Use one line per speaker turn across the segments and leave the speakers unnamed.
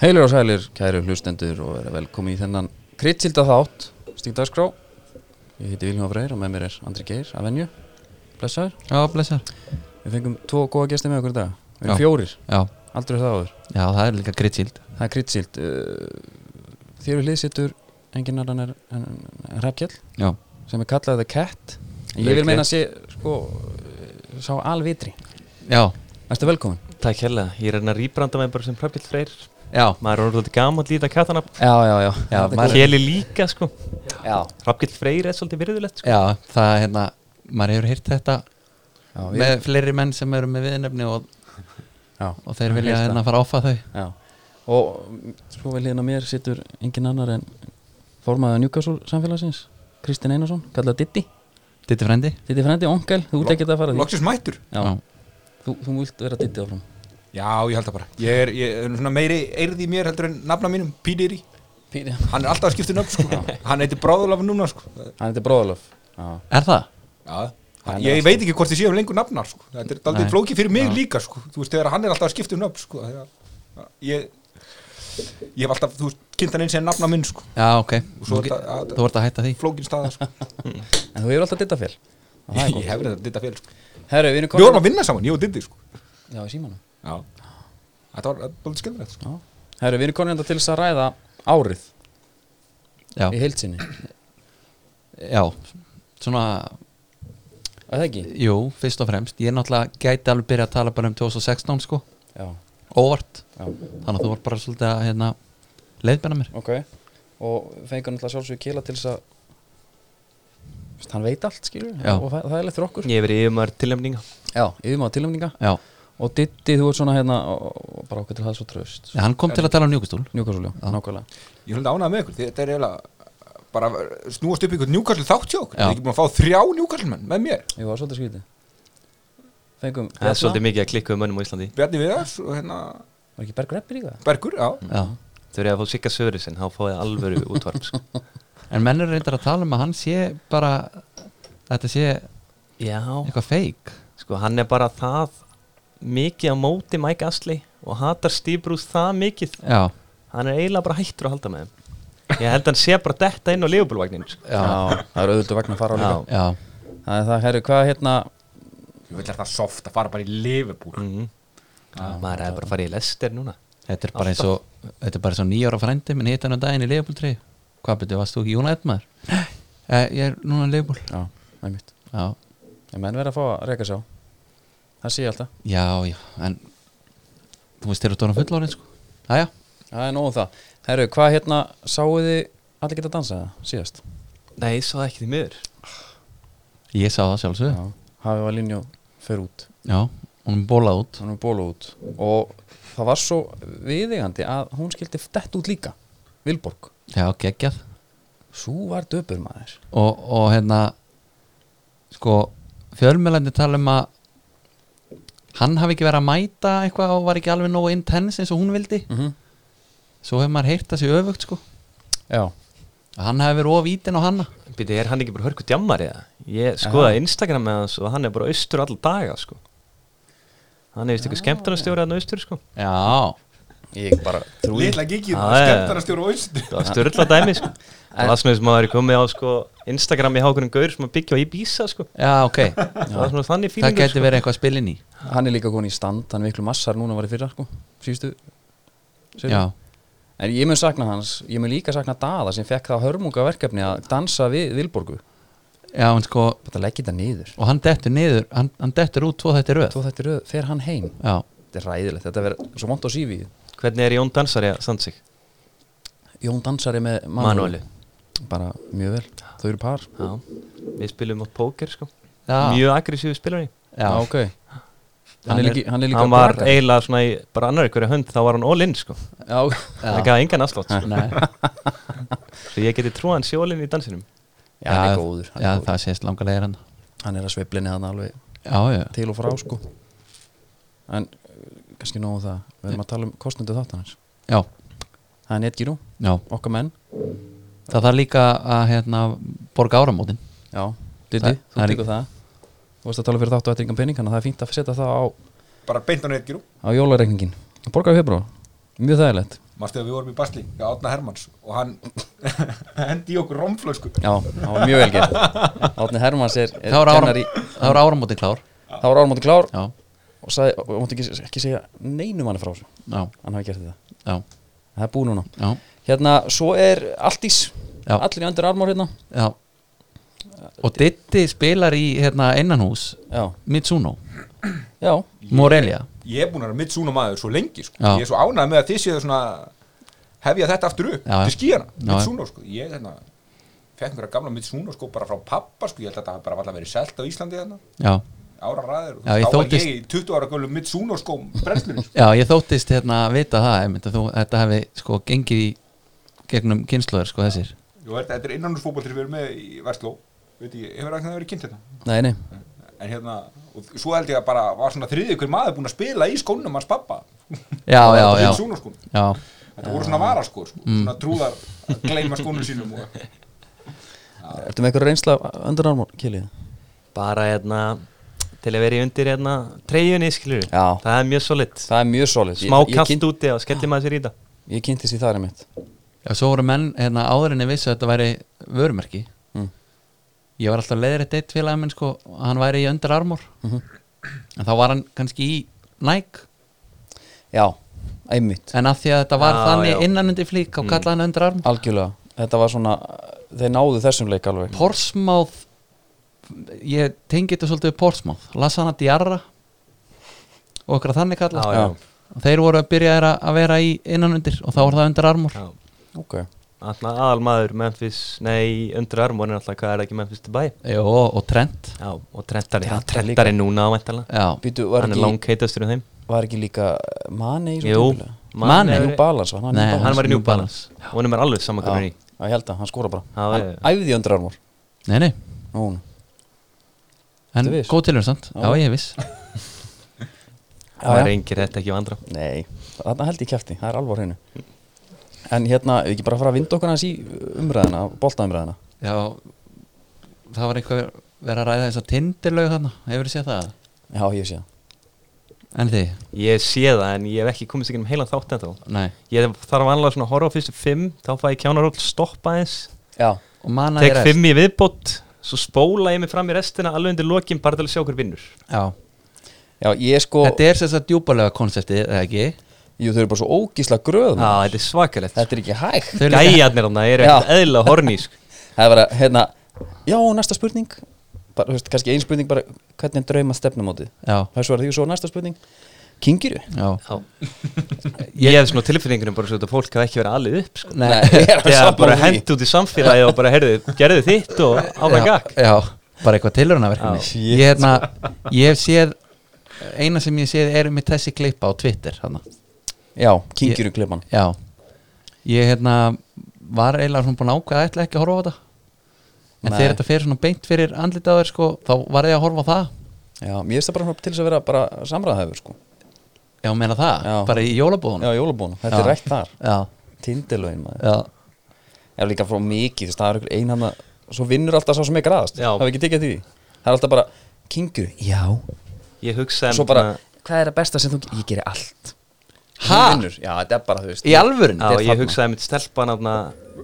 Heilir og sælir, kæru hlustendur og verið velkomin í þennan kritsilda þátt, Stig Dagskrá. Ég heiti Viljóð Freyr og með mér er Andri Geir að venju. Blessaður.
Já, blessar
Við fengum tvo góða gesti með okkur í dag. Við erum
Já.
fjórir,
Já,
aldrei það áður.
já það er líka grittsíld
Það er Eh, kritsild. Þér við liðsittur engin annan er en, en Hrafkjell
Já,
sem er kallað The Cat. En ég vil
Leikleg.
meina að sé, sko, eh, sá alvitri.
já,
Værstu velkomin.
Takk hérlega, ég er hérna að rýbranda með bara sem Hrafkjöld Freyr
já,
Maður er orðið gaman að líta katanab
Já, já, já.
Já, maður-
Kjeli líka sko
já.
Hrafkjöld Freyr er svolítið virðulegt sko
já Það er hérna, maður hefur hýrt þetta
Já, við-
með fleiri menn sem eru með viðnefni og,
já.
og þeir vilja
Heyrt það.
hérna fara áfa þau
Já, og mm, svo við liðin að mér sittur engin annar en formaðið Newcastle samfélagsins Kristinn Einarsson, kallað Diddi
Ditti frendi
Diddi frendi, onkel, þú ert ekki að fara því
Loksins mættur
Já, þú, þú vilt vera Diddi áfram
Já, ég held það bara Ég er, ég er svona meiri eirð í mér heldur en nafna mínum Pídiri
Píri
Hann er alltaf að skipta nöfn sko Hann heitir Bráðulaf núna sko
Hann heitir Bróðalöf Já,
Er það?
Já
Hann er
Ég
alltaf-
veit ekki hvort þið séum lengur nafnar sko Þetta er aldrei
Nei.
flókið fyrir mig líka sko Þú veist, þegar hann er alltaf að skipta um nöfn sko þegar, Ég Ég hef alltaf, þú veist, kynnt hann eins og nafna minn sko
Já, ok,
Og
þú,
svo er
ge-
þetta-
þú vart að hætta því
Flókin staða sko
en þú hefur alltaf Didda fél
Ég hef þetta ditta fél sko
Herru, við erum
Við vorum að vinna saman, ég og Diddi sko
Já, í símanum
Já Þetta var búin skemmtilegt sko
Já Herru, við erum komin enda til þess að ræða árið í
Já,
heilsinni
já, svona,
Það ekki?
jú, fyrst og fremst Ég náttúrulega gæti alveg byrja að tala bara um 2016 sko
Já,
Óvart,
já,
þannig að þú vart bara svolítið að hérna leiðbenna mér
ok Og fengur náttúrulega sjálfsögur kila til þess að Vist, Hann veit allt, skilur
Já.
Og það það er leitt fyrir okkur
Ég hef verið yfirmaður tilnæmninga
Já, yfirmaður tilnæmninga
Já,
og Diddi, þú ert svona hérna og- og bara okkur til það svo tröst
hann kom til að tala um njúkustúl
Newcastle, já, nákvæmlega
Ég er hundið ánægð með ykkur, þetta er eiginlega bara snúast upp ykkur njúkastl þátt hjá okkur,
Já.
ég er ekki búin að fá þrjá njúkastlmenn með mér,
Jú, það var svolítið skvítið Fengum
Það
Bjarna.
er svolítið mikið að klikka um mönnum á Íslandi
Bjarni Viðars og hérna
Var ekki Berg Reppir í það?
Bergur, já,
Já,
Þau eru að fá sikka sögur sinn, þá fáið alvöru útvarp sko
En menn eru reyndar að tala um að hann sé bara Þetta sé
Já,
eitthvað feik
sko hann er bara það mikið á móti Mike Astley og hatar Steve Bruce það mikið
Já,
Hann er eiginlega bara hættur að halda með þeim Ég held hann sé bara detta inn á leifubólvagnin sko.
já,
það er auðvitað vegna að fara á líka
Já.
já,
Það er það, herru, hvað hérna
ég vil þetta soft að fara bara í Liverpool
Mhm. Maður er bara að fara í lester núna
þetta er bara eins og Þetta er bara eins og nýjára frændi minn hitt hann á daginn í Leifbúltri Hvað betur, varst þú ekki Jón Edmar? Nei, eh, ég er núna í Leifbúl
Já, það er mitt
Já,
Ég menn verið að fá að reyka sá Það sé ég alltaf
já, já, en Þú veist, þeir eru tónum fullorinn sko Jæja,
Það er nóg um það Herru, hvað hérna sáuð þið allir geta dansað það síðast?
Nei, svo ekki því miður
ég sá það sjálfsög Já,
Hafið var linjó fyrir út
já hún er bólað út
Hann er bóla út Og það var svo viðegandi að hún skildi dett út líka Vilborg
Já, geggjað
Sú var döpur maður
og, og hérna sko, fjölmjölandi tala um að hann hafi ekki verið að mæta eitthvað og var ekki alveg nógu intense eins og hún vildi
-hmm.
svo hefur maður heyrt það sér öfugt sko
Já,
að hann hafi verið ofítinn á hanna
Býti, er hann ekki bara hörku djammar eða? Ég skoðaði Instagram með hans og hann er bara austur alla daga, sko. Hann er vist eitthvað skemmtarnastjóri hann austur, sko.
já,
ég bara trúi
Lilla gigið,
Já, já, já.
skemmtar að stjóra óst
Það var störla dæmi, sko. Það var svona sem maður er komið á, sko, Instagram í hákunum gaur sem að byggja á Ibiza, sko.
já ok
Það var svona þannig
það
fílingur,
gæti
sko.
verið eitthvað að spilin í
Hann er líka komin í stand, hann er miklu massar núna var í fyrra sko, síðustu seríu.
já,
En ég mun sakna hans, ég mun líka sakna Dada sem fekk það hörmunga verkefni að dansa við Vilborgu
já, en sko
Þetta leggir þetta niður
og hann dettur niður, hann, hann dettur út tvo þetta röð
Þó þetta er röð, fer hann heim
já,
Þetta er ræðilegt, þetta verður svo mont á sífi
Hvernig er Jón Dansari að standa sig?
Jón dansari með
Manuelu.
Manuelu Bara mjög vel, þau eru par
Já. Við spilum átt póker, sko.
Já.
Mjög aggressífi spilari.
já,
ok Ah. Hann
Hann
er
er-
líka, hann er líka
Hann var
plakar.
eiginlega svona í bara annar ykkur hönd, þá var hann all in, sko.
Já, ok.
Það gaf engan afslátt, sko.
Nei,
Svo ég geti trúið hann sjólinn í dansinum.
Já, hann er góður, hann
já,
er góður.
það sést langa leir hann
Hann er að sveiflinni hann alveg
já, já,
til og frá sko en uh, kannski nóg um það við erum að tala um kostnundu þáttanins
já,
það er netgíru,
já
okkar menn
það þarf líka að hérna, borga áramótin
já, Diddi,
Það-
þú
það er
tekur það þú veist að tala fyrir þáttu eftir yngan um pening þannig að það er fínt að setja það á,
Bara beint á netgiru
á jólareikningin borgar við hefbró, mjög þægilegt
Manstu að við vorum í Basli, já, Átna Hermanns og hann hendi í okkur romflösku
Já, það var mjög vel gert Átni Hermanns er, er
þá er áram-
kennari
þá er áramóti klár
Það var áramóti klár
já,
og, sagði, og og mátti ekki, ekki segja neinum hann frá þessu
já,
Hann hafi gert þetta
já,
Það er búið núna
já,
Hérna, svo er Altís
Já.
Allir í andur armór hérna
já. og Ditti spilar í hérna, innanhús
Já,
Mitsuno,
já,
Morelia
Ég er búin að vera mitt súna maður svo lengi sko.
Já.
Ég er svo ánægð með að þið séu svona hefja þetta aftur upp
Já, já.
til skíjana,
Já,
mitt
já.
súna sko. Ég hérna, fekk einhverja gamla mitt súna sko, bara frá pappa, sko. ég held að þetta hafi bara alltaf verið selt á Íslandi hérna,
já,
ára ræður
Já, ég
þá var
þóttist-
ég í 20 ára gölu mitt súna sko, brennslunni sko.
já, ég þóttist hérna að vita það einmitt, að þú, þetta hefði sko gengið í gegnum kynnslóður sko þessir
Jú, þetta- þetta er innanúrsfótboltir við erum með í Vestló Veit ég, hefur það verið kynnt þetta
nei, nei
en hérna, og svo held ég að bara var svona þriðið hver maður búinn að spila í skónum hans pappa
já,
Það var
já,
þetta
já,
fyrir sjónarskónum.
já, Mm.
þetta voru svona varaskór, sko, svona trúðar að gleyma skónum sínum og,
Ertu með eitthvað reynsla andur armór, Kilið?
bara hérna til að vera í undir hérna treyjunni skilur
Já.
það er mjög solitt
Það er mjög solid
smá
Ég- ég
kallt
kynnt-
úti og skellir maður sér í það
Ég kynnti sér þar einmitt
já, svo voru menn hérna áðurinni vissu að þetta væri vörumerki
Mm.
ég var alltaf leiðir eitt eitt félagum minn sko, að hann væri í Under Armour en þá var hann kannski í Nike
Já, einmitt
en að því að þetta var
Já,
þannig
já. Mm.
innan undir flík og kallaði hann Under Armour
Algjörlega, þetta var svona Þeir náðu þessum leik alveg
Porsmouth ég tengi þetta svolítið við Porsmouth Lasana Diarra og okkur að þannig kalla
Já,
já.
þeir voru að byrja að að vera í innanundir og þá var það undir armur
já.
Ok
Alltaf aðal maður Memphis, nei, undir armórin alltaf, hvað er ekki Memphis til bæ?
Jó, og trend
Já, og trentari, já,
Trentari
trentari núna ávæntalega
Já,
Býtu, var
Hann er
ekki,
langkeitastur um þeim
var ekki líka eh, Mane í svo
Jú,
típilega?
Mane.
er-
New Balance var hann
Nei,
New Balance?
Hann var í New
New Balance.
Balance, honum er alveg saman hvernig
Já, já, ég held að, hann skora bara
Já,
Hann
já, já.
æfði í öndur armór
nei, nei
Nún
En
Ertu viss?
góð tilhjörn samt, já ég er viss
Það reyngir þetta ekki vandra
Nei, þarna held ég kæfti, það er alveg á hreinu En hérna, ef við ekki bara fara að vinda okkur hans í umræðina, boltaumræðina
Já, það var eitthvað verið að ræða þess að tindirlaug þarna Hefur þið séð það?
Já, ég sé það
En þið?
Ég sé það, en ég hef ekki komist ekki um heilan þátt en
Nei
Ég þarf annað svona að horfa á fyrstu fimm, þá fæ ég kjánaról stoppa eins
Já,
Og manna
Tek fimm í viðbót, svo spóla ég mig fram í restina alveg undir lokin bara til að sjá hver vinnur
Já
já, ég sko
Þetta er þess að djúpalega konseptið, eða ekki?
Jú, þau eru bara svo ógísla gröð
Já,
maður.
þetta er svakalegt sko.
Þetta er ekki hægt
Þau eru líka-
Gæjarnir hann
Já.
eru ekkert sko. eðla hornísk
Það er bara, hérna, já, næsta spurning bara, þú veist, kannski ein spurning bara hvernig er drauma stefnumótið
Já,
Það er svo að því og svo næsta spurning Kingiru?
já
Ég hef svona tilfinningunum bara svo að fólk hafa ekki verið alið upp sko.
Nei, ég er að
Þegar
sammála
bara
því.
hent út í samfélagi og bara heyrðu, gerðu þitt og áfram
já,
gakk
já, bara eitthvað tilhörnaverkefni
Oh Já.
ég, hérna, ég hef séð eina sem ég séð er mitt þessi klippa á Twitter hana.
Já, kingiru klipan
já ég hérna var eiginlega svona búin að ákveða að ætla ekki að horfa á þetta en
Nei.
þegar þetta fer svona beint fyrir andlitið á þér sko, þá var ég að horfa á það
Já, mér finnst það bara til þess að vera bara samræðahefur sko
já, meina það,
Já.
bara í
Já,
jólabóðunum
jólabónu, þetta er
Já.
rætt þar
já,
Tindilögin maður
já,
Það er líka frá mikið, þess að það er einhver einhanna Svo vinnur alltaf sá sem er graðast
Já.
Það er ekki tekið eftir því Það er alltaf bara, kingiru, já
Ég
Og
hugsaði hérna,
Svo bara, hvað er það besta sem þú Ég geri allt Hún
Ha?
vinnur. Já, þetta er bara, þú veist
í alvörun
Já, ég
þarna.
hugsaði mitt stelpan afna,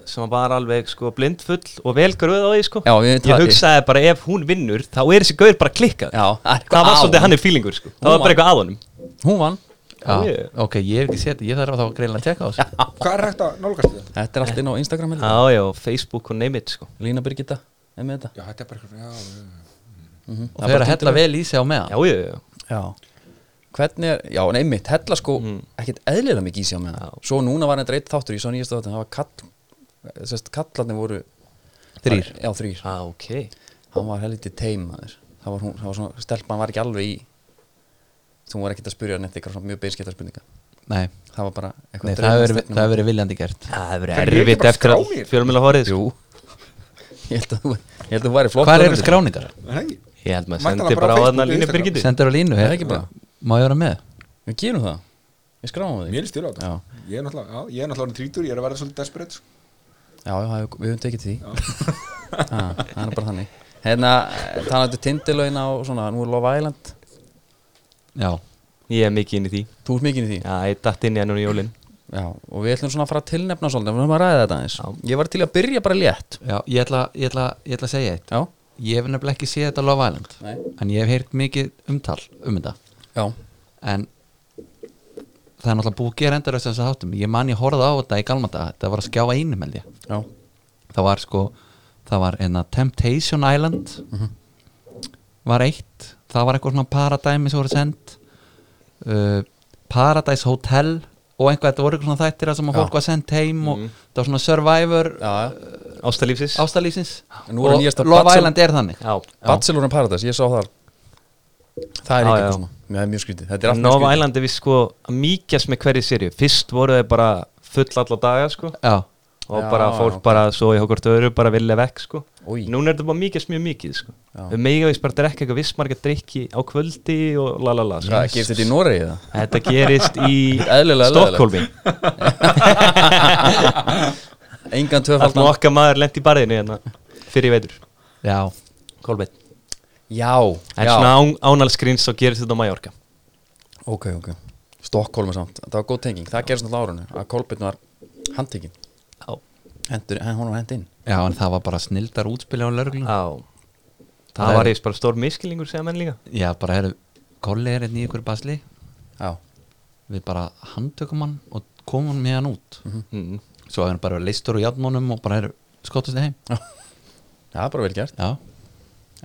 sem var alveg sko, blindfull og velgröð á því sko.
Já, ég veit það.
hugsaði bara ef hún vinnur þá er þessi gaur bara klikkað
Já, það er eitthvað
það
að
var svolítið
honum.
hann er fílingur sko. það var bara eitthvað að honum
Hún vann
Já,
já,
ég-
ok, ég hef ekki séð þetta ég þarf að þá greinlega að tjekka á þessu
hvað er hægt að nálgast þetta?
Þetta er allt inn á Instagram heldur.
Já, já, Facebook og name it sko.
Lína Birgitta er með þetta
já, þetta er bara eitthvað, já, já, já.
og þau eru að hella vel í sig á meðan
Já, já, já,
Já Hvernig er, já en einmitt, hella sko ekkert eðlilega mikið í sig á með það Svo núna var þetta eitt þáttur, ég sá nýjast þáttur það var kall, sérst kallarnir voru
Þrír.
var, Já, þrýr,
ah, ok
hann var helviti teim maður. það var hún, það var svona, stelpan var ekki alveg í þú var ekkert að spyrja hann eitthvað svona mjög beinskipta spurninga
nei,
það var bara
nei
eitthvað
það hefur verið- það hefur verið viljandi gert
Það hefur
Hvernig er
verið
ekki
erfitt
bara
eftir að
skránir?
fjölmjöla horið sko.
Jú, ég held að þú ég held að þú væri flott
hvað eru skráningar?
En ekki?
Ég held maður
Mættu
sendi
hana
bara
bara á
á þarna
Facebook,
línu
Instagram.
Birgitti
sendur á línu
Það er
hef-
ekki bara.
má ég vera með?
Við gerum það Við skráum það
mér er stil á þetta
Já.
ég er náttúrulega, já, ég er náttúrulega orðinn þrítur, ég er að verða svolítið desperate sko.
Já, já, það- við höfum tekið til því Ha, Það er bara þannig Hérna, talandi tindilögin á svona, nú er Love Island
já
Ég er mikið inn í því
Þú ert mikið í því
Já, ég datt inn í hann og jólin
Já, og við ætlum svona að fara að tilnefna svolítið, við höfum að ræða þetta aðeins
Já.
Ég var til að byrja bara létt
Já, ég ætla, ég, ætla, ég ætla að segja eitt
Já,
Ég hef nefnilega ekki séð þetta Love Island
Nei.
En ég hef heyrt mikið umtal um þetta
já,
En það er náttúrulega búið að gera endur þess að þáttum Ég man ég horfði á þetta í galmanda Þetta var að skjáfa einu með því
já,
Það var sko, það var einna Temptation Island
Mhm.
Var eitt, það var eitthvað svona Paradæmi sem voru send uh, Paradise Hotel Og einhvað, þetta voru eitthvað svona þættir þar sem að
Já. Mhm.
fólk var sendt heim og það var svona Survivor
já
Ástalífsins
ástallífsins
En nú er
og
nýjasta
Love
Bachelor-
Island er þannig
Já,
Bachelor in Paradise, ég sá það Það er
Já,
ekki
já.
svona, já, það er mjög skrítið Þetta er allt mjög
Nova
skrítið
Island er við sko að mýkjast með hverju sériu Fyrst voru þeir bara full alla daga sko
Já,
Og
Já,
bara fólk
já, ok.
bara svo í hvort öðru bara vilja vekk sko
Új.
Núna er þetta bara að mýkjast mjög mikið sko
Já.
Við mega veist bara að drekka eitthvað vissmarga drikki á kvöldi og la la la sko.
Hvað, gerist þetta í Noregi það?
Þetta gerist í
Eðlilega,
Stokkólmi
Engan
Alltaf
tvöfaldan
okkar maður lent í barðinu hérna fyrir í veitur
já,
Kolbeinn
Já,
En
já,
svona án, ánalskríns þá gerist þetta á Mallorca
ok, ok Stokkólmi samt, það var góð tenging, það gerist náttúrulega á árunni Að Kolbeinn var handtekinn
Já,
Hendur, henn, hún var hend inn
já, en það var bara snildar útspilja á lörglum
já. Það
Það
var
er-
eist bara stór miskilingur segja menn líka
Já, bara heyrðu, kolli er einn í ykkur basli
Já,
Við bara handtökum hann og komum hann með hann út
mm.
Svo hefur hann bara leistur úr játmónum og bara heyrðu, skottast þið heim
það er bara vel gert
Já,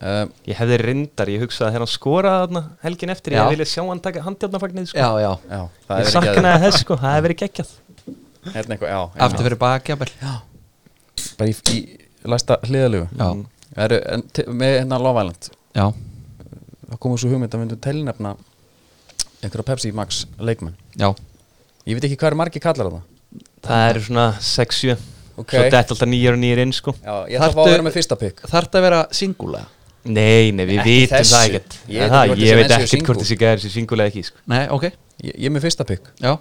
um,
Ég hefði reyndar, ég hugsaði þegar hann skoraði þarna helgin eftir,
Já.
ég vilja sjá hann taka handjarnafagnið sko.
já, já
Já, það er
Ég
ekki
saknaði þess sko, það hefði verið geggjað
Hérna eitthvað, já einmitt.
Aftur fyrir bakjabel Já,
Bara í, í læsta hliðalögu
já,
Það eru, en te- með hérna Love Island
já,
Það komið svo hugmynd að myndum telnefna einhverja Pepsi Max leikmenn
já.
Ég veit ekki hvað eru margi kallar það
Það eru svona 6-7
Ok.
Svo dætt alltaf nýjar og nýjar inn sko
Já, ég ætla að fá
Þarftu-
að vera með fyrsta pick
Þarf að vera singulega
Nei, nei, við
Ekki
vitum
þessu.
það ekkert
Ég veit
Það,
ekki hvort þessi menn séu
Ég veit ekkert
single.
hvort þessi gæðir sér singulega ekki sko.
Nei, ok,
Ég, ég er með fyrsta pick
já,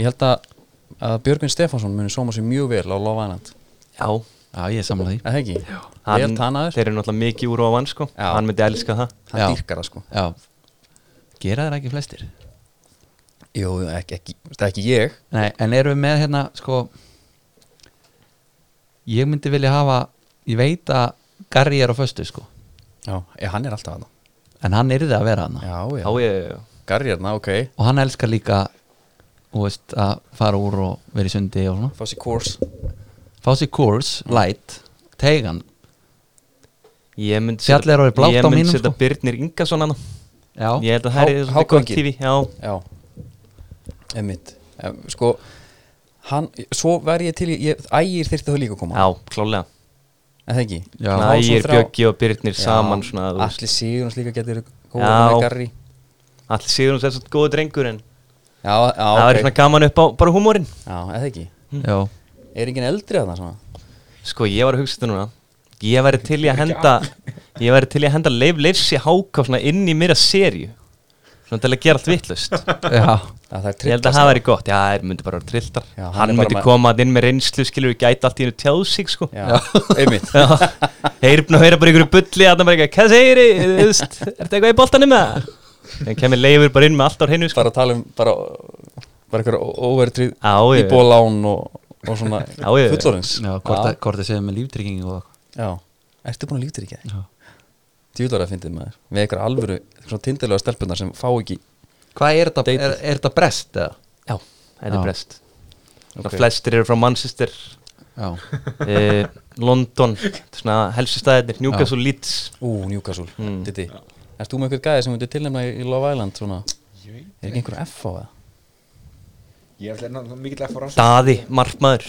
Ég held að, að Björgvin Stefánsson muni sóma sér mjög vel á Love Island
Já,
já, ég er samla því
Er Það ekki? Já Vel
hann,
tannaður
þeir eru náttúrulega mikið úr ofan sko
Já.
Hann myndi elska það
Hann
Já.
dýrkar það sko
Já, gera þeir ekki flestir
Jú, jú, ekki, ekki, það er ekki ég
Nei, en erum við með hérna sko ég myndi vilja hafa ég veit að Garri er á föstu sko
Já, ég, hann er alltaf hana
en hann yrði að vera hana
Já,
Já, ég,
Garri hérna, ok
og hann elskar líka þú veist, að fara úr og vera í sundi og svona
Fá sér kurs
fá sér kurs, light, tegan
ég myndi
Fjallið er orðið blátt
ég
á
myndi
mínum,
setja
sko.
Birnir Ingason hann
já,
Ég held að það
Há-
er svolítið gott
hákónginn.
TV Já,
Já Emmitt Sko hann, Svo væri ég til í ég, Ægir þyrfti þá líka að koma
já, klálega
En það ekki
Já.
Ná,
Næ, ég
svo
er
þrjá-
Bjöggi og Birnir saman svona, þú veist.
Allir Sigurns líka getur góða
Já.
með Garri
Allir síður hans er svona góðu drengur en
Já, já,
það
Ah, ok
verður svona gaman upp á bara húmórin
Já, en það ekki
já,
Er enginn eldri að það svona?
Sko, ég var að hugsa þetta núna Ég væri til í að henda Ég væri til í að henda Leif Leifsi háká svona inn í mér að serju Svona til að gera allt vittlust
já,
Já, það er
Ég held að
trillast.
það væri gott, já, það myndi bara vera trilltar
Já, hann
Hann,
er bara
myndi
með-
koma að inn með reynslu skilur við gæti allt í hennu tjáð sig sko
Já, einmitt
Já, heyrfn og heyra bara ykkur bulli að það bara eitthvað, hvað segir þið, er þetta eitthvað í boltanum með það? En kemur leifur bara inn með allt á hennu sko.
Bara að tala um bara, bara eitthvað óvertrið
Já, ég-
Íbólán og, og svona
Já, ég-
fullorins
já hvort að- hvort það séu með líftrygging og
Já, ertu búin að líta ekki það?
eitthvað Já.
Djúlar að fyndið maður Með eitthvað alvöru, svona tindilega stelpunar sem fá ekki
hvað er þetta, er, er þetta brest eða?
Já, þetta
Já.
er brest
Ok.
okay. Flestir eru frá Manchester
já,
eh, London þetta er svona helstu staðirnir, Newcastle Leeds
Ú, Newcastle,
Hmm.
Mm.
Diddi Erst þú með einhver gæði sem myndi tilnefna í í Love Island svona
Ég veit
Er ekki einhver F á það?
Ég er alltaf hérna mikill F á rannsókn
Daði, markmaður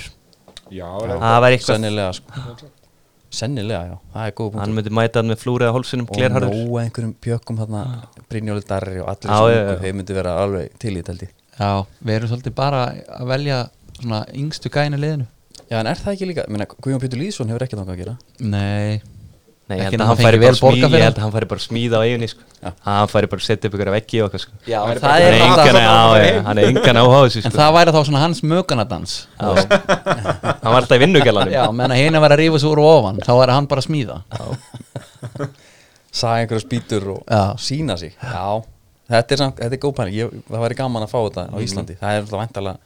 Já,
það var eitthvað,
Sennilega sko Sennilega, já, það er góð punkt
hann myndi mæta hann með flúrið að hólsunum, glerharður Ah.
Og nóg af einhverjum pjökkum þarna Brynjóli Darri og allir sem
Já, já,
ungu,
já.
Þeir myndi vera alveg til í telti
já, við erum svolítið bara að velja svona yngstu gæna liðinu
Já, en er það ekki líka, menna, Guðjón Pétur Lýðsson hefur ekki þangað að gera
nei,
Nei, ég
Ekki
held
nema
að hann
fengi
færi
vel
bara smíða
borgað fyrir
Ég held að hann færi bara smíða á eiginni sko.
Já.
Hann færi bara að setja upp ykkur af veggi og eitthvað sko.
já,
Það er
það
Hann
er
er
alltaf-
engan-
bara-
já, já, Hann er engan áhuga á þessu
En
sko.
það væri þá svona hans mögunadans
Já. Hann var alltaf í vinnugjalanum
Já, meðan að hinn er að vera að rífa svo úr og ofan þá er hann bara að smíða
Saga einhverja spýtur og
Já.
sína sig Já, Mhm. þetta er, samt, þetta er góð pæling Ég- Það væri gaman að fá þetta á Íslandi Það er alltaf væntalega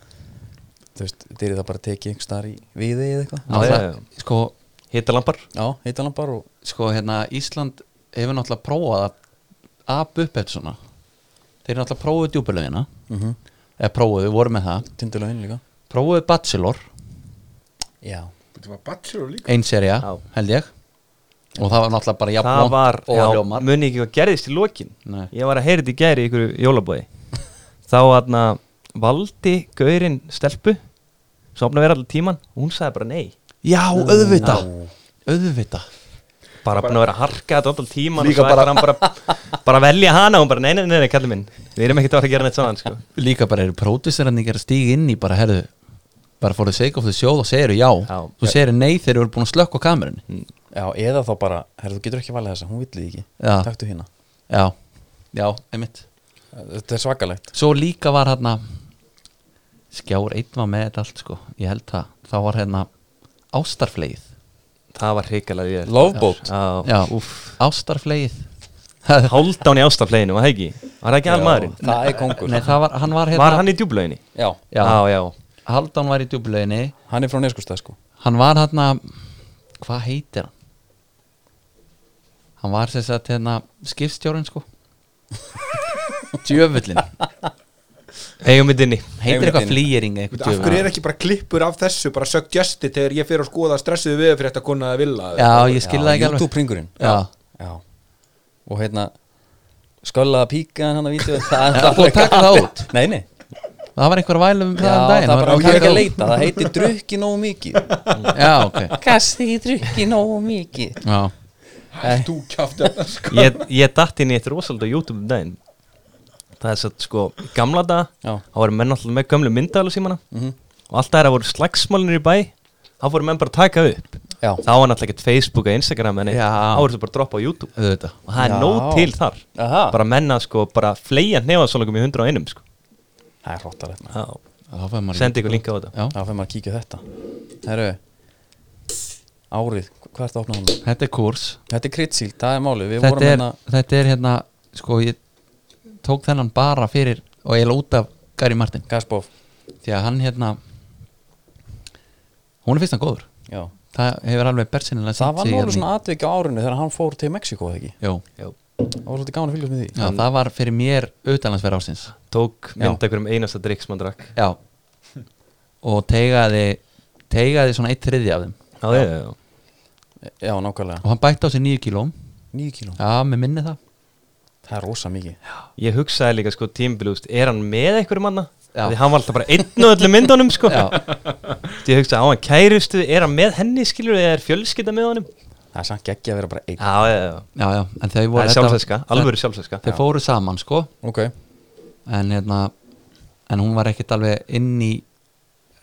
þú veist, þeir eru það bara tekið einhvers staðar í viði eða eitthvað
Já,
Náttúrulega,
já,
sko,
Hita lampar
Já, heitan hann bara og
sko hérna Ísland hefur náttúrulega prófað að apa upp eftir svona þeir eru náttúrulega prófuðu hérna. djúpulögina
mm
Mhm.
eða prófuðu, voru með það
tindulögin líka
prófuðu Bachelor,
Já,
Þetta var bachelor líka
einserja
Já.
held ég og það var náttúrulega bara jafn
Það
langt
var,
og
já,
ljómar
muni ekki hvað gerðist í lokin
Nei.
Ég var að heyra þetta í gæri í ykkur jólabóði Þá aðna valdi gaurinn stelpu Sopna vera allir tíman og hún sagði bara nei
já, auðvita auðvita
Bara búin að vera að harka þetta allir tíman
Líka
og svo ætlar hann bara, bara að velja hana og hún bara nei, nei, nei, nei, kallir minn Við erum ekkert að fara að gera neitt saman sko.
líka bara eru hérna, pródusserarnir að stíga inn í bara herðu bara fóruðu sake of the show og segiru já,
Já. Mm.
þú segiru nei þegar þú eru búin að slökka á kamerunni
já eða þá bara, herra, þú getur ekki valið þessa, hún villið ekki
Já.
Taktu hérna
já, já, einmitt
Þetta er svakalegt
Svo líka var hérna Skjár einn var með þetta allt sko Ég held það, þá var hérna Ástarfleið
Það var hrikalega við
Loveboat
Já,
Já, Ástarfleið
Hálfdán í ástafleginu, var það ekki? Var það ekki almaðurinn?
Það er kongur
Nei, það var, hann var hérna
Var hann í djúblauginni?
Já,
Já.
já, já.
Haldán var í djúbleginni
hann er frá neskustæð sko
Hann var hérna Hvað heitir hann? Hann var sem sagt hérna Skipstjórinn sko Djöfullin
Eigum við dinni
Heitir
Einmitt
eitthvað
inn.
flýjering
Veit,
eitthvað
Af hverju
djöfull.
er ekki bara klippur af þessu bara suggesti þegar ég fyrir að skoða stressuðu við fyrir þetta konaða villa
Já, ég skil það ekki alveg
YouTube ringurinn
Já.
já Og hérna Sköllaða píkan hann að vídeo Það
Já, búið að taka það út.
Nei, nei
Það var einhver vælum
Já,
það um daginn
það er bara
var
Ég er ekki að
taka-
leita Það heitir drukki nógu mikið
Já, ok
Kast ekki drukki nógu mikið
Já,
Hættu kjáft þetta sko
Ég, ég datt inn í eitt rosalega YouTube um daginn Það er satt sko í Gamla dag
Já.
Það voru menn alltaf með gömlu myndaðal og símana Og alltaf þegar það voru slagsmálinir í bæ Það voru menn bara að taka upp
Já.
Það var náttúrulega ekkert Facebook og Instagram en
Já.
Það voru þau bara að droppa á YouTube
auðvitað
Og það er
Já.
nóg til þar
Aha.
Bara menna sko, bara fleia nefasólagum í hundra á einum sko.
Það er hróttalegt maður.
Já.
Þá fær maður í-
Sendi ykkur linka á þetta
Já,
Þá fyrir maður að kíkja á þetta Herru Árið, hvað ertu að opna hann?
þetta er kurs
Þetta er kritsíld, það er málið Við
þetta
vorum
er,
hérna
þetta er hérna sko ég tók þennan bara fyrir og ég út af Gary Martin
Gasbof
því að hann hérna hún er fyrst hann góður
Já
það hefur alveg bersinilega
Það var
hérna
nálu svona atvik á árinu þegar hann fór til Mexiko ekki
Jó,
Já.
Það var svolítið gaman að fylgjast með því
já, það var fyrir mér auðvitaðlandsverð ásins
Tók
Já.
mynda ykkur um einasta drikk sem hann drakk
Já og teigaði teigaði svona eitt þriði af þeim
Já, já, já, já.
Já, nákvæmlega
og hann bætti á sig nýju kílóm
9 kíló
Já, mér minni það
Það er rosa mikið
Ég hugsaði líka sko tímbil, úst, er hann með einhverjum manna?
Já.
Því hann var alltaf bara einn og öllum myndunum sko
Já.
Því ég hugsaði á hann kærustu, er hann með henni skilur eða er fjölskylda með honum?
Það er samt ekki að vera bara einn
Já, já, já,
Já, já, en þau
það
voru
er
þetta-
sjálfsæska, alvöru sjálfsæska
Þau fóru saman sko
Ok
en hérna en hún var ekkert alveg inn í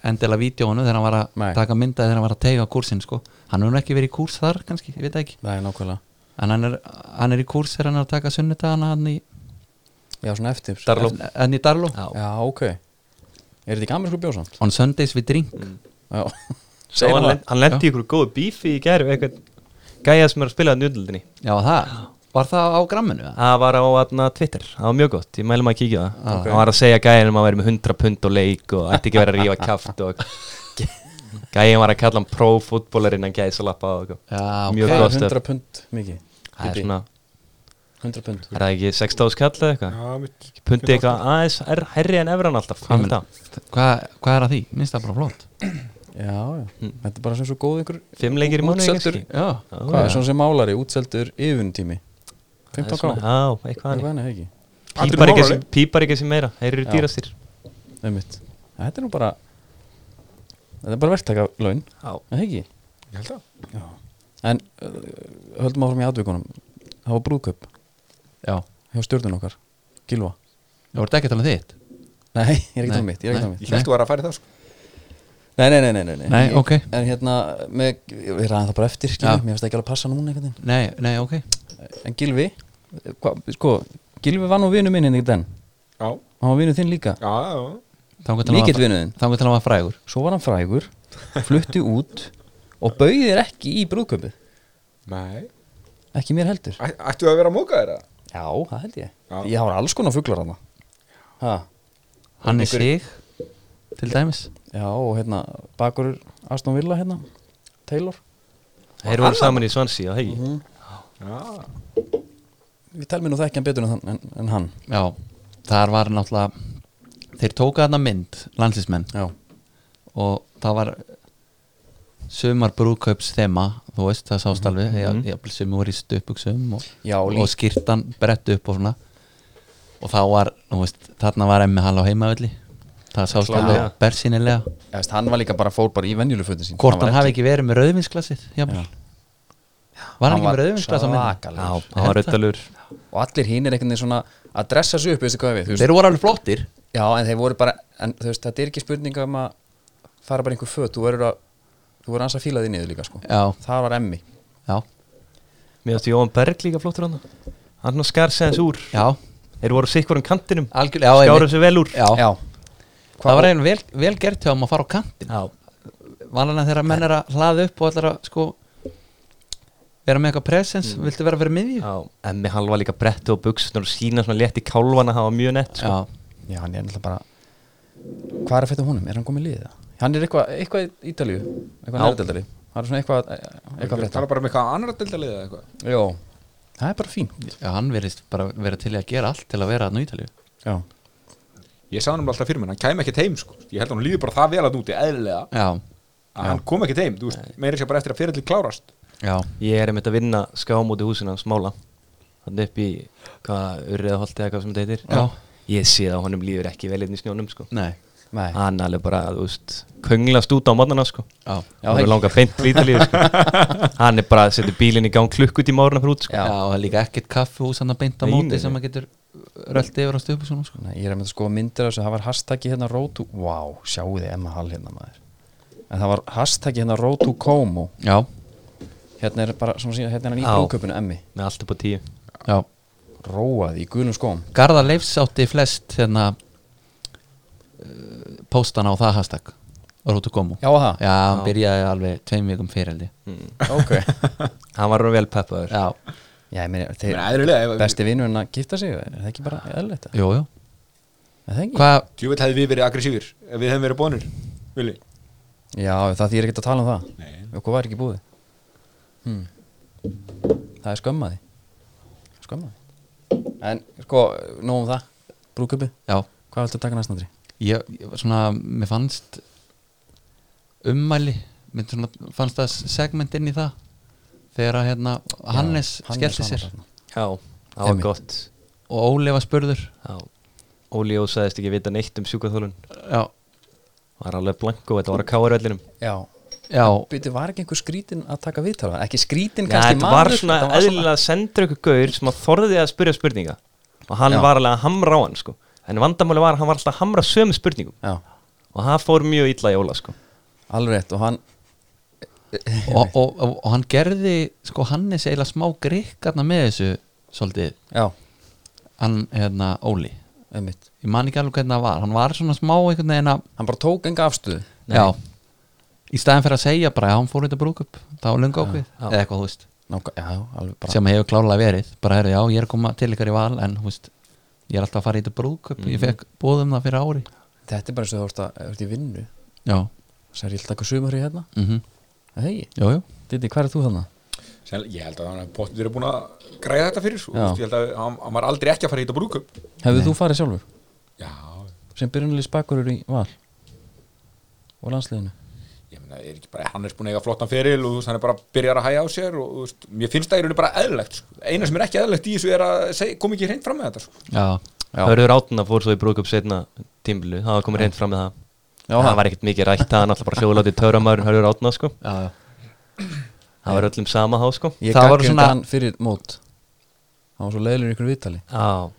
endilega vídjónu þegar hann var að
Nei.
taka myndaði þegar hann var að teiga kursin sko. hann hefur nú ekki verið í kurs þar kannski, ég veit það ekki
Það er nákvæmlega
en hann er, hann er í kurs þegar hann er að taka sunnudagana hann í,
Já, svona eftir
Darló.
hann í Darló
Já.
Já, ok Er þetta ekki amersku bjósan?
on Sundays við drink
Já
Svo
Segir
hann,
það.
lent- hann lendi ykkur góðu bífi í gæru eitthvað gæja sem er að spila það njöldildinni
já það, var það á gramminu eða?
Það var á atna, Twitter, það var mjög gott, ég mælum að kíkja á það
Ok.
Hann var að segja gæjanum að vera með 100 pund og leik og ætti ekki að vera að rífa kjaft og gæjan var að kalla hann pro-fútbólarinn að gæsa lappa og eitthvað.
já,
Mjög
Hvað
gott
er
stöf.
100 pund mikið?
það er
Bíddu,
svona
100 pund
Er það ekki 6000 kall eða eitthvað?
Já, mitt
Pundi eitthvað aðeins er herri en efran alltaf Hvað með það?
hvað hva er að því, minnst það bara flott
Já, já Þetta er bara sem svo góð ykkur
Fimm leikir Mm. í mánuði
Útseldur
já,
Hvað er svona sem málari? Útseldur yfirntími 15
svona-
kr.
Já, eitthvað
Það er
hann
hann ekki
Patrick
Pípar ekki
Moore,
sem, pípar ekki sem meira Þeir eru
Já.
dýrastir
Það Þetta er nú bara Þetta er bara verktaka laun
Já
Það ekki
Ég held það
En uh, höldum áfram í atvikunum Það var brúðkaup
já,
hjá stjórnun okkar Gilva
þú voru ekki að tala um þitt
Nei, ég er ekki
Nei,
tala mitt, ég er ekki tala mitt
Ég held þú var að færi það sko
Nei, nei, nei, nei, nei,
Nei,
Ég-
ok.
En hérna, með, við ræðum það bara eftir skilur,
Já.
Mér finnst það ekki alveg passa núna einhvern
nei, nei, ok,
veginn En Gilvi, hva, sko Gilvi var nú vinu minn en ekki den
Já,
Hann var vinu þinn líka
já, já
þangur til
Mikill
að
vinu þinn
þangur til að maður frægur
Svo var hann frægur, flutti út Og bauðir ekki í brúðkaupið
Nei
Ekki mér heldur
Æ- Ættu að vera að móka þeirra?
Já, það held ég
Já.
Ég hafa alls konar fuglar hann
hann er
Einhver-
sig til dæmis
Já, og hérna, bakurur Aston Villa hérna, Taylor
Þeir voru saman í Svansi á hegi
Mhm.
Við telum nú þekkja hann betur en, þann- en, en hann
Já, þar var náttúrulega þeir tóka þarna mynd, landslísmenn
Já,
og það var sumar brúðkaups þema, þú veist það sást alveg mm -hmm. sumar voru í stöpuksum og,
Já,
og,
líka-
skýrtan brett upp og svona og þá var, þú veist, þarna var emmi hall á heimavelli það sást
Klárlega.
alveg bersýnilega
Ég veist, hann var líka bara fór bara í venjulufötin sín
hvort hann hafi ekki verið með rauðvinsklassið
Já.
jafnvel. var hann ekki með rauðvinsklassið á myndinni?
svakalegur.
Já, það var auðvitaður
Og allir hinn er einhvern veginn svona að dressa sig upp, veistu hvað ég við
þeir voru alveg flottir
Já, en þeir voru bara, en þú veist, þetta er ekki spurning um að fara bara einhver föt, þú verður að þú verður hans að fíla þig niður líka, sko
já,
Það var emmi
já,
Mér átti Jóhann Berg líka flottur hann Hann svona skar segjans úr
já,
Þeir voru sikkur um kantinum
algjörlega já,
Skjáru
einmitt.
sig vel úr
já,
Já,
það var einhvern vel, vel gert hjá um að fara á kantin
Já.
vanlega þegar menn er að hlaða upp og allar að sko vera með eitthvað presens, viltu vera fyrir miðju Mm. já,
Já, Emmi halva líka bretti og buksnur og sína svona létt í kálvana, það var mjög nett sko.
já, hann er náttúrulega bara Hvað er að fæta honum? Er hann komið liðið? Hann er eitthvað, eitthvað í Ítalíu Eitthvað
Já.
nærdeldari Það er svona eitthvað, eitthvað
Við
frétta
tala bara um eitthvað annar deildalið eða eitthvað
Jó, það er bara fínt
já, hann verðist bara vera til í að gera allt til að vera að nýtalíu
Já,
Ég sá hann um alltaf fyrir mér, hann kæmi ekkert heim sko. Ég held að hann líður bara það vel að úti, eðlilega
já,
að hann kom ekkert heim, þú veist, meira sér bara eftir að fyrir klárast
já,
Ég er einmitt að vinna skám út í húsinu hans mála Þannig upp í, hvað, urriðaholti eða hvað sem þetta heitir
Já.
Ég sé það að honum líður ekki vel einn í snjónum sko.
nei
nei
Hann alveg bara, þú veist, könglast út á mannana sko.
já,
Já,
Hann
hei.
er langa beint lítalíð sko. Hann er bara að setja bílinn í gang klukkut í máruna fyrir út sko.
já. og það er líka ekkert kaffihús hann að beinta
Nei,
móti
nei,
sem að getur rölt yfir á stöpu svona sko.
Nei, ég er að mynda að skoða myndir af þessu, það var hashtaggi hérna Road to, wow, sjáu þið Emma Hall hérna maður En það var hashtaggi hérna Road to Como
já,
Hérna er bara, svona síðan, hérna er hann í
Já.
brúköpunu Emmi
Með allt upp á tíu
já
Róaði í gulum skóm
Garðar Leifs átti flest hérna uh, póstana á það hashtag Rótu Gomu
Já, það?
já, Mm. hann byrjaði alveg tveim vikum fyrir held ég
Ok
Hann var vel
já,
peppaður
Já, ég meina,
Ég
þeir
meina, eðlilega, ef-
besti vinur en að gifta sig, er það ekki bara eðlilegt?
jú, jú
Er það ekki?
hvað,
Djúvill hefði við verið aggressífir ef við hefðum verið bónir Vili
Já, það því ég er ekki að tala um það
Nei.
Okkur var ekki búið hmm. Það er skömmaði Skömmaði En, sko, nóg um það Brúköpi,
já
hvað viltu taka næst andri?
ég, ég var svona, mér fannst ummæli mér svona, fannst það segment inn í það þegar að hérna Hannes skellti sér
Já, það var
Einmitt.
gott
og Óli var spurður
Já. Óli ósaðist ekki vita neitt um sjúkaþólun
já,
Var alveg blanko, þetta var að kára öllinum
Já,
já,
Býtu, var ekki einhver skrítin að taka viðtala? Ekki skrítin,
Já,
kannski
þetta var
maður,
svona
þetta var svona-
eðlilega að senda ykkur gaur sem að þorði að spyrja spurninga og hann
Já.
var alveg að hamra á hann sko. en vandamáli var að hann var alltaf að hamra sömu spurningum
Já,
og það fór mjög illa í Óla sko.
alveg rétt og hann
og, og, og, og hann gerði sko Hannes eiginlega smá grikkarna með þessu svolítið,
Já,
hann hérna Óli
einmitt
ég man ekki alveg hvernig það var, hann var svona smá einhvern veginn að,
Hann bara tók enga afstöðu
já í staðin fyrir að segja bara, já, hann fór þetta brúkup það var lunga ákveð,
já.
eða eitthvað, þú veist
Náka, Já, alveg bara
sem hefur klárlega verið bara er já, ég er að koma til ykkar í val en þú veist, ég er alltaf að fara í þetta brúðköp ég fekk bóðum það fyrir ári
Þetta er bara eins og þú ert, að, ert í vinnu
já,
Sér ég ætla að taka sumari hérna
mhm,
Hei,
jú, jú
Didi, hvað er þú þannig?
Ég held að hann bóttur verið búin að græða þetta fyrir sko.
Já.
Ég held að hann, hann var aldrei ekki að fara í þetta brúkup
Hefur þú farið sjálfur?
Já,
Sem byrjunalist bakurur í val Og landsliðinu
ég meina, er ekki bara, hann er búin að eiga flottan feril og þú veist, hann er bara byrjar að hæja á sér og þú veist, mér finnst það í rauninu bara eðlilegt sko. Eina sem er ekki eðlilegt í þessu er að seg, kom ekki hreint fram með þetta sko.
já,
Hörður Átna fór svo í brúkup setna tímlu, það var komið reynd fram með það
Já,
það
það.
var ekkert mikið rætt, það var náttúrulega bara hljóðlátt í töramæður Hörður Átna sko.
já, já.
það var öllum sama há sko.
Ég
Það var
gaggrindi
svona-
hann fyrir mót Hann var svo leiðlur ykkur viðtali
Já,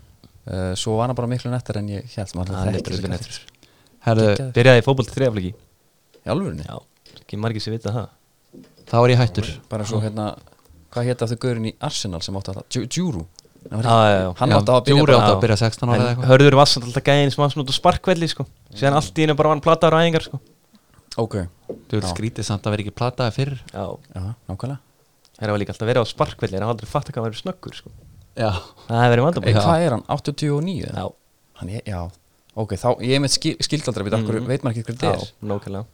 uh, Svo var hann bara miklu nettar en ég held maður
það er
ætlaði að þekkja
betur
sig
ekki
kannski.
nættur
Herðu,
Byrjaði í fótbolt þrejafliki
Í alvörunni?
Já, ekki margir sem vita það
þá er ég hættur
bara svo hérna hvað hétt aftur gaurinn í Arsenal sem átti alltaf Djúru
Já, já, já.
hann
Já,
átti á að byrja
Djúri
bara
átti
Já.
að byrja 16 ára eða
En
eitthvað
Hörður var samt alltaf gæðin sem var svona út á sparkvelli sko. síðan allt í hennu bara var hann plataður á æfingar sko.
ok,
þú vil skrítið samt að vera ekki plataði fyrr
Já,
já, nákvæmlega
Það var líka alltaf að vera á sparkvelli en hann aldrei fatt að hann verið snöggur sko.
já,
Það hefur verið vandamál
e, hvað er hann, 89? eða?
Já,
Hann, er- já, ok, þá, ég er með skil, skildaldra við okkur, veit maður ekki hver þetta er
Nókilega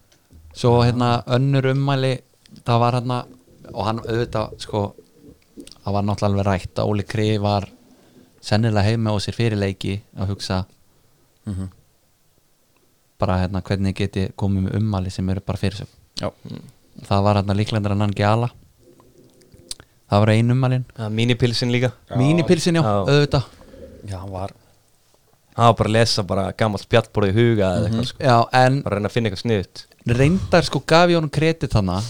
Svo hérna önnur ummæli það var hérna og hann auðvitað sko það var náttúrulega alveg rætt að Óli Kri var sennilega heima á sér fyrir leiki að hugsa bara hérna hvernig geti komið með ummæli sem eru bara fyrir
Já.
það var hérna líklendur en hann gjala það var einu ummælin
Mínipilsin líka
mínipilsin já,
Já.
auðvitað
já, hann var,
Það var bara að lesa bara gammalt spjallborð í huga eða
Mhm.
eitthvað sko
já, en
Bara að reyna að finna eitthvað sniðut
reyndar sko gaf ég honum kredit þannig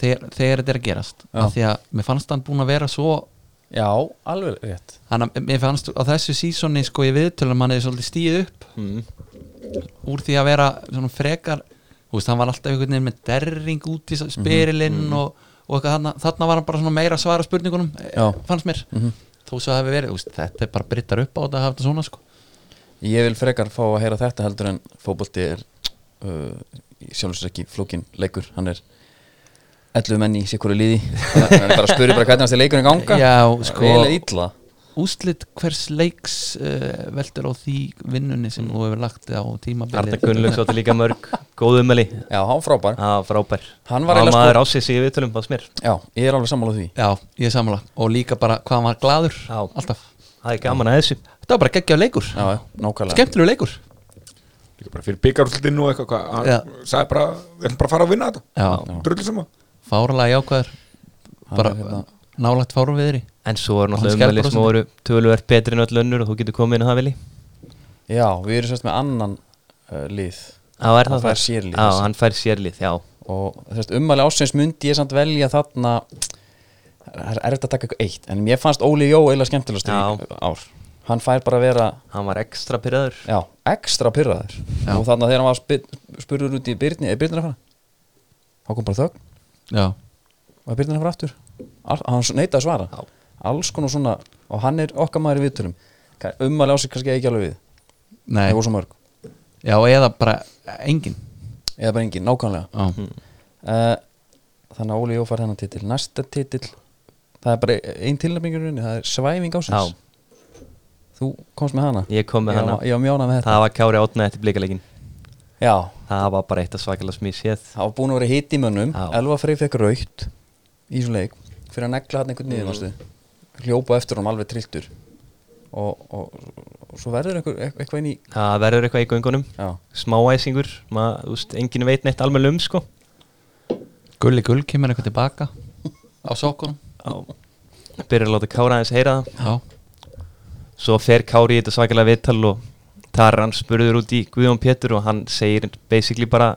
þegar, þegar þetta er að gerast
Já.
af því að mér fannst hann búin að vera svo
já, alveg rétt
Þannig að mér fannst á þessu sísoni sko í viðtölum hann hefði svolítið stíð upp
mm.
úr því að vera svona frekar þú veist, hann var alltaf einhvern veginn með derring út í spyrilinn og, og eitthvað þarna, þarna var hann bara svona meira að svara spurningunum eh,
Já.
fannst mér, þó svo hafi verið þú veist, þetta er bara brittar upp á þetta að hafa þetta svona sko
ég vil frekar fá að heyra þetta heldur en fótbolti er uh, sjálfsög ekki flókin leikur hann er 11 menn í sikkur liði hann er bara að spyrja bara hvernig hans er leikurinn ganga
Já,
Það er
sko.
eiginlega illa
úslit hvers leiks uh, veldur á því vinnunni sem þú hefur lagt á
Arna
tímabilið
Gunnlaugs átti líka mörg Góð umeli
já, hann frábær
Já, frábær
Hann var
Það
eiginlega sko-
maður ásins í viðtölum bara smér
já, ég er alveg sammála því
Já, ég er sammála og líka bara hvað hann var gladur
Já.
alltaf,
Það er gaman að þessu
þetta var bara geggjaf leikur
já, já, nákvæmlega
skemmtilegu leikur
Líka bara fyrir byggarúslutin og eitthvað hvað, hann
Já.
sagði bara, við erum bara að fara að vinna þetta
Já.
drullu saman
fáralega jákvæður
Hann
bara
er hérna-
nálægt fárum viðri
En svo er
Hann
náttúrulega umeli sem
skælbrosandi.
voru töluvert betri en öll önnur og þú getur komið inn að það vilji
já, við erum sérst með annan uh, lið
Já, er
Hann
það
fær
það?
sérlið,
Já,
þessi.
hann fær sérlið, já
og þess, ummæli ásins myndi ég samt velja þarna það er erfitt að taka eitthvað eitt en mér fannst Óli Jó eiginlega skemmtilegast
Já.
í ár hann fær bara að vera
Hann var ekstra pyrraður
Já, ekstra pyrraður og þannig að þegar hann var spyr- spurður út í Byrni er Byrnir að fara? þá kom bara þögn
já,
og er Byrnir að fara aftur Al, hann neitaði að svara
Já.
alls konar svona og hann er okkar maður í viðtölum Ka- ummæli á sig kannski ekki alveg við
nei,
það voru svo mörg
já eða bara engin
eða bara engin, nákvæmlega
já,
uh, þannig að Óli Jó fær þennan titil næsta titil það er bara ein tilnæmingurinni það er svæfing ásins
Já.
þú komst með hana
Ég kom með
Ég var-
hana.
ég var mjónað með þetta
Það var Kári átna eftir blikalegin
já
Það var bara eitt að svakalega smíð séð
það var búin að vera hitt í mönnum
Já.
Elva Frey fekk raukt í þessum leik fyrir að negla hann einhvern niður mm. hljópa eftir hann alveg trilltur og, og, og svo verður einhver, eit- eitthvað inn í
Það verður eitthvað í göngunum
já,
Smáæsingur, maður, þú veist, enginn veit neitt almenn um, sko
gulli gull kemur eitthvað tilbaka á sokkunum
Byrjar að láta Kára aðeins heyra það
já,
Svo fer Kári í þetta svakalega viðtal og þar er hann spurður út í Guðjón Pétur og hann segir basically bara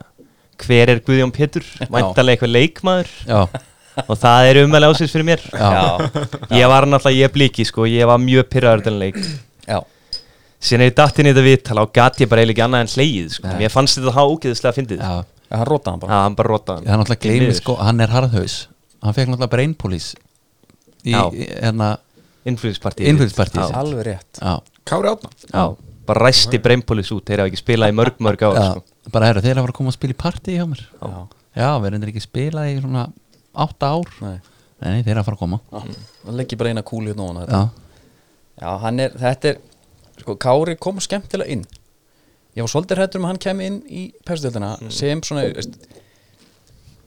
Hver er Guðjón Pétur? Væntalega eitthvað leikmaður
já,
og það er umæli ásins fyrir mér Ég var náttúrulega, ég er bliki, sko, ég var mjög pyrraður þann leik
já,
Síðan er ég datt inn í þetta viðtal og gat ég bara eiginlega ekki annað en hleyið, sko Mér fannst þetta hágeðislega fyndið
já.
Já, hann rótaði hann
Já,
bara
hann bara rotaði
það er náttúrulega
Því
gleymið
miður.
sko hann er harðhaus, hann fekk náttúrulega brain police í,
Já.
í hérna
Innflýðispartíð
innfylgspartíð sitt.
alveg rétt
já,
Kári Átna
já,
sko.
Bara ræsti breympolis út, þeir hafa ekki spilað í mörg mörg ár
já.
sko.
bara herra, þeir hafa að koma að spila í partí hjá mér
já.
já, við erum ekki spilað í svona átta ár,
Nei,
nei, nei þeir eru að fara að koma
já. það leggir bara eina kúli hérna ofan á þetta.
já,
Já, hann er, þetta er sko, Kári kom skemmtilega inn ég var svolítið hrættur um að hann kemi inn í persdöldina sem svona veist,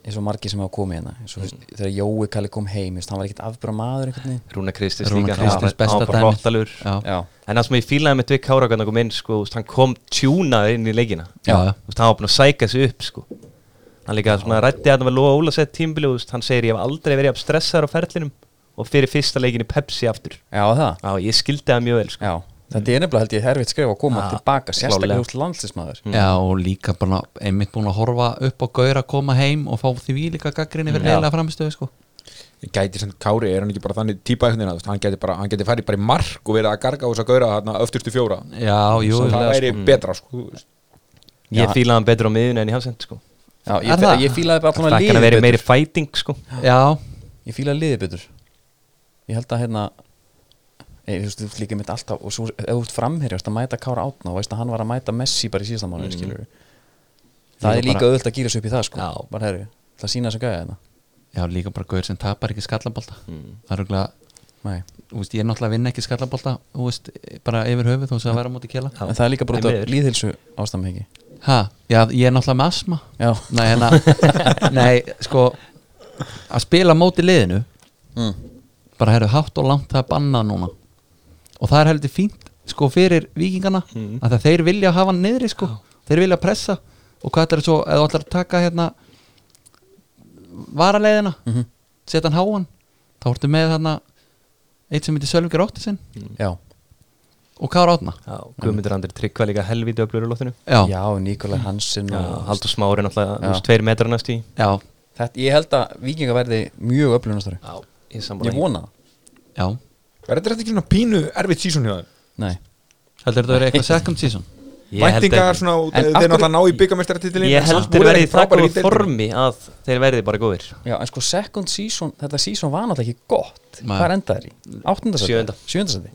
eins og margir sem hafa komið hérna eins og veist, þegar Jói Kalli kom heim veist, hann var ekkert afbjörn maður einhvern veginn
Rúna Kristins
Rúnar
líka
Kristins,
hann var-
besta
hann var bara
dæmið.
hróttalur
já,
já,
En það sem ég fílaði með Dvík Kára hvernig hann kom inn, sko, þú veist, hann kom tjúnaður inn í leikina
já, já.
Þú veist, hann var búin að sæka sig upp sko. hann líka svona rætti að hann var Lóa Ólasett tímbili og þú veist, hann segir ég hef aldrei verið að stressaður á ferlinum og fyrir fyrsta leikin í Pepsi aftur
já, það
Já, ég skildi það mjög vel sko.
já. þetta er nefnilega held ég herfitt skrif að koma
Já, Mm.
tilbaka sérstaklega
klálega.
húst landslismæður
Já og líka bara einmitt búin að horfa upp á gaur að koma heim og fá því líka gaggrinni verið eiginlega framistöðu sko
Ég gæti sem Kári, er hann ekki bara þannig típa einhvern veginn að þú veist, hann gæti bara, hann gæti farið bara í mark og verið að garga og þess að gaura þarna öftustu fjóra
Já, jú,
það
já,
væri betra sko þú veist.
Já.
ég fílaði hann betur á miðun en í hafsend sko.
já,
Er
ég,
það?
ég fílaði bara allan
það
að
kann
liði
að vera
betur
meiri fighting sko.
já,
ég fílaði liði betur ég held að hérna Ei, þú veist, þú ert líka mitt alltaf og svo, ef þú ert framherjast að mæta Kára Átna og veist að hann var að mæta Messi bara í síðasta mánu, mm. skilur það
Líka
er líka
bara-
auðvitað að gýra sig upp í það, sko
Já.
bara herri, það sína þess að gæja hérna. þetta
já líka bara gaur sem tapar ekki skallabólta Það er auðvitað
Nei.
Þú veist, ég er náttúrulega að vinna ekki skallabolta þú veist, bara yfir höfuð þó þess að vera á móti kela
Já.
en það er líka bara út
Nei,
af
miður.
líðhilsu ástæðum ekki
ha, já, ég er náttúrulega með asma
já,
nei, hérna, nei, sko að spila á móti liðinu
mm.
bara herru hátt og langt það er bannað núna og það er heldur fínt sko fyrir vikingana mm. að það þeir vilja hafa hann niðri sko þeir vilja pressa og hvað ætlar svo eða ætlar að taka hérna varaleiðina setja hann háan þá ertu með þarna eitt sem heitir Sölvingir Óttisinn
Mm.
já,
og Kára Átna
Já, Guðmundur Andri Tryggva líka helvítið öflugur í loftinu
já, já.
já Nikolai Hansen
Já,
og,
Haldur Smári náttúrulega,
Já.
þú veist, tveir metrar næst í
já,
þetta, ég held að vikinga verði mjög öflunastari
Já, ég
ég
sammála
vona það.
Verður þetta ekki svona pínu erfitt sísón hjá þeim?
Nei.
heldur þetta verið eitthvað second season
Væntingar svona,
En
þeir
af hverju-
náttúrulega ná í byggamestaratitilin
Ég held þeir verði í það góðu formi að þeir verði bara góðir
Já, en sko second season, þetta season var náttúrulega ekki gott
Nei.
Hvað er endaðir í?
Sjöunda.
Áttundasæti? Sjöndasæti?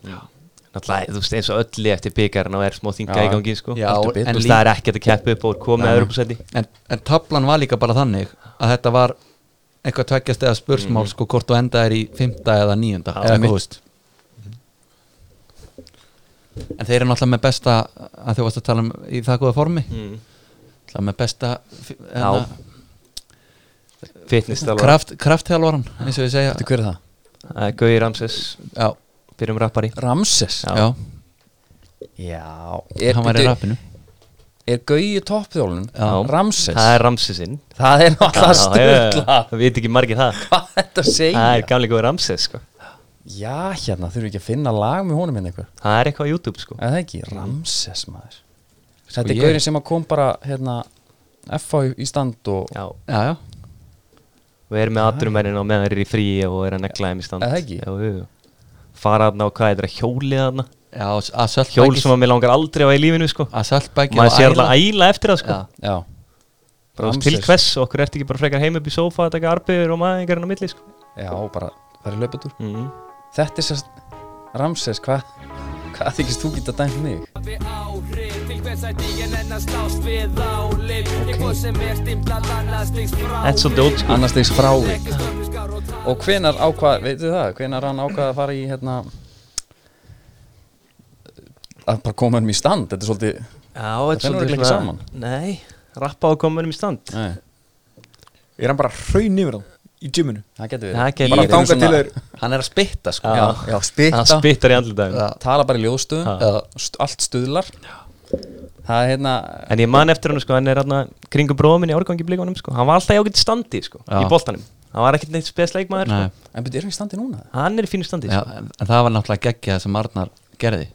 Náttúrulega, þú veist, eins og öll í eftir byggarinn og er smá þinga
Já.
í gangi, sko
Já, en
Heldur betur. Þú veist,
líka-
það er ekkert að keppa upp og koma með Europasæti
en, en tablan var líka bara þannig að þetta var eitthvað tveggjast eða spursmál sko hvort þú enda er í fymta eða nýjunda eða
einmitt.
eitthvað húst en þeir eru náttúrulega með besta að þau varst að tala um í það góða formi
Mhm.
náttúrulega með besta fi- hérna,
Fitness þalvar,
kraft, kraftþjálvaran eins og ég segja
Þetta hver er það?
Gauði Ramses,
já,
byrjum rappari
Ramses?
já,
Já. Er,
hann var í rappinu
Er Gauji toppþjólun?
Já.
Ramses?
Það er Ramsesinn
Það er
Já,
náttúrulega
já,
stöðla
já. Það veit ekki margir það
Hvað þetta segja?
Það er gamlega góður Ramses sko
Já, hérna, þurfum við ekki að finna lag með honum hérna eitthvað
Það er eitthvað á YouTube sko
Er það ekki? Ramses maður Þetta er
ég-
Gaurin sem að kom bara, hérna F.A. í- í stand og
Já
já, já,
Við erum með aðdrumennin og meðan þeir eru í fríi og er að negla þeim í stand
Er það ekki?
Já, jú, jú. Fara þarna og hvað er þetta? Hjólið þarna
já að
Hjól
saltbækið
sem að mér langar aldrei á í lífinu sko
að saltbækið
Maður sé alltaf æla eftir það sko
Já.
Já
Bara þú veist, til hvers og okkur ertu ekki bara frekar heim upp í sófa að taka arbiður og maðingarinn á milli sko
Já, bara, það er löpatúr
mm.
Þetta er sérst Ramses, hvað Hvað þykist þú geta dæmt mig?
hafi áhrif Til hvers að ég nenn að slást við álif Ég hvað sem er stimpla lannastigs frá
Þetta er svolítið old school
Annars þegs frávik Og hvenar ákvað, veitu það, hvenar hann ákvað að fara í hérna að bara koma um í stand þetta er svolítið
Já, þetta er
fellur örugglega ekki
svona- Nei, rappa á komunum í stand
nei,
Er hann bara hraun yfir hann í gyminu?
það getur
Það
verið
getur
Bara
verið.
þangað til
svona-
þeir
hann er að spitta sko
já, já,
Það
spytta,
spyttar í andlitaðum
tala bara í ljóðstöðum
Já.
st- allt stuðlar það er hérna
En ég man eftir hann sko, hann er hérna kringum bróðuminn í árgangi blíkonum sko. Hann var alltaf í ágætt standi sko,
Já.
í boltanum Hann var ekkert neitt spesleikmaður
Nei.
sko.
en betur er hann í standi núna?
Hann er í fínu standi
Já,
sko.
en en það var náttúrulega geggja sem Arnar gerði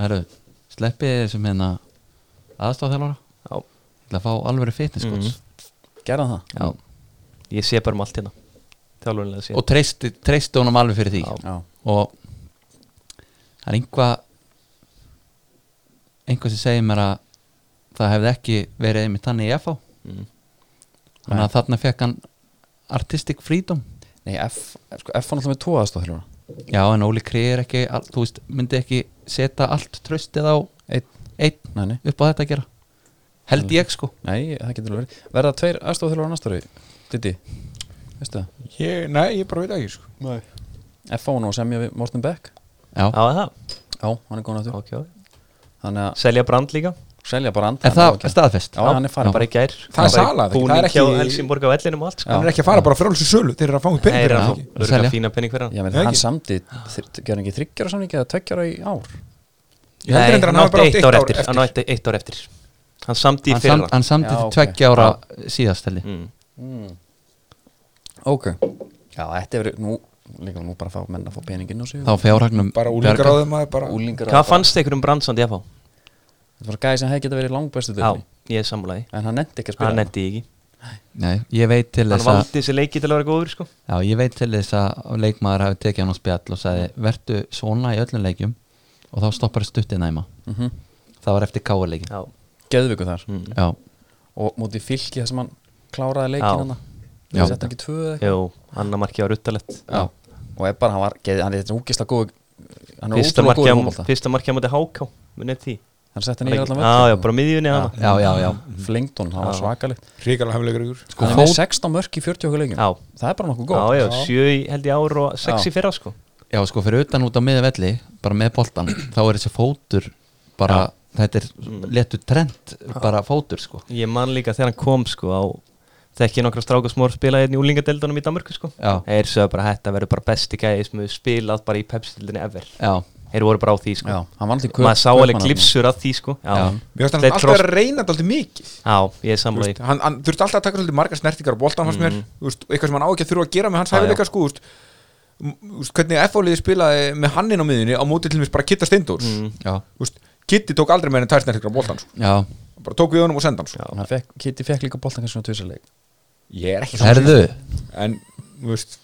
Heru, Sleppið þessum hérna aðstofþjálfara
Já.
Ég ætla að fá alveg fitness coach
gerða hann það?
Ég sé bara um allt hérna Þjálfurlega sé
Og treysti, treysti honum alveg fyrir því
já,
Og það er einhvað einhvað sem segir mér að það hefði ekki verið einmitt þannig í FH
Mm.
Þannig að þarna fekk hann artistic freedom
nei, F, sko, F var náttúrulega með tvo aðstóð hérna
Já, en Óli Krið er ekki, all, þú veist, myndi ekki setja allt tröstið á
Einn.
einn
nei, nei,
upp á þetta að gera held ég sko
nei, það getur alveg verið verða tveir aðstóð hérna næsta rauð Diddi, veistu það?
Ég, nei, ég bara veit það ekki sko.
Nei F á nú að semja við Morten Beck
já.
Já, er það
Já, hann er góðan aftur
okay.
Þannig að
Selja brand líka
selja bara andan
er það staðfest
Já, hann er farin
Já.
bara
Bara í gær
Það er
Bara í
sala, það er
Búning
ekki-
hjá Helsingborg á vellinum og allt sko.
Hann er ekki að fara bara frálsum sölu Þeir eru að fá út
Það
peningur fyrir
er að
hann ekki.
örga
Selja.
fína penning fyrir hann
Já, menn
Nei,
hann
ekki.
samdi Gjör hann ekki þryggjara samningi eða tveggjara í ár
Ég heldur reyndar að
hann
hann hafi bara
átti
átt
eitt ár eftir Hann átti eitt ár eftir Hann samdi í
hann,
fyrir
sam, hann samdi
Já,
til
ok.
tveggja ára síðast held ég
mm.
Ok Já, þetta er verið Nú, líka nú bara fá menn að fá peninginn á sig
þá fjárhagnum
Bara úlingar á þeim að bara
Úlingar
Hvað fannst ykkur um brandsandi að fá?
Þetta var gæði sem hefði geta verið langbestu
Já,
dyrni
ég samlaði
En hann nefndi ekki að spila
Hann netti ekki
Nei, ég veit til
Hann
þess að
valdi þessi leiki til að vera góður sko.
já, ég veit til þess að leikmaður hafi tekið hann á spjall og sagði verðu svona í öllum leikjum og þá stoppar stuttið næma
mm -hmm.
það var eftir káleikin
Já,
Geðviku þar
já,
Og móti fylki þar sem hann kláraði
Já.
leikin hann
Já.
Það sett ekki tvö eða eitthvað
Jú, annar marki var ruttalett
Já Og Ebbar, hann var geði, Hann er þetta úkislega góð Hann er
Fyrsta
ótrúlega góð í
marki á-
fólkbólta
Fyrsta marki á móti háká Munið því
Hann sett hann í allan
Já, já, bara á miðjunni
Já,
hana
já, já, já.
Flengd hún, það var
Já.
svakalegt
Ríkala hefnilegur ykkur
Sko, Hann er með 16 mörk í 40 okkur leikjum
Já.
Það er bara nokkuð
Já,
góð
já, sjö í- held ég ár og sex
Já.
í fyrra sko
Já, sko, fyrir utan út á miða velli bara með boltan, þá er þessi fótur bara, þetta er letu trend, bara fótur, sko
Ég man líka þegar hann kom sko á þekki nokkra stráka smór spilaði hérna í úlingadeildunum í Danmörku sko
Já.
Þeir sögðu bara þetta verður bara besti gæði sem hefur spilað bara í pepsildinni ever
Já,
Þeir voru bara á því sko
Já, hann var alltaf í Kaup-
Maður sá alveg
Kaupmannahöfn.
glipsur að því sko Já,
Já.
Mér finnst hann
Þeir
alltaf
tross-
að reyna þetta alltaf mikið
Já ég er
Þú veist,
samlega
hann, hann þurfti alltaf að taka svolítið margar snertingar á boltan fannst mér, þú veist, eitthvað sem hann á ekki að þurfa að gera með hans
Mm. Já,
hæfileika sko, þú veist, m- þú veist, hvernig F-áliði spilaði með hann inn á miðunni á móti til mér bara Kitta Steindórs
Mm.
já,
Þú veist, Kitti tók aldrei meira en tær snertingar á boltan sko.
já
Hann bara tók við honum og senda hann sko.
Hann fekk, Kitty fekk líka boltan kannski svona tvisarleik
ég er ekki
Herðu,
sammála. en þú veist,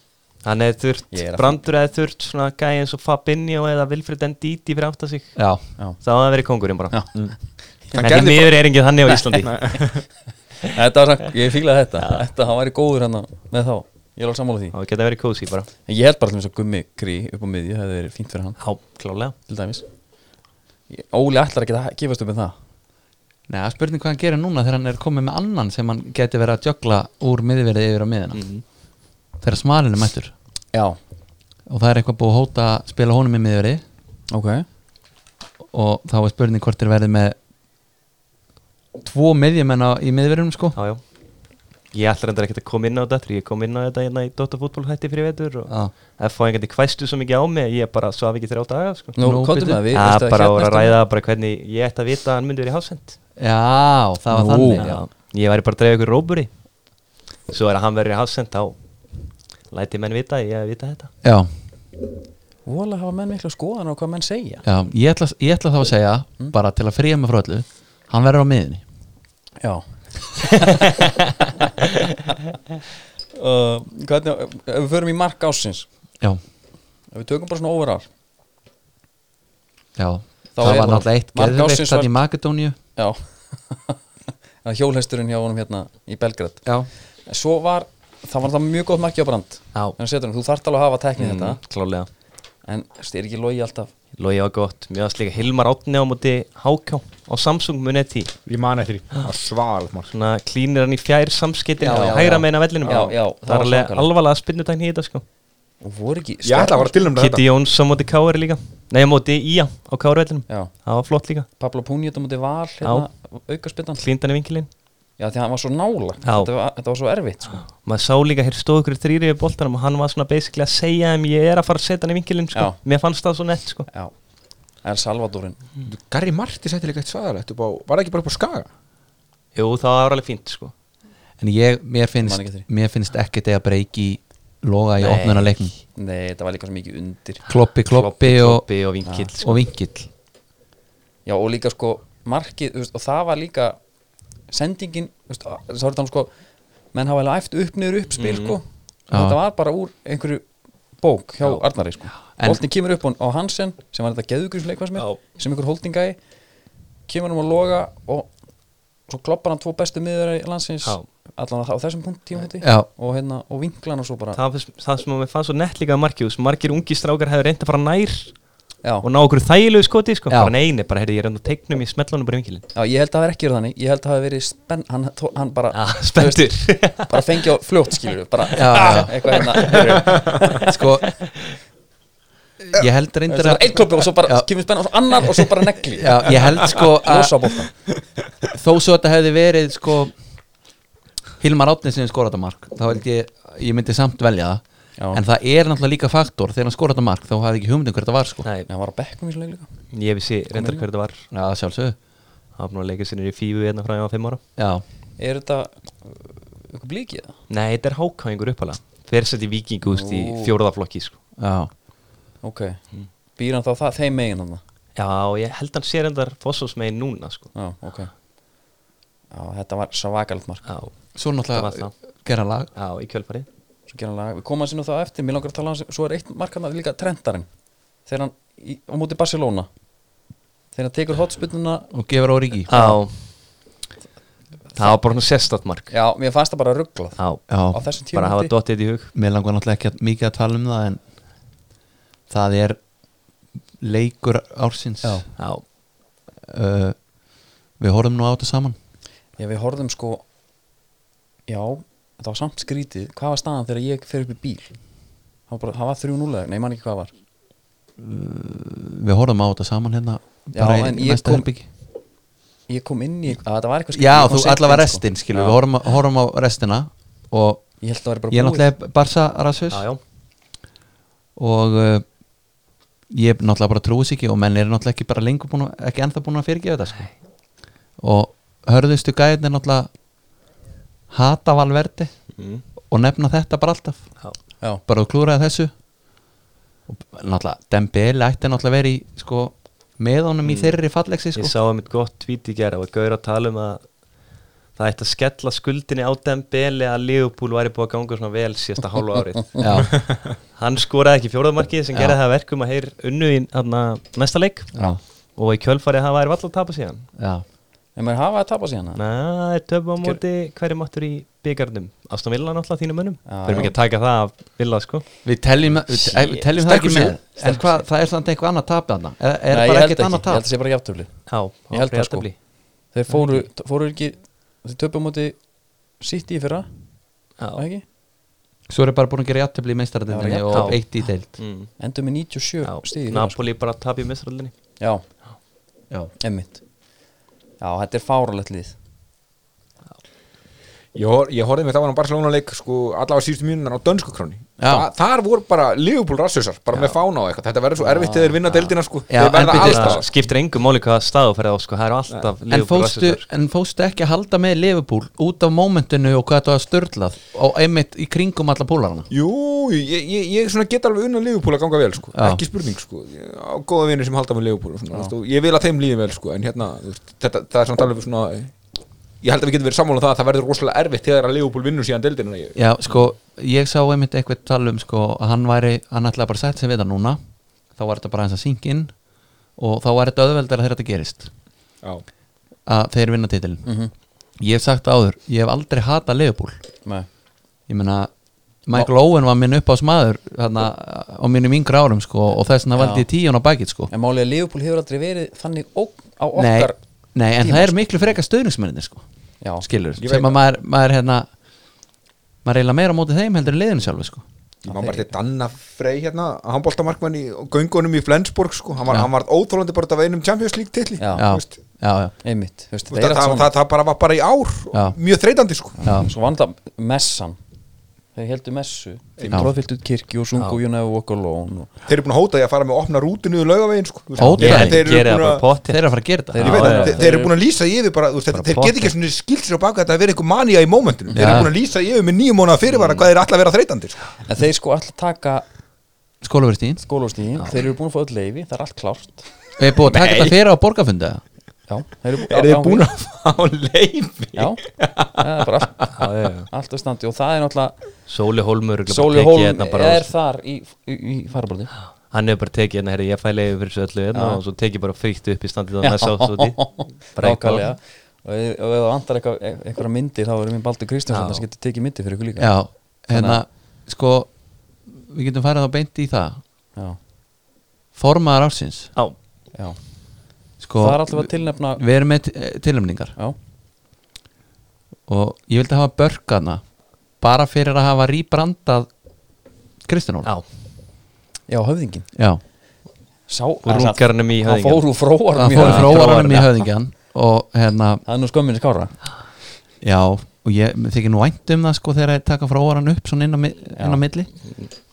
Hann hefði þurft,
Ég er að-
Brandur hefði þurft svona gæði eins og Fabinho eða Vilfred Ndidi fyrir átt að sig
já,
Já,
Það var að vera kongurinn bara
Já.
Hann
En því
gerði
miður er engið þannig á Íslandi
þetta var samt, ég fílaði þetta Þetta, hann væri góður hann með þá Ég er alveg sammála því
Það geta verið kósi bara
En ég held bara til þess að gummi krí upp á miðju Það hefði verið fínt fyrir hann,
Já, klálega
til dæmis Ég- Óli ætlar ekki að gefast upp með það
neða, spurning hvað hann gerir núna þegar hann er komið með annan sem hann geti verið að jögla úr miðverði yfir á miðina þegar smalinn er mættur
Já,
og það er eitthvað búið að hóta að spila honum í miðverði
ok
og þá er spurning hvort þeir verði með tvo miðjumenn á- í miðverðinum, sko
Já, já Ég ætla reyndar ekkert að koma inn á þetta Ég kom inn á þetta hérna í Dota fútból hætti fyrir vetur og
Já,
það fá einhvern veginn kvæstu svo mikið á mig ég bara svaf ekki þrjá daga sko.
Nú,
Nú,
kóttum
byrju.
við
Það
veistu
bara voru að
hérna-
ræða bara hvernig ég ætti að vita að hann myndi verið hásend
já það var
Nú.
þannig já.
Já, Ég væri bara að dreifa ykkur róburi Svo er að hann verið hásend þá læti menn vita að ég hef vitað þetta
Já,
Vola hafa menn miklu skoðan á hvað menn segja
já, ég ætla, ég ætla þá að segja bara til að fríja mig frá öllu hann verður á miðinni
Já uh, Hvernig, ef- ef við förum í mark ásins
Já,
Ef við tökum bara svona overall
já,
Þá
það
er-
var náttúrulega eitt
Mark
geðveikt
ársins var-
þannig í Makedóníu
Já Það hjólhesturinn hjá honum hérna í Belgrad
Já,
En Svo var, það var það mjög góð marki á brand
Já. Mm.
En setur hann, þú þarft alveg að hafa teknið þetta
Klálega
En þú veist, er ekki logi alltaf
Lógi var gott Mjög að slíka Hilmar Átni á móti HK á Samsung Munetti
ég man eftir því svagalegt marg
Svona klínir hann í fjær samskiptin
Já, já,
hægra
já.
meina vellinum
Já, já, það var
Það er alveg
svakalegt.
alvarlega spinnutækni í þetta sko
Og voru ekki
ég ætla að vara tilnum
Kitty
þetta
Jóns á móti Káari líka Nei, á móti Ía á Káarvellinum
Já.
Það var flott líka
Pablo Púnið á móti val hérna, aukaspinnan
Klíndan í vinkilinn
Já, því að hann var svo nála
Já.
þetta var, þetta var svo erfitt sko.
Maður sá líka, hér stóð ykkur þrýri við boltanum og hann var svona basically að segja þeim ég er að fara að setja hann í vinkilinn sko.
Já.
Mér fannst það svo nett sko.
Já El Salvadorinn
Garri Marti sætti líka eitt svagalegt upp á, var það ekki bara upp á skaga
Jú, það var alveg fínt sko.
en ég,
Man
mér
ekki
finnst
eftir því.
mér finnst ekkert eða breyki loga í
Nei.
opnuna leiknum
Nei, þetta var líka svo mikið undir
Kloppi, kloppi og,
Kloppi og vinkill sko.
og vingill
Já, og líka sko markið þú veist, Og það var líka sendingin þú veist, að- Þá er þetta sko Menn hafa alveg æft upp niður upp spil sko
Mhm. Já.
Þetta var bara úr einhverju bók hjá Arnari sko
En-
Boltin kemur upp á á Hansen sem var þetta geðugrísleik sem,
Já.
sem einhver holdingæi kemur hann að loga og svo kloppar hann tvo bestu miður landsins
Já.
allan á þessum punkt tímúti
Já.
og, hérna, og vinklan og svo bara
það, fannst- það sem mér fannst svo nett líka markið þess, Margir ungi strákar hefur reynd að fara nær
Já.
og ná okkur þægilegu skoti sko.
Já.
bara neini, bara heyrði ég reynd að teiknum í smellunum bara í vinkilinn
Já, ég held að það er ekki verið þannig, ég held að það hafi verið spenn, hann, tó- hann bara
ah, Spenntur
bara fengi á fljótt skilur bara
Já, já.
eitthvað hérna heyrðu,
Sko Ég held
þetta
reyndar
var einn klubbi og svo bara
Já.
kemur spenna og svo annar og svo bara negli
Já, ég held sko að
losa bóttan
þó svo þetta hefði verið sko Hilmar Átni sem skoraði þetta mark þá held ég, ég myndi samt velja það
Já.
en það er náttúrulega líka faktor þegar hann skoraði þetta mark þá hafði ekki hugmyndum hver þetta var sko
Nei,
hann var á bekkum í svo leik líka
ég vissi reyndar hver þetta var
Já, sjálfsögðu
Það var nú að leika sinni í fífu hérna frá ég var fimm ára
Já,
er þetta uh, eitthvað blíkið það?
Nei, þetta er hákáingur uppalega Fyrir sett í vikingu úst í
Ó.
fjóraðaflokki sko.
já,
ok,
Hmm.
býr hann þá það, þeim megin hann
Já, ég held hann sér endar Fossós megin núna sko.
já, ok já, þetta var svakalegt mark
Já,
svo
Það
náttúrulega
var
gera lag
já, í kjölfarið
svo gerum lag, við komum að sinna það á eftir mér langar að tala hans, svo er eitt markarna líka trendarinn þegar hann í, á móti Barcelona þegar hann tekur hotspunnuna
og gefur á ríki
Já Það var bara hann sérstatt mark
já, mér fannst það bara rugglað
Já,
Já,
á þessum tímum
bara hafa dottið þetta í hug
mér langar náttúrulega ekki að- mikið að tala um það en það er leikur ársins
Já.
Já,
uh, Við horfum nú á þetta saman
Já, við horfðum sko Já, þetta var samt skrítið Hvað var staðan þegar ég fer upp í bíl? Það var bara, það var 3-0 eða- Nei, ég man ekki hvað það var
við horfum á þetta saman hérna
Já,
bara
en
í
ég
næsta
kom-
herbyggi
ég kom inn í, að þetta var eitthvað
Já,
ég kom
þú
seint
allavega
inn, sko.
restin, skilur,
Já.
við horfum, horfum á restina og
ég held að það væri bara
ég er
búið
náttúrulega Barca rassus
já, já,
og uh, ég náttúrulega bara trúis ekki og menn eru náttúrulega ekki bara lengur búin að, ekki ennþá búin að fyrirgefa þetta sko. og hörðustu gæðin er náttúrulega hata valverdi
Mm.
Mhm.
og nefna þetta bara alltaf
já.
já,
bara þú klúraði þessu og náttúrulega Dembele ætti náttúrulega verið í sko, með honum
Mm.
í þeirri fallegsi sko.
Ég sá einmitt gott tweet í gera og gauður að tala um að það ætti að skella skuldinni á Dembele að Liverpool væri búið að ganga svona vel síðasta hálfa árið
Já,
Hann skoraði ekki fjórðamarkið sem
Já.
gerði það að verkum að heyr unnu í hana, næsta leik
já,
og í kjölfarið hann væri vall að tapa síðan
já
en maður hafa að tapa síðan það.
Nei, töfum á móti hverju máttur í byggarnum Aston Villa náttúrulega þínum mönnum
Já,
Verðum ekki að taka það af Villa sko
Við teljum, við te- við teljum það ekki
Sterkur
með
sigur.
En hvað, það er samt eitthvað annað tap þarna Er, er
Nei, ég
bara
held
ekkert
ekki.
annað
ég
tap
held að sé bara jafntöfli
Já,
Ég held það, sko.
jafntefli.
þeir fóru, fóru ekki þeir töpum móti sitt í fyrra var
Já,
ekki?
Svo er bara búin að gera játtöfli í
Já,
meistaradeildinni
jafntefli.
og eitt í deild
mm,
endur með 97
já.
stíð
Napoli bara tap í mistrallinni
já,
Já,
emmitt já, þetta er fáralegt lið
Ég, hor, ég horfði mitt á hann á Barcelona-leik sko, allavega síðustu mínunar á dönsku króni
Já.
Þa, Þar voru bara Liverpool rassusar bara með fána og eitthvað, þetta verður svo erfitt þegar þeir vinna deildina sko,
Já,
þeir verða
en byrju,
alltaf
Það skiptir engum máli hvaða staðu fyrir þá sko Það eru alltaf
En
Liverpool
fóstu,
rasistar, sko.
en fóstu ekki að halda með Liverpool út af mómentinu og hvað þetta var störlað og einmitt í kringum alla púlarana
Jú, ég, ég, ég svona get alveg unna Liverpool að ganga vel sko,
Já.
ekki spurning sko Ég á góða vinir sem halda með Liverpool og svona, þú veist, og ég vil að þeim líði vel sko, en hérna þú veist, þetta, það er samt alveg svona ég held að við getum verið sammála um það að það verður rosalega erfitt þegar að Liverpool vinnur síðan deildina ég,
Já, sko, ég sá einmitt eitthvað tala um sko, að hann væri, hann ætlaði bara að setja sig við það núna þá var þetta bara eins að syngja inn og þá var þetta auðveldar þegar þetta gerist
Já,
að þeir vinna titilin Ég hef sagt það áður, ég hef aldrei hatað Liverpool
Nei.
Ég meina, Michael Owen var minn upp á smaður þarna, á mínum yngra árum sko, og þess vegna
Já.
valdi ég tíun á bakið sko.
en málið að Liverpool hefur aldrei verið þannig ógn á
nei,
okkar
nei, en
tíma,
það er miklu frekar stöðningsmennir sko,
já,
skilur,
Ég
sem
veit
að maður, maður hérna maður er eiginlega meira á móti þeim heldur en liðinu sjálfu sko.
Ég man bara til Danna Frey hérna, handbóltamarkmann í göngunum í Flensborg sko, hann var,
Já.
hann var óþólandi bara að veinum Champions League titli
Já.
já,
Þú veist, þú
já, já,
einmitt þú veist,
veist,
það er
það, það,
allt
það, það bara var bara í ár
Já.
mjög þreytandi sko
já.
svona svo vanda messan þeir heldur messu þeir tróðfylgdu kirkju og sungu You Never Walk Alone og
þeir eru búin að hóta því að fara með að opna rútu niður laugavegin sko Þú veist,
Hóta
þeir-
því?
þeir eru
Gera það
búin
bara
að-
pott
þeir eru að fara að gera þetta
Þeir
Ég
eru
veit
Já,
það,
já,
þeir- þeir eru búin að lýsa því yfir bara, þú veist, þeir, þeir
pottþétt.
geta ekki svona skilt sér á baka þetta að vera einhver manja í mómentinu þeir eru
Já.
búin að lýsa því yfir með nýjum mónuða fyrirvara hvað þeir ætla að vera þreytandi sko.
en þeir sko alltaf taka
skólaverðstíðin,
skólaustíðin þeir eru búin að fá öll leifi, það er allt klárt
við erum búin að taka þetta fyrir á borgarfundu eða?
já, þeir eru já,
eru þeir búin að fá leifi
já, það er bara allt,
Já, já, já.
allt að standi og það er náttúrulega
Sóli Hólmur
Sóli Hólm
hérna
er þar í, í, í farabróti
hann hefur bara tekið hérna, herri, ég fæ leiði fyrir þessu öllu hérna og svo tekið bara frítt upp í standið á næsta ásóti Bara eitthvað
nákvæmlega og ef og ef það vantar eitthvað- e- einhverja myndir þá erum við Baldur Kristjánsson sem getur tekið myndir fyrir ykkur líka
já,
Þannig
hérna,
að-
sko við getum farið á beint í það
já,
formaðar ársins
Já,
já.
sko,
það er alltaf að tilnefna
við erum með tilumningar
já,
og ég vildi hafa börkana bara fyrir að hafa rýbrandað Kristján Óla
já,
já höfðingin
Já.
Sá,
úr rúngarnum í
það
höfðingin
fór úr fróarum
það
í
fóru
höfðinginn.
frá óvaranum í
Fróaranum.
höfðingjan og hérna,
það er nú skömmin skára
já og ég mér þykir nú vænt um það sko þegar ég taka frá óvaran upp svona inn á, mi- inn á milli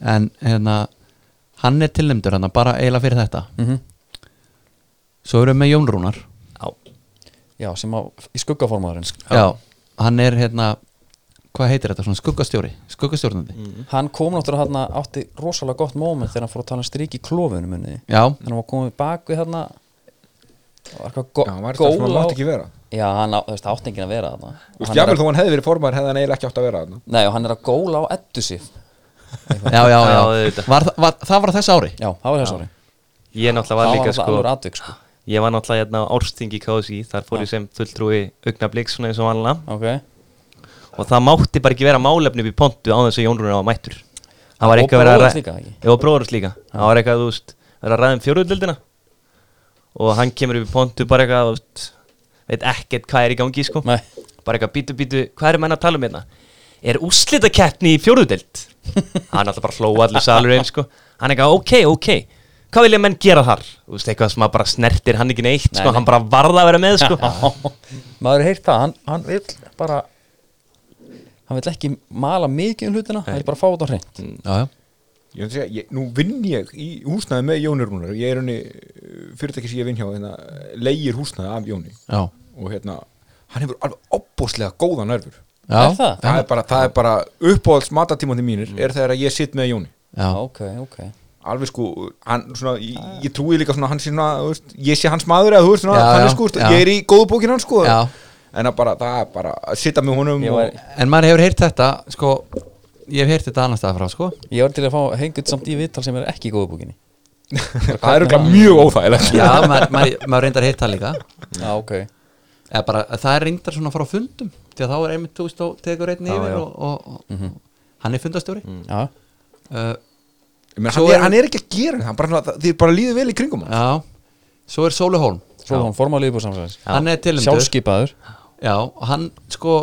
en hérna hann er tilnæmdur hann bara eiginlega fyrir þetta
Mhm.
svo erum við með Jón Rúnar
Já,
já, sem á, í skuggaformaðurinn
já. hann er hérna hvað heitir þetta, svona skuggastjóri skuggastjórnandi,
hann kom náttúrulega hann átti rosalega gott moment þegar hann fór að tala um strik í klófunum munni
já
þannig að hann komið bak við þarna og var eitthvað go-
Já, hann var
gól
eitthvað sem hann
á-
mátti ekki vera.
já, hann á, þú veist, átti enginn að vera þarna
Þú
Hann
veist,
er að-
jafnvel þó hann hefði verið formar hefði hann eiginlega ekki átt að vera þarna.
Nei, og hann er að góla á eddu síf
já, já,
Já,
já.
auðvitað.
Var, þa- var, það var á þessu ári
Já, það var þess ári
ég náttúrulega
Það
var
var
líka
alltaf
sko
alveg atvik sko
Ég var náttúrulega hérna á Árstingi KSI, þar fór ég sem fulltrúi augnablík svona eins og vanlega
Ok
og það mátti bara ekki vera málefni upp í pontu á þess að Jón Rúnar var mættur Það
Og
var eitthvað að vera
bróðurins líka, ekki?
Ég var bróðurins líka Það var eitthvað, þú veist, vera að ræða um fjóruðlildina og hann kemur upp í pontu bara eitthvað, þú veist veit ekkert hvað er í gangi, sko
Nei.
bara eitthvað, býtu, býtu, hvað er menn að tala um hérna? Er úslitakeppni í fjóruðlild? hann alltaf bara hló allur salur einn, sko Hann eitthvað, ok, ok hvað vilja menn gera þar þú veist eitthvað sem að bara snertir hann ekki neitt
Nei,
sko,
nei.
hann bara varða að vera með sko.
maður heirt það, hann, hann vil bara hann vil ekki mala mikið um hlutina, hann vil bara fá þetta á hreint
já, já.
Ég myndi segja, ég, nú vinn ég í húsnaði með Jóni Rúnar ég er henni, fyrirtæki sem ég vinn hjá hérna, leigir húsnaði af Jóni
já.
og hérna, hann hefur alveg opbóðslega góða nervur
já.
Er það?
það er bara, það er bara uppáhalds matatímandi mínir er þegar að ég sitt með Jóni
Já.
ok, ok
alveg sko, hann svona ég, ég trúi líka svona, hann sé svona, þú veist, ég sé hans maður eða þú veist svona,
Já,
hann er
já,
sko,
já.
ég er í góðu bókin hans sko
Já.
en að bara, það er bara að sitta með honum
ég var,
og,
en maður hefur heyrt þetta sko, ég hef heyrt þetta annars staðar frá sko.
ég var til að fá hengut samt í viðtal sem er ekki í góðu búkinni
það er örugglega mjög óþægilegt
já, maður, maður, maður reyndar heyrt það líka
já, ok,
Eða bara, að það er reyndar svona frá fundum því að þá er einmitt, þú veist, þá tekur einn yfir og, og, og hann er fundastjóri
já,
uh,
Men
Svo
hann, er,
er-
hann er ekki að gera það, hann bara, það- þið bara líður vel í kringum hann
já, svo er Sóli Hólm
svo hann formálið upp á samsæðis
hann er tilumdur
sjálfskipaður
já, og hann sko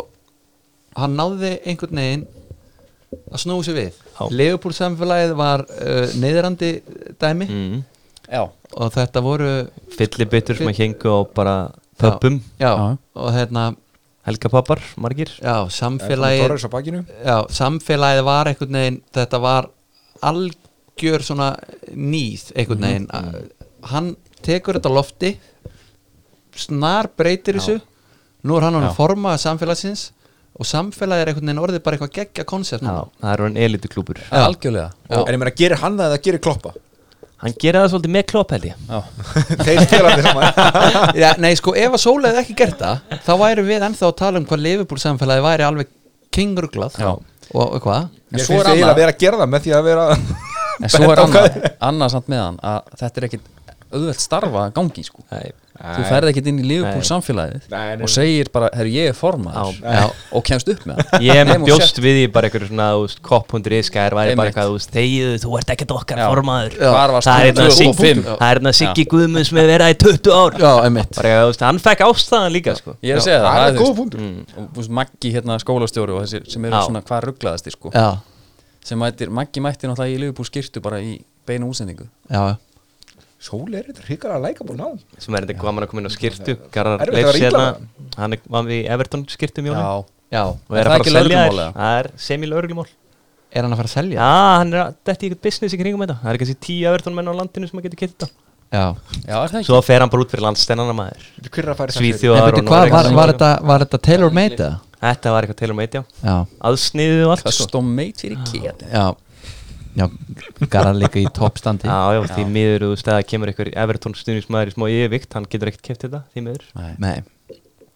hann náði einhvern veginn að snúi sig við
Já.
Leopold samfélagið var uh, neyðrandi dæmi
mm.
já,
og þetta voru
fyllibyttur sem að hengu á bara pöppum,
já,
Já.
og hérna
helgapappar, margir
já, samfélagið
Torres á bakinu
já, samfélagið var einhvern veginn þetta var algjör svona nýð einhvern veginn hann tekur þetta á lofti snar breytir þessu nú er hann hann forma samfélagsins og samfélagið er einhvern veginn orðið bara eitthvað geggja konsept
Já,
núna.
það er hann elituklúpur
algjörlega
Já.
en ég meina, gerir hann það eða gerir kloppa
Hann gera það svolítið með klopp held ég
þeir spila þetta saman
Já, nei sko ef að Sóla hefði ekki gert það þá væri við ennþá að tala um hvað Liverpool samfélagið væri alveg kingruglað
Já.
og eitthvað
En
ég
svo er
finnst eiginlega
annað.
að vera að gera það með því að vera
en svo er
Bent á
annað, annað samt með hann að þetta er ekkit auðvelt starfa að gangi sko
Nei.
þú ferð ekkit inn í Liverpool
Nei.
samfélagið
Nei, nei, nei.
og segir bara, herru ég er formaður
Já.
Já. og kemst upp með það
Ég
Nei,
með
hún
bjóst
sett-
við því bara eitthvað svona þú veist, kopp.ri skær væri bara
Einmitt.
eitthvað þú veist, þegið, þú ert ekkert okkar
Já.
formaður
Já. Hvar varst
Það er
þú
hérna
2005?
Siggi- það er hérna Siggi Guðmunds með vera í 20 ár
Já, einmitt
bara eitthvað, þú veist, hann fekk ástæðan líka sko.
ég er Mm. að segja það,
það er
þú
góð
veist,
punktur
og þú veist, Maggi hérna skólastjóri og þessi sem eru
Já.
svona hvað rugglaðasti sko
Já,
sem mætir, Maggi mætti náttúrulega í Liverpool skirtu bara í beina útsendingu
já,
Sóli er þetta hrikalega lækaból ná
sem er þetta gaman að koma inn á skirtu Garðar
Erfitt að
Leifs
vera illa
hérna
með
hann er vann við Everton skirtum í honum
já,
já
og er
Er það
að fara að
ekki
selja
lögreglumál
þér
eða?
það er semi-lauruglumál
Er hann að fara að selja?
já, hann er dætt í eitthvað business í kringum þetta það er kannski tíu Everton menn á landinu sem að geta kitt þetta
Já,
já er það ekki
svo fer hann bara út fyrir landstennana maður
hver er að fara í þessu?
Nei,
Svíþjóðar
betur,
og
hvað, var,
Noregs-
var, þetta, var þetta Taylor made eða?
þetta var eitthvað til og meitja
Já,
aðsniðið og allt sko.
Custom made fyrir keti
já Já, garðan líka í toppstandi
Já, já, því miður, þú veist, að kemur einhver Everton stuðnismæður í smá yfirvikt, hann getur ekkert keft þetta, því miður.
Nei,
Nei,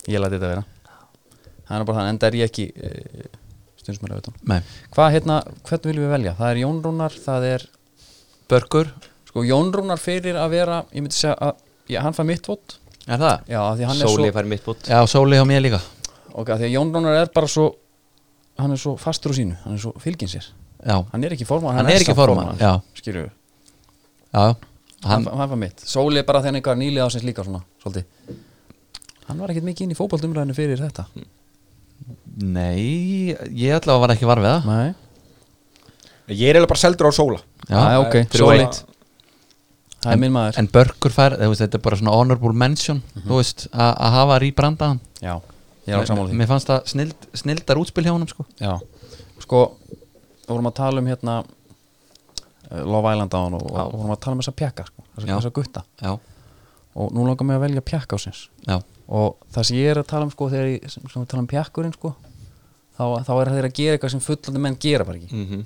ég læti þetta vera það er bara það, enda er ég ekki uh, stundsmæla auðvitað
nei
hvað hérna, hvern viljum við velja? það er Jón Rúnar, það er
Börkur,
sko Jón Rúnar fyrir að vera ég myndi segja að, já, hann fær mitt vott
er það?
já, af því hann
Sóli
er
fær mitt bútt.
Já, Sóli hjá mér líka
svo ok, af því að Jón Rúnar er bara svo hann er svo fastur úr sínu, hann er svo fylgin sér
Já,
hann er ekki formann,
Hann er ekki formaður, já.
skilju,
já,
hann,
hann,
hann, hann var mitt Sóli er bara þenni eitthvað nýlið ásins líka svona, svolítið hann var ekkert mikið inn í fótballtumræðinu fyrir þetta
nei Ég ætla að var ekki var við það
nei,
ég er eiginlega bara seldur á Sóla
já,
Já,
ok,
Þrjú
Sóli
eitt.
það er minn maður
En Börkur fær, þú veist, þetta er bara svona honorable mention Þú veist, að að hafa rýbrandaðan
já, ég er á sammála því
Mér fannst það snild, snildar útspil hjá honum sko
já, sko við vorum að tala um hérna eh, Love Island á hann og, og vorum að tala um þessa pjakka sko, þessa,
Já.
þessa gutta
Já,
og nú langar mig að velja pjakka ásins
já,
og það sem ég er að tala um sko þegar ég sem, sem við tala um pjakkurinn sko þá, þá er þeir að gera eitthvað sem fullandi menn gera bara
Mm.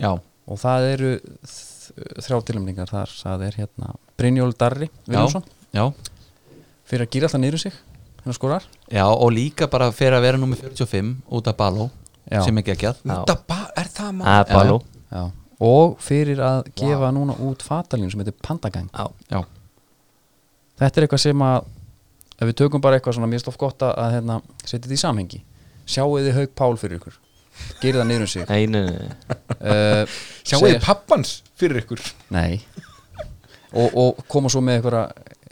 ekki
já,
og það eru þ- þrjá tilumningar þar það er hérna Brynjól Darri Viljónsson
já
fyrir að gýra alltaf niður um sig hérna skorar
Já, og líka bara fyrir að vera nummer 45 út af Baló
Já. Ah,
sem er geggjað
Út að ba- er það maður?
Það er baló.
Já. og fyrir að gefa núna út fatalínu sem heitir Pandagang
Já.
Já,
þetta er eitthvað sem að ef við tökum bara eitthvað svona mér stof gott að- að hérna, setja þetta í samhengi sjáu þið Haug Pál fyrir ykkur gýra það niður um sig
Nei, nei, nei.
uh,
sjáu þið pappans fyrir ykkur
Nei og, og koma svo með einhverja,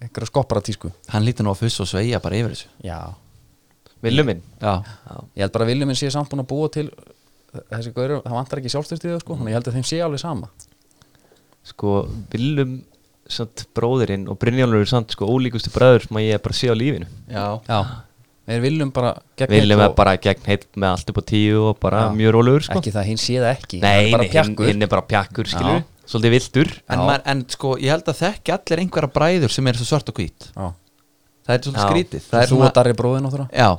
einhverja skoppara tísku
hann lítur nú að fuss og sveia bara yfir þessu
Já
Villu minn.
Já,
Ég held bara að Viljuminn sé samt búin að búa til eh, þessi
Mm.
gaurur, það vantar ekki sjálfstyrstið sko, þannig að ég held að þeim sé alveg sama
Sko, Villum samt bróðirinn og Brynjólfur er samt sko ólíkustu bræður sem að ég bara sé á lífinu
Já, við viljum bara gegn
Viljum
heill
er
og-
bara gegn heilt með allt upp á tíu og bara
Já.
mjög rólegur sko
Ekki það, hinn sé það ekki hann
Nei,
er bara
nei, hinn
pjakkur.
hinn er bara pjakkur skilur
Já.
Svolítið viltur
en,
Já.
maður, en sko, ég held að þekki allir einhverja bræður sem er svo svart og hvít
Já.
það er svolítið
Já.
skrítið
Þú
það er
og Darri bróðin óþra
já,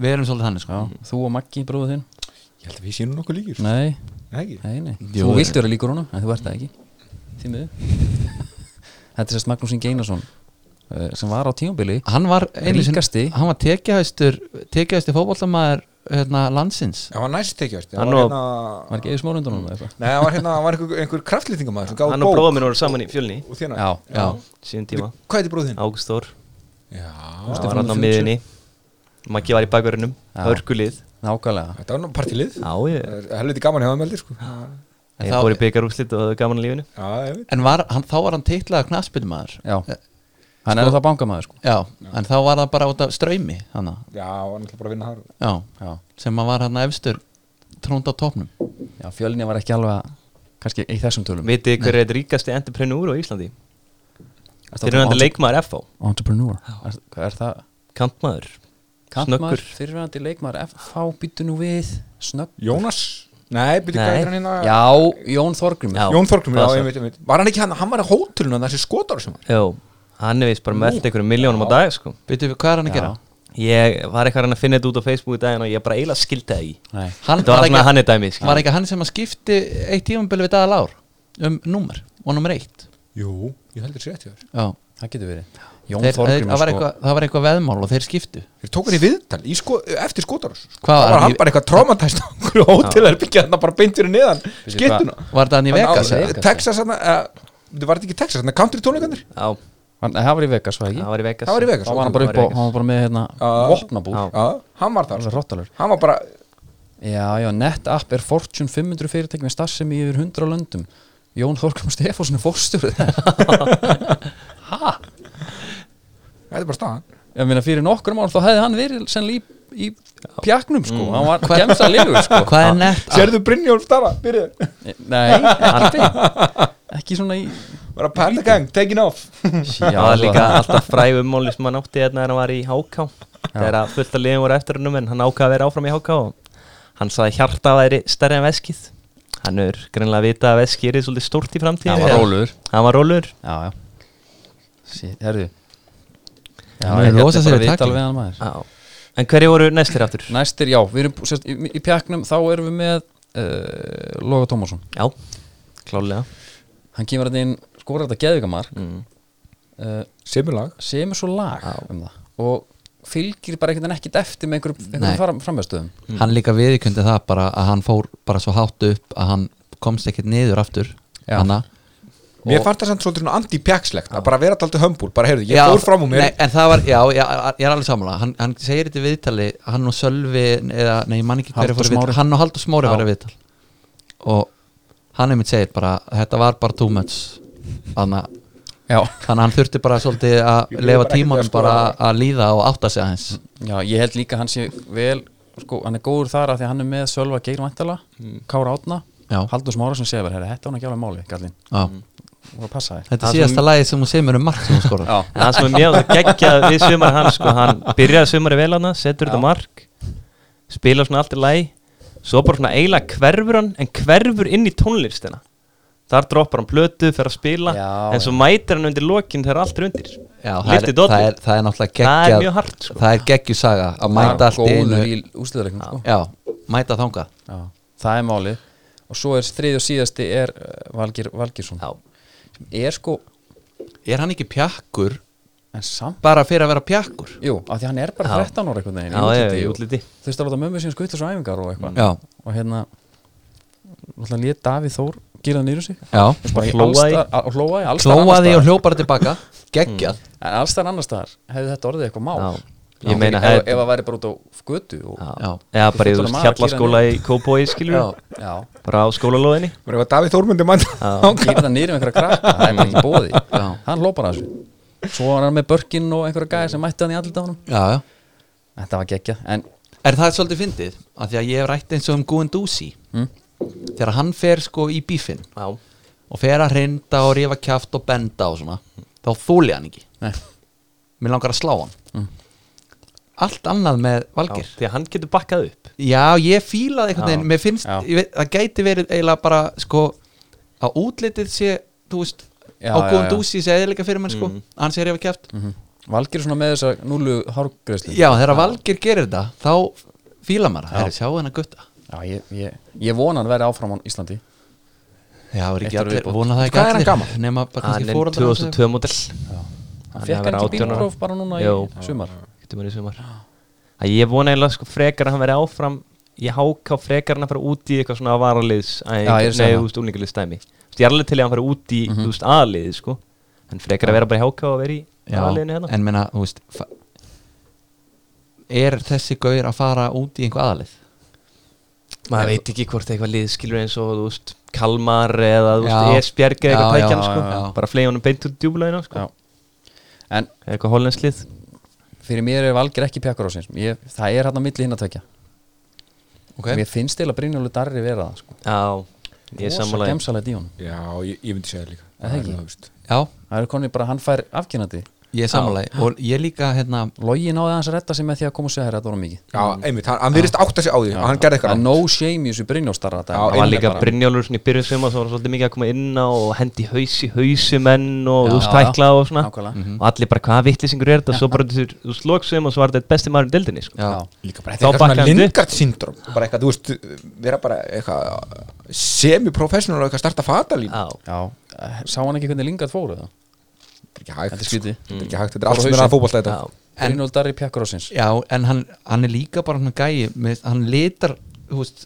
við erum svolítið þannig sko.
Mm.
Þú og Maggi bróðu þinn
Ég held að við séum nokkuð líkir
Nei,
Nei, ekki
nei, nei
Jú,
Þú
ég-
vilt vera líkur honum, en þú ert það ekki Því miður Þetta er sérst Magnús Ingi Einarsson eh, sem var á tímabili
hann var einu sinni-
Ríkasti.
hann var tekjahæstur tekjahæstur fótbollamæður hérna, landsins
Það var næst tekjast Það
Hann
var
og-
hérna
Var ekki eða smórundunum eða eitthvað
Nei, það var hérna Það var einhver, einhver kraftlýtingamæður sem gáði
Hann og bróður minn voru saman í fjölni
og þérna
Já,
já,
Síðan tíma
Hvað heitir bróðin?
Ágúst Þór
Já
Það var hann á miðinni Maggi var í bakverðinum
Já.
Hörgulið
Nákvæmlega
Þetta var nú partilið
Já, ég
Helviti gaman hjá meldi sko Já,
Ég fór í byggarúslit og það var gaman í lífinu
ég veit
en var, hann, þá var hann teitlaða knaspinumæður
Já, hann er það bankamæður Eh, sko
já, en þá var það bara út af ströymi hana.
Já, hann ætla bara að vinna þar
já,
Já,
sem að var hann efstur trónd á topnum
já fjölni var ekki alveg að- kannski í þessum tölum
Vitið þið hver er ríkasti entreprenúr á Íslandi?
Ertu að tala um
Fyrirvændi leikmaður FH
Entrepreneur er, hvað er það?
Kantmaður
Kantmaður,
Snöggur
fyrirvændi leikmaður FH býttu nú við Snögg
Jónas Nei, byrju hvað
Nei.
heitir hann hérna
Já, Jón Þorgrim
Já.
Jón Þorgrum, já,
Það
ég veit, ég veit Var hann ekki hann, hann var á hótelinu hann þessi skotar sem var
Jó, hann er vist bara með einhverjum miljónum á dag sko
veitum við hvað er hann að gera?
Ég var eitthvað hann að finna þetta út á Facebook í daginn og ég bara eiginlega skildi það í
Nei,
Hann,
Þetta var svona hann er dæmi
var
skilur.
ekki hann sem að skipti eitt tífambölu við dagar lár um númer og númer eitt
Jú, ég heldur sér eftir þér
já.
það getur verið Jón sko.
Þeir, þeir,
Þorgrim
það, var eitthvað, það var eitthvað veðmál og þeir skiptu
Þeir tók hann í viðtal í sko, eftir skotarás
Hvað var
Það var hann
hann í-
bara eitthvað traumatæst á einhverju hótel er byggja hann bara beint fyrir neðan Skittuna
var þetta hann í Vegas?
Hann á-
eða?
eða?
Texas hann Það var þetta ekki Texas, hann country tónleikandir
Já,
Hann- nei, Það var í Vegas, var það ekki?
það var í Vegas
Það var í Vegas
Það var hann bara upp á, hann var bara með hérna
Já.
vopnabúr
Já.
Það
Já, hann var þar sko.
var rottalur
Hann var bara
Já, já, NetApp er Fortune 500 fyrirtæk með starfsemi í yfir 100 löndum Jón Þorgrim Stefánsson er fórstjóri þess
Þetta er bara staðan
Ég meina fyrir nokkrum árum þá hefði hann verið sennilega í, í pjaknum sko Hann var gemsa liður sko
hvað er nett?
Sérðu Brynjólf Dara, byrjuð
Nei, ekki beint Ekki svona í
Bara Pentagang, taking off
Já, það var líka alltaf fræg ummáli sem hann átti hérna þegar hann var í HK Þegar að fullt að liðum voru eftir hennum en hann ákvað að vera áfram í HK og hann saði hjarta að væri stærri en veskið Hann er greinlega að vita að veskið er svolítið stórt í framtíð
Hann var rólegur.
Hann var rólur
Já, já Shit, herðu Já,
Hann er
ég ætla
losa sig
bara
við
að vita
taglið.
alveg hann maður
En hverju voru næstir aftur?
Næstir, já, við erum sérst, í, í pjaknum þá erum við með uh, Loga Tómasson
Já, klálega
Hann kemur þetta inn, skorar þetta geðvikamark
mm.
uh,
Semilag
sem er svo lag um það og fylgir bara einhvern veginn ekkert eftir með einhverjum,
Nei.
einhverjum framhjastöðum
hann líka viðkjöndi það bara að hann fór bara svo hátt upp að hann komst ekkert niður aftur
Já.
Hanna,
Mér fannst það samt svolítið svona anti-pjakslegt Að bara vera alltaf hömbúl Bara heyrðu, ég
Já,
fór fram úr mér
nei, en það var, já, já, ég er alveg sammála hann, hann segir þetta í viðtali, hann og Sölvi eða, nei, ég man ekki hverju
Halldór
fór í
Smári.
viðtali hann og Haldur Smári var í viðtali og hann einmitt segir bara þetta var bara too much þannig að-
Já.
þannig að hann þurfti bara svolítið að
Ég vil
lefa
bara ekki
tímanum
vera
bara
skoðaður.
að líða og átta sig aðeins
Já, ég held líka hann sé vel sko, hann er góður þar að því að hann er með Sölva Geirvæntala, mm. Kára Átna
Já.
Haldur Smára sem segir verið, þetta var hann ekki alveg máli gallinn,
já.
voru að passa þér
þetta er síðasta lagi sem hún semur um mark sem hún skorar
Já,
En það sem er mjög geggjað við sumar hann sko, hann byrjaði sumari vel hann setur þetta mark spila svona allt í læg svo bara svona eiginlega hverfur hann en hverfur inn í tónlistina þar droppar hann plötu, fer að spila
Já,
en svo mætir hann undir lokin þegar allt er undir
Já, það, er,
Lyfti dollu.
það, er, það er náttúrulega
Það er
geggjað
mjög hart, sko.
það er geggjusaga að mæta allt í
góður
einu
í úsliðarleiknum sko.
já, mæta þangað
Já, það er málið og svo er þrið og síðasti er uh, Valgir Valgirsson
Já.
sem er sko,
er hann ekki pjakkur
en samt
bara fyrir að vera pjakkur
Jú, af því hann er bara
Já.
13 ára einhvern veginn
Já, já, í
og-
útliti.
Þú veist að láta mömmu sín skvita svo æfingar og eitthvað
já,
og hérna náttúrulega lét Davíð Þór gera nýru sig
já
Bara í alls
Hlóaði.
staðar- á- hlóaði alls staðar
klóaði
annars
og hljópar tilbaka geggjað
staðar. en alls þar annars staðar hefði þetta orðið eitthvað mál
Já.
Já,
Ég meina,
ef,
hefði-
ef það væri bara út á götu og,
Já.
eða bara í
Þú þurftur
þú veist
að maður að
hjallaskóla í Kópói skilur
Já.
já,
bara á skólalóðinni
Bara eitthvað Davíð Þórmundi mæta
gera það nýri með um einhverja krakka það er bara ekki bóði,
Já.
hann lópar að þessu svo var hann með börkin og einhverja gæði sem mætti hann í allir dánum
já, já
þetta var geggja, en
er það svolítið fyndið af því að ég hef rætt eins og um Guðan Dúsi þegar hann fer sko í bífinn
Já,
og fer að hrinda og rífa kjaft og benda og svona þá þúli hann ekki
Nei.
mér langar að slá hann allt annað með Valgir
Því að hann getur bakkað upp
Já, ég fílaði einhvern
Já.
veginn Mér finnst,
Já.
ég veit, það gæti verið eiginlega bara, sko, að útlitið sé, þú veist,
Já,
á góðum
já, Mhm. já.
dúsi sé eðilega fyrir mann, sko hann sé reyfa kjæft
Valgir er svona með þessa núlu hárgreðslu
Já, þegar Valgir gerir þetta, þá fíla maður, það er sjá hennar gutta
Já, ég, ég, ég vona hann verði áfram á Íslandi
Já, er
Eitt
ekki
ár
allir,
viðbót.
vona það ekki
Hvað er hann
allir
gamall?
nema bara
Hann
kannski
er
fórandar
2002 model
Hann
Hann
fekk
hefur
hann ekki
verið 18 ára.
bílpróf bara núna
Jú.
í sumar
Getur verið í sumar að Ég vona eiginlega sko frekar að hann veri áfram Ég háká frekar hann að fara út í eitthvað svona varaliðs
Já, ég er að segja
Nei,
það.
þú veist, úlingaliðs dæmi Þú veist, Ég er alveg til að hann fari út í, þú veist, aðaliði sko En frekar að vera bara í háká og vera í
Já,
aðaliðinu hérna
en menna, þú veist fa- Er þessi gaur að fara út í einhver aðalið?
Maður veit ekki hvort eitthvað lið skilur eins og, þú veist, Kalmar eða, þú
Já.
veist, Esbjerg eða
Já,
eitthvað
já,
tækjan
já,
sko
já.
Bara flegja honum beint úr djúblaðinu
Já.
sko
En
Eða Eitthvað hollenslið
fyrir mér er Valgir ekki pjakkur á sinns ég, Það er hann á milli hinn að tökja Mér finnst til að Brynjólu Darri vera það sko.
Já, ég er
Rosa
sammálaði
gemsalegt í honum
Já, ég, ég myndi segja það líka
Er það ekki?
alveg, þú veist.
Já,
Það er konið bara, hann fær afkynandi
ég er samanlega og ég líka, hérna,
Logi náði hans að retta sig með því að koma og segja þér Þetta var mikið
Já, einmitt, hann, hann virðist átta sig á því Hann gerði eitthvað
Það er
rangt.
no shame í þessu Brynjóstarra
Já,
Það var
Einmitt
líka
bara.
Brynjólfur svona í byrjun sumar sem var svolítið mikið að koma inn á og hendi haus í hausumenn
Já,
og þú veist
já,
tækla og svona
nákvæmlega.
og allir bara hvaða vittlisingur er þetta svo bara þú þú slokk sumar og svo var þetta eitt besti maður í deildinni sko.
já,
Líka bara
Þá
þetta er eitthvað
bakkaði
svona
hann upp.
Lingard syndrom Bara eitthvað, þú veist, vera bara eitthvað semi-professional og eitthvað starta fatalín
Já,
Já, eh, sá hann ekki hvernig lingað fóru það
Þetta er ekki hægt
Þetta er
sko.
skrítið.
Þetta er ekki hægt, þetta er
Bara
allt sem er
hausinn.
að fótballta þetta
já,
Brynjólu Darri pjakkur á sinns
Já, en hann, hann er líka bara hann gæi með, hann litar þú veist,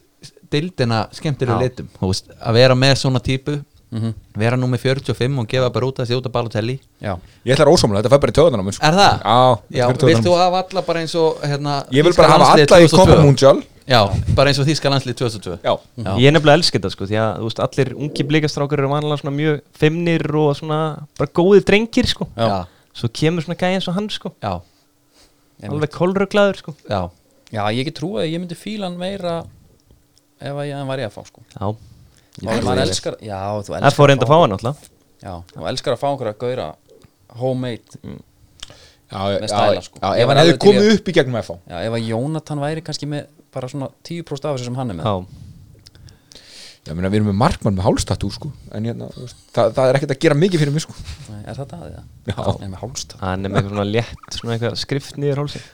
deildina skemmtilega
Já.
litum þú veist, að vera með svona típu
Mhm.
vera nú með 45 og gefa bara út að sjóta balotelli
Já,
Ég ætlar ósámlega, þetta fær bara í töðan á mér sko.
Er það?
Já, þetta
Já,
fer í taugarnar á
vilt þú
mér.
hafa alla bara eins og hérna,
Ég vil
þýska
bara hafa
landsliðið
alla í
2002?
Copa Mundial
Já, bara eins og þíska landslið 2002
Já,
Já.
Ég er nefnilega elska þetta sko því að þú veist allir ungi blikastrákur eru vanlega svona mjög feimnir og svona bara góði drengir sko
Já.
Mhm.
Já,
Svo kemur svona gæði eins og hann sko
já,
alveg kolruglaður sko
já.
já ég ekki trúið að ég myndi fíla hann meira ef að ég hann var ég að fá sko
Já,
Já, maður elskar, já, þú
það
elskar
fór reynda að fá hann alltaf
Já, þú elskar að fá einhverja að gauðra homemade
já,
Með
já,
stæla, sko.
já,
Ég
Ef
var
hann hefði
alveg til í
komið
að-
upp í gegnum FH
Já, ef að Jónatan væri kannski með bara svona 10% af þessu sem hann er með
Já,
Ég meina, við erum með markmann með hálstatú sko. En hérna, þú veist, það, það er ekkert að gera mikið fyrir mig sko.
Nei, Er það það eða?
Já.
Nei, með hálsta
hann er með eitthvað svona létt svona eitthvað skrift niður hálsinn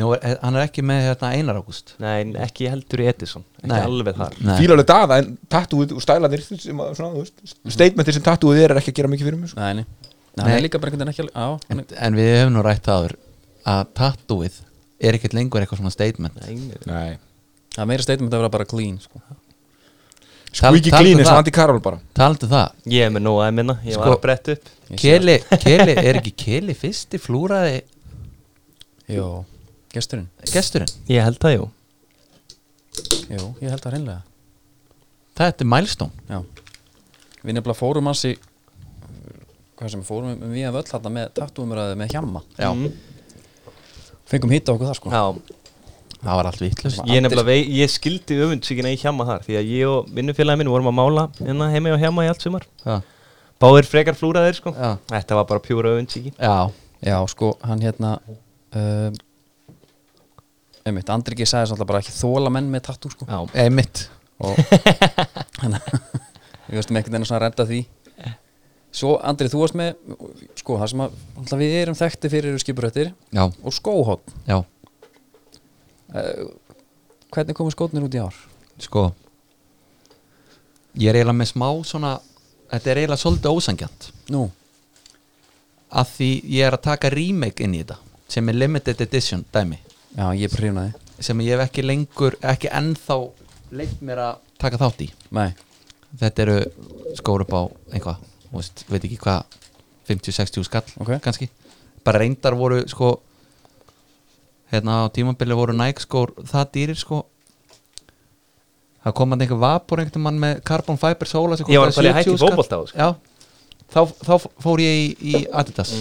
Nú, er, hann er ekki með hérna, Einar Ágúst
Nei, ekki heldur í Edison Ekki
Nei.
alveg þar
Nei.
Fíla alveg daða, en tattúið og stælanir sem að, svona, þú veist, Statementir sem tattúið er er ekki að gera mikið fyrir mig sko.
Nei, nei Nei, hann
Nei.
er líka bara einhvern veginn ekki alveg Já,
en,
hann
en við hefum nú rætt aður að tattúið er ekkert lengur eitthvað svona statement
Nei,
Nei
er- það er meira statement að vera bara clean sko.
Tal-
Squeaky
talandi
clean
um
eins og
það-
Andy Carroll bara
Talandu um það,
Ég er með nóg að minna, ég
Sko-
var að bretta upp
Keli, Keli, er ekki Keli fyrsti flúraði
Jó, gesturinn
gesturinn?
Ég held það, jú
Jó, ég held það reynlega
Það er þetta mælstón
Já Við nefnilega fórum hans í hvað sem við fórum um við að völl þarna með tattúumræðu með hjamma
Já,
Fengum hitta okkur það sko
Já,
það var allt vitlust
ég nefnilega vei, ég skildi öfundsvíkina í hjama þar Því að ég og vinnufélagi minn vorum að mála hérna heima og hjama í allt sumar
Já,
Báðir frekar flúraðir, sko
Já.
Þetta var bara pjúra öfundsvíki
já,
Já, sko, hann hérna um, einmitt, Andri ekki sagði svolítið bara ekki þóla menn með tattú sko
Já,
einmitt
og hann við veistum einhvern veginn svona að redda því Svo Andri, þú varst með sko, það sem að alltaf við erum þekkti fyrir eru skipuröttir
Já,
og skóhótt
já,
Hvernig komu skótnir út í ár?
sko Ég er eiginlega með smá svona Þetta er eiginlega svolítið ósangjant
Nú,
að því ég er að taka remake inn í þetta sem er limited edition dæmi
já, ég prýfnaði
sem ég hef ekki lengur, ekki ennþá leitt mér að taka þátt í
Nei,
þetta eru skór upp á einhvað, þú veist, veit ekki hvað 50-60 skall
Ok.
kannski bara reyndar voru sko hérna á tímabili voru Nike skór það dýrir sko það kom hann einhver vapor einhvern mann með carbon fiber sóla sem
Ég var
kostaði
að pæla
70
í hætti fótbolta á,
skall. Já. þá, þá fór ég í, í Adidas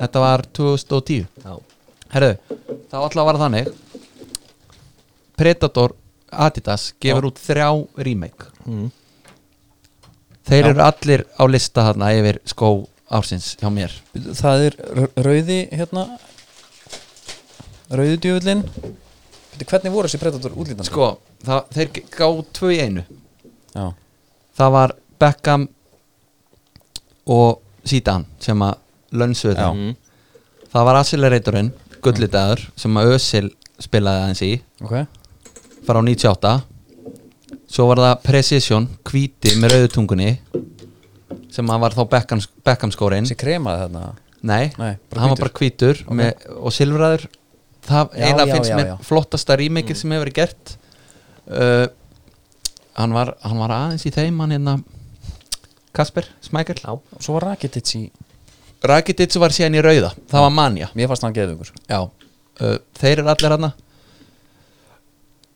þetta var 2010
Mm. já,
Herðu, þá alltaf var það þannig Predator Adidas gefur út þrjá remake Þeir eru allir á lista þarna yfir skó ársins hjá mér
það er r- rauði hérna rauði djöfullin Bíddu, hvernig voru þessi predator útlítandi
Sko, það, þeir gá tvö í einu
já,
Það var Beckham og Sítan sem að lönsuðu það
Mm.
Það var Acceleratorinn, gullitaður sem að Ösil spilaði aðeins í
ok
Hm? frá 98 Svo var það Precision, hvíti með rauðutungunni sem að var þá Beckham, Beckham skórin
þessi kremaði þarna
Nei,
Nei, bara
hann var
hvítur.
bara hvítur með, og silfraður
Já,
það
já,
eiginlega finnst
já,
mér
já. Mm.
flottasta rímikið sem hefur verið gert uh, hann, var, hann var aðeins í þeim hann hérna Kasper, Smækjel
Já.
og svo var Rakitic í
Rakitic var síðan í rauða, það var manja
mér fannst hann geðugur
Já, uh, þeir eru allir hann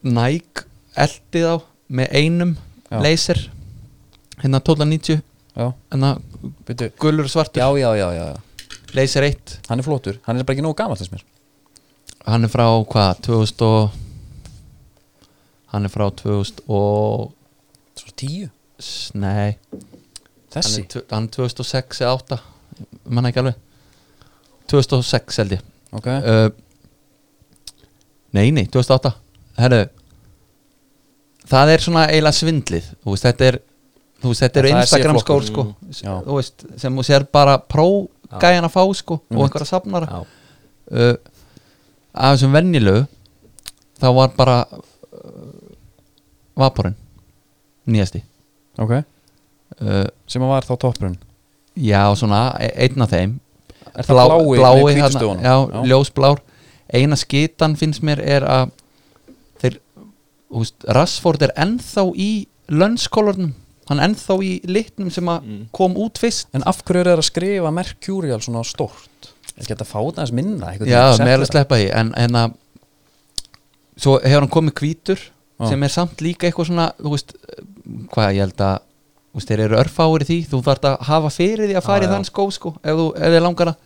Nike eldi þá með einum
Já.
laser hérna 1290
já,
hérna
byrju
gulur og svartur,
já, já, já, já, já
laser 1
hann er flottur hann er bara ekki nógu gamall þess mér
hann er frá hvað 2000 og hann er frá 2000 og
svo tíu
s- nei hann
þessi
er, tv- hann er 2006 eða 8 manna ekki alveg 2006 held ég
ok
uh, nei nei 2008 herru það er svona eiginlega svindlið þú veist þetta er þú veist þetta eru
Það er
Instagram skór
C-flokkur.
sko S-
Já.
þú veist sem þú sér bara pró
Já.
gæjan að fá sko og
Einmitt.
einhverja safnara
Já.
uh, af þessum venjulegu þá var bara uh, vaporinn nýjasti
ok
uh,
sem að var þá toppurinn
já svona e- einn af þeim
er það blái, með
blái hana,
hvítustöfunum
já, ljósblár eina skitan finnst mér er að þeir húst, Rassford er ennþá í lönnskolornum hann er ennþá í litnum sem að
Mm.
kom út fyrst
en af hverju er það að skrifa Mercurial svona stórt er ekki hægt að fá það eins minna einhvern
já,
veginn
með er
settera?
að sleppa því en, en að svo hefur hann komið hvítur
Já.
sem er samt líka eitthvað svona þú veist, hvað ég held að þú veist, þeir eru örfáir í því, þú þarft að hafa fyrir því að fara
Já,
í
já.
þann skó sko, ef þú, ef þið langar að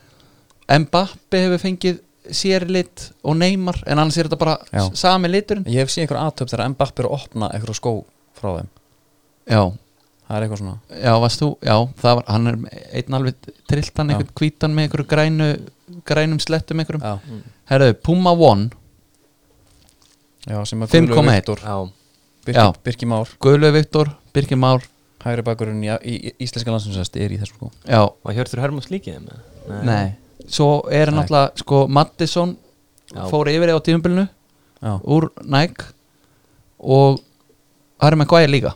Mbappe hefur fengið sér lit og neymar, en annars er þetta bara
Já.
s- sami liturinn
ég hef séð einhver aðtöp þegar Mbappir að opna einhverja skó frá þeim
já,
það er eitthvað svona
já, varst þú, já, það var hann er einn alveg trilltan,
Já.
einhvern hvítan með einhverju grænu, grænum slettum einhverjum,
já,
herðu, Puma One
já sem að
5,1.
Guðlaugur Viktor,
Já.
Birki,
Já.
Birki Már,
Guðlaug Viktor, Birgir Már
hægri bakurinn í, í, í íslenska landsinsest er í þessu skó
já,
Var Hjörtur Hermann slíkið þeim? eða?
Nei, svo er
Nei.
náttúrulega sko Mattisson
Já.
fór yfir á tímubilinu
já,
úr Nike og Harry Maguire líka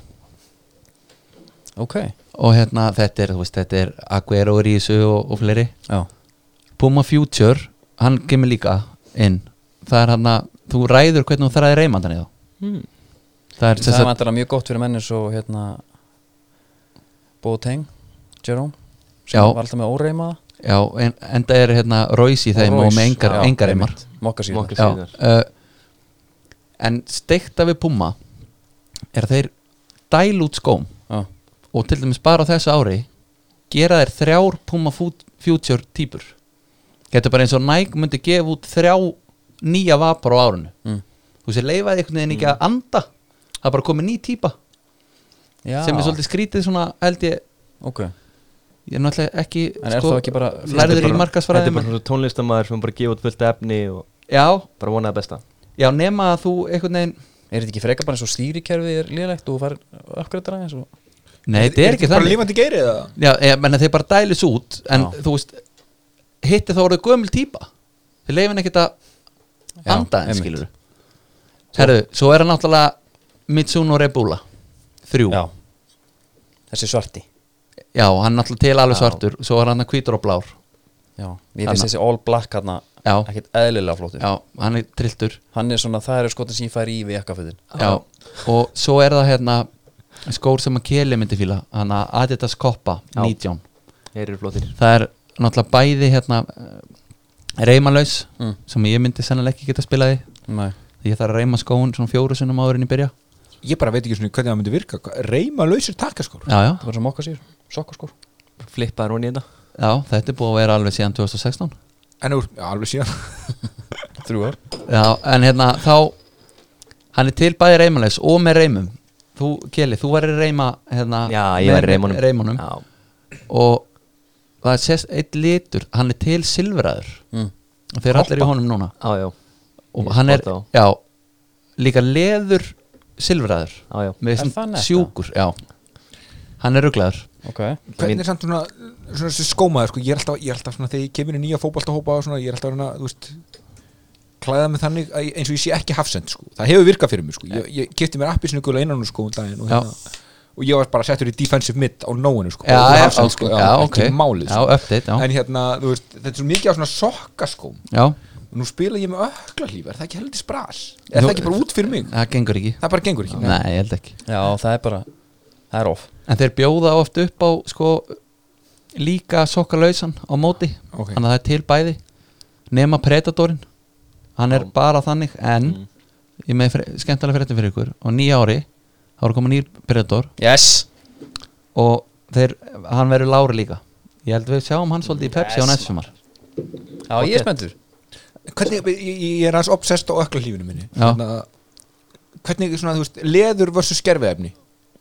ok já,
og hérna þetta er, þú veist, þetta er Aguero er í þessu og, og fleiri Puma Future, hann kemur líka inn, það er hann að þú ræður hvernig þú þræðir reymandan í þá
Hmm.
það
það er
er, sem sagt,
vantar mjög gott fyrir menni svo hérna Boateng, Jerome sem
Já.
var alltaf með óreima
já, en, en það er hérna Royce í þeim og, með engar, engar reymar
mokka síðan
Mokka
Já,
síðar.
uh, en steikta við Puma er að þeir dæl út skóm
já,
og til dæmis bara á þessu ári gera þeir þrjár Puma Fu- Future týpur getur bara eins og Nike myndi gefa út þrjá nýja vapar á árinu
Mm.
þú sé leifaði einhvern veginn ekki að anda það er bara komið ný týpa
já.
sem er svolítið skrítið svona held ég
ok,
ég er náttúrulega ekki, sko-
En er þá ekki bara-
lærður
Þetta
í
er bara- Þetta er
markasfræðum
bara svona tónlistamæður sem bara gefa út fullt efni og
já,
bara vonaði besta
já nema að þú einhvern veginn
er þetta ekki frekar bara eins og stýrikerfið er liðlegt og þú fær uppgrættar aðeins og...
nei, þetta er ekki
bara
þannig
lífandi geiri eða
já, ég menna þeir bara dælis út en
Já.
þú veist hitti þá voru gömul týpa þeir leifin ekkert að
Já,
anda en
einmitt.
skilur herru, svo er hann náttúrulega Mitsuno Rebula þrjú,
já, þessi svarti
Já, hann er náttúrulega til alveg
Já.
svartur svo er hann að hvítur og blár
já, ég
Þarna.
finnst þessi all black hann
Já.
ekkert eðlilega flóttur
já, hann er trilltur
hann er svona, það eru skotin sem ég fær í við jakkaföðin
já. og svo er það hérna skór sem að keli myndi fíla hann að Adidas Koppa,
Já.
19
Þeir eru flottir
það er náttúrulega bæði hérna eh, reymalaus
Mm.
sem ég myndi sennilega ekki geta spilaði
nei,
ég þarf að reyma skóun svona fjóru sinnum áður en ég byrja
ég bara veit ekki svona hvernig það myndi virka reyma lausir takkaskór
já, já,
það var svo mokka síður, sokkaskór
Flippaður hún í þetta
já, þetta er búið að vera alveg síðan 2016
en úr, já, alveg síðan
þrjú ár
já, en hérna þá hann er til bæði reymalaus og með reymum þú, Kjeli, þú væri reyma hérna,
Já, ég
með
var reymunum
Reymonum
Já,
og það sést eitt litur hann er til silfraður
Mm.
og þeir allir í honum núna
á, já,
og
Ég
hann er,
spotta á.
já, líka leður silfraður
á, já
með
Er það
þessum
netta?
sjúkur, já hann er rugglaður
ok
hvernig er samt svona, svona þessi skómaður sko, ég er alltaf, ég er alltaf svona, þegar ég kemur í nýja fótballtahópa og svona, ég er alltaf svona, þú veist klæða mig þannig að ég- eins og ég sé ekki hafsend sko. það hefur virkað fyrir mig, sko. ég, ég kipti mér appi sinni gula innan sko um daginn og, hérna,
Já.
og ég var bara settur í defensive mid á nóinu sko,
já,
og
já,
hafsend,
ok, já, ok
ekki málið
já,
sko.
update, já,
en hérna, þú veist, þetta er svo mikið á svona sokkaskóm
já
og nú spila ég með öklarlíf, er það ekki heldur spras er
Jú,
það ekki bara út fyrir mig,
það gengur ekki
það bara gengur ekki
eh, nei, ég held ekki
já það er bara það er off
en þeir bjóða oft upp á sko, líka sokkalausan á móti
Ok.
þannig að það er til bæði nema Predatorin hann er bara þannig en
Mm.
ég með fre- skemmtilega fréttum fyrir ykkur og nýja ári, þá er komin nýr Predator
yes
og þeir, hann verður lári líka ég held við sjáum hann svolítið í Pepsi á næstum sumar
já ég er spenntur
hvernig, ég, ég- ég er aðeins obsessed á öklarlífinu minni Hérna,
Já.
hvernig svona, þú veist, leður versus skerfiðefni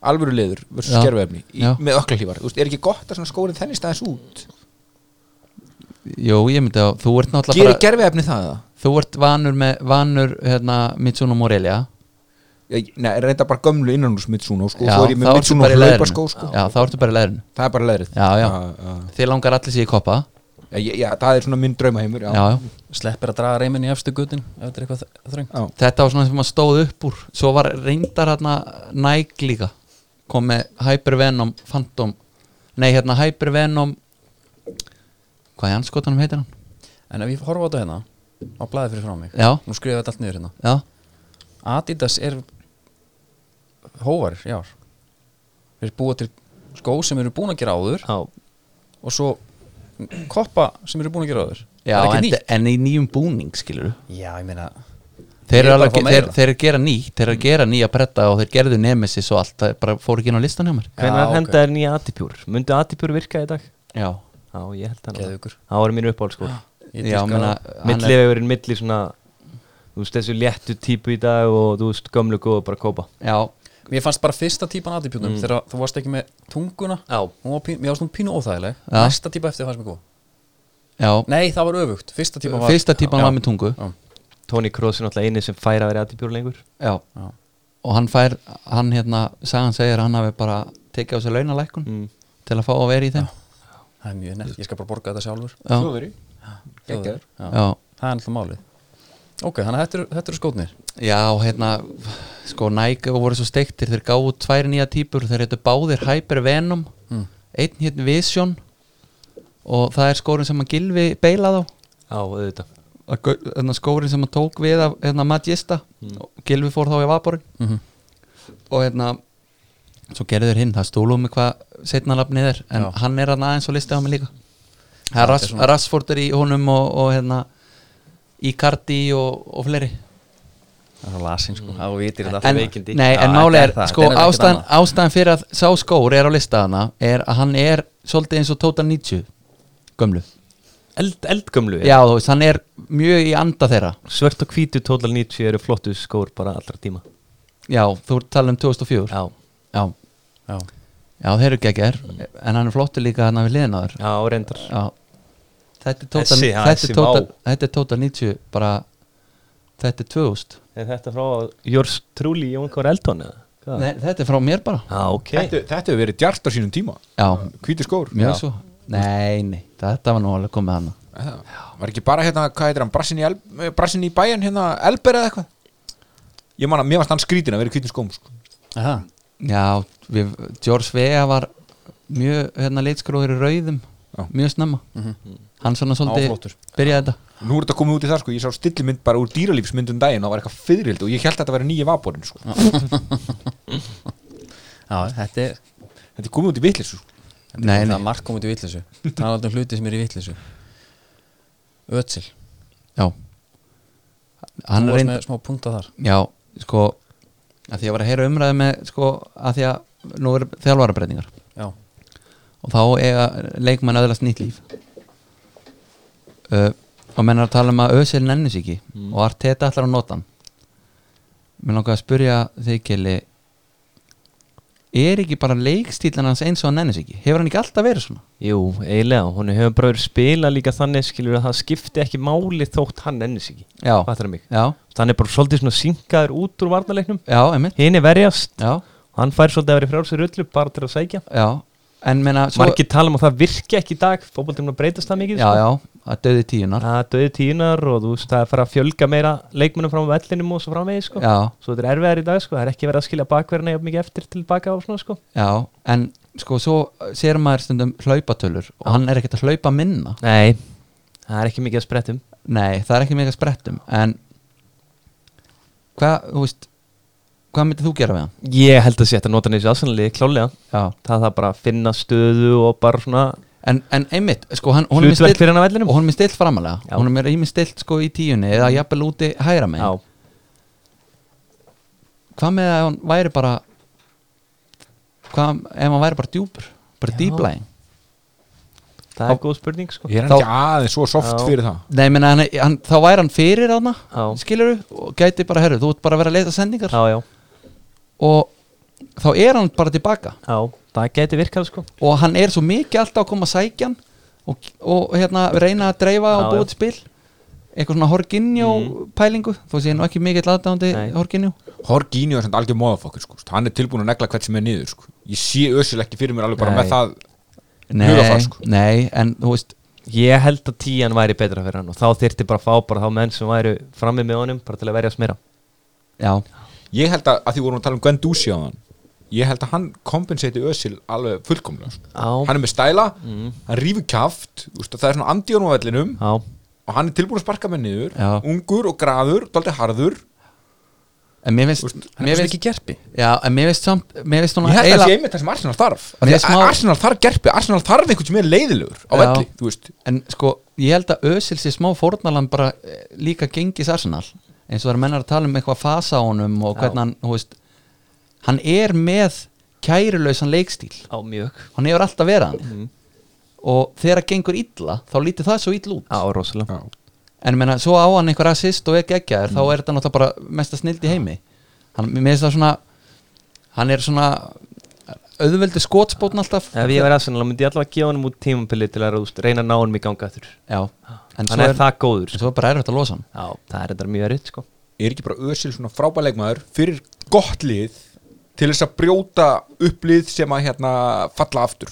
alvöru leður versus
Já.
skerfiðefni í,
Já.
með öklarlífar, þú veist, er ekki gott að svona skórið þennist aðeins út,
Jú, ég myndi að þú ert náttúrulega
gerir
bara,
gerfiðefni það eða?
þú ert vanur með vanur hérna, Mitsuno Morelia
Ég- Nei, er reynda bara gömlu innanús Mitsuno sko,
Já,
svo er ég
þá
með
ertu
Mitsuno
bara í leðrinu.
hlaupa sko, sko.
Já, þá ertu bara í leðurinn
það er bara leðrið
Já, já.
já.
Þið langar allir sér í koppa
Já, ég- já, það er svona minn draumaheimur já.
já, já.
sleppir að draga reymin í efstu gutin ef þetta er eitthvað þ- þröng
Já.
Þetta var svona sem maður stóð upp úr Svo var reyndar hérna Nike líka Kom með Hypervenom Phantom Nei hérna Hypervenom Hvað er anskotanum heitir hann?
en ef ég horfa á þetta hérna á blæði fyrir frá mig
Já,
nú skrifa þetta allt niður hérna
já
Adidas er hóvar já þeir búa til skó sem eru búin að gera áður
á,
og svo koppa sem eru búin að gera áður
Já,
það er
en,
ekki nýtt
en í nýjum búning skilur
já ég meina Ég
Þeir eru
er bara
alveg,
að fá meira.
þeir, þeir eru að gera nýtt Þeir eru að gera nýja bretta og þeir gerðu Nemesis og allt Það bara fór ekki inn á listan hjá mér
Hvernig
ok.
okay. henda er nýja atipjúr? Myndu atipjúr virka í dag?
Já,
Já, ég held hann
Geðveikur.
Það var mín uppáhald sko
ég
já,
dýrka
menna
það.
Milli hefur verið milli svona Þú veist þessu léttu típu í dag og þú veist gömlu góðu bara kópa
Já,
mér fannst bara fyrsta típan aðipjónum þegar þú varst ekki með tunguna
Já.
Hún var pín, mér varst hún pínu óþægileg
Já.
næsta típa eftir fannst mér góð
já
nei það var öfugt fyrsta típan var
Fyrsta típan
Já.
var með tungu
Já.
Tony Kroos er náttúrulega eini sem fær að vera atipjúr lengur
Já. og hann fær hann hérna, sagan segir að hann hafi bara tekið á sig launalækkun
Mm.
til að fá að vera í þeim
það er mjög nett ég skal bara borga þetta sjálfur
Já.
Þjóðveri. Geggjaður.
Já.
Já.
það er alltaf málið ok þannig að þetta eru- þetta eru skótnir
Já, hérna sko Nike voru svo steiktir, þeir gáðu tvær nýja típur, þeir heitu báðir Hypervenom mm. einn hérna Vision og það er skórin sem að Gilvi beilað á
Á, auðvitað
Að gau- hérna, skórin sem að tók við af hérna, Magista,
Mm.
og Gilvi fór þá í Vaporin
Mhm.
og hérna svo gerðu þeir hinn, það um stúluðu mig hvað setnalafnið er, en hann er hann aðeins og listið á mig líka Það er Rass, Rassford er í honum og, og hérna Icardi og, og fleiri
það er svo lasin sko það vitir þetta
en,
allt.
veikindi.
nei,
Já,
en
þetta
máli
er
er,
það,
sko,
þetta er ekkert
ástæðan,
annað.
ástæðan fyrir að sá skór er á listaðana er að hann er svolítið eins og Tóta 90 gömlu,
Eld, Eldgömlu
já þú veist, hann er mjög í anda þeirra,
Svört og hvítu Total 90 eru flottu skór bara allra tíma
já, þú ert talað um 2004
Já,
já,
Já.
já þeir eru geggjær en hann er flottur líka hann við liðin á þér
já og reyndar
já, þetta er Tóta
Þessi, já,
þetta
þessi
er Tóta-
vá.
þetta er Tóta 90 bara, þetta er 2000
Er þetta frá Jórs Trúli Jón Kvar Eldon eða? Hvað?
Nei, þetta er frá mér bara
Já, ok
þetta, þetta hefur verið djart á sínum tíma
Já,
hvíti skór
mjög svo Nei, nei, þetta var nú alveg komið hann
Það Var ekki bara hérna, hvað heitir hann, Brassin í, El, eh, Brassinn í bæjan, hérna, Elber eða eitthvað Ég man að, mér varst hann skrítin að vera í hvítum skóm sko.
Aha.
Já, við, George Vea var mjög hérna leitskróður í rauðum
Já.
mjög snemma Hann svona
flottur.
svolítið byrjaði þetta
Nú er þetta komið út í það, sko, ég sá stillimynd bara úr dýralífsmyndum um daginn og það var eitthvað fyrirhild og ég held að þetta væri nýja vaporinn sko.
Já, þetta er
Þetta er komið út í vitlis sko.
Nei,
það
nei,
er margt komið til vitleysu talað um hluti sem er í vitleysu Ötsil
já Hann
Hann
er
var
reynd,
með smá punta þar
já, sko að því að ég var að heyra umræði með sko að því að nú verður þjálfarabreitingar
Já,
og þá eiga leikmenn öðlast nýtt líf uh, og menn er að tala um að Özil nenni sig ekki og Arteta ætlar að nota hann mér langar að spyrja þig Kelly er ekki bara leikstílan hans eins og hann nennis ekki hefur hann ekki alltaf verið svona
Jú, eiginlega, hún hefur bara spila líka þannig skilur að það skipti ekki máli þótt hann ennis ekki
Já.
Fattarðu mig?
já,
Hann er bara svolítið svona syngaður út úr varnaleiknum
já, einmitt
Hinn er verjast
já,
Hann fær svolítið að vera frjálsir öllu bara til að sækja
já, en meina
Svo... Margir tala um að það virki ekki í dag Fótboltinn er að breytast það mikið sko.
já, já, að döði tíunar
Það döði tíunar og þú veist það er að fara að fjölga meira leikmennum frá vellinum og svo framvegis sko.
já,
Svo þetta er erfiðar í dag sko. Það er ekki verið að skilja bakverðina jafn mikið eftir til baka og svona sko.
já, en sko svo sér maður stundum hlaupatölur og hann er ekkert að hlaupa minna
Nei, það er ekki mikið að um. sprettum
nei, það er ekki mikið að sprettum en hvað, þú veist hvað myndið þú gera við hann?
Ég held að sé þetta nota nýsið aðsannlega klálega
já,
Það þarf bara að finna stöðu og bara svona
en, en einmitt, sko hann honum er
hlutverk
still-
fyrir hann að vellinum
og honum er stilt framalega,
Já.
honum er ímið stilt sko í tíunni eða jafnvel úti hægra megin
Já,
hvað með að hann væri bara hvað ef hann væri bara djúpur bara
Já.
dýblæðing
það er góð spurning sko
er hann
Þá-
ekki aðeins svo soft
Já.
fyrir það
Nei, meni, hann, hann, þá væri hann fyrir hana
Já.
skilur þú, og gæti bara herru þú ert bara að vera að leita sendingar
Já, já,
og þá er hann bara tilbaka
já, það geti virkað sko
og hann er svo mikið alltaf að koma að sækja hann og, og hérna reyna að dreifa
Já,
og
já.
búið spil eitthvað svona Horginjó pælingu þó sé ég nú ekki mikill aðdándi
Nei.
Horginjó
Horginjó er svona algjör móðafokkur sko. hann er tilbúin að negla hvert sem er niður sko. ég sé össil ekki fyrir mér alveg bara
Nei.
með það
nei,
Hugarfar, sko.
nei, en þú veist
Ég held að tíjan væri betra fyrir hann og þá þyrfti bara að fá bara þá menn sem væri frammi með honum bara til að verja smera
já,
ég held að, að því vorum að tala um Gwen Dusi á hann ég held að hann kompensati össil alveg fullkomlega sko.
Já.
hann er með stæla,
Mm.
hann rífur kjaft úst, það er svona andi á vellinum
Já,
og hann er tilbúin að sparka með niður
Já.
ungur og graður, daldið harður
en mér finnst
hann
mér
er
finnst,
ekki gerpi
já, en mér finnst samt mér finnst
ég
svona
held að það sé einmitt það sem Arsenal þarf
Mér
Því að
finnst smá-
Arsenal þarf gerpi, Arsenal þarf einhvern sem er leiðilegur á
Já.
velli, þú veist
En sko, ég held að Özil sé smá fórnalan bara eh, líka gengis Arsenal eins og það er mennar að tala um eitthvað fasa á honum og
Já.
hvernig hann, hú veist hann er með kærulausan leikstíl
á mjög
hann hefur alltaf verið hann
Mhm.
og þegar það gengur illa, þá lítur það svo illa út
Á, rosalega
Já.
en ég meina, svo á hann einhver assist og ekki ekki
Mhm.
þá er þetta náttúrulega bara mesta snild í heimi hann, mér finnst það svona hann er svona auðveldi skotspótn alltaf
Ef ég verið aðsennal, myndi ég allavega gefa honum út tímabili til að rúst, reyna að ná honum í ganga aftur
Já, en svo
Hann er,
er,
það góður
en
sko.
svo er bara erfitt að losa hann
Já, það er þetta mjög errið sko
er ekki bara Özil svona frábæleikmaður fyrir gott lið til þess að brjóta upp lið sem að hérna falla aftur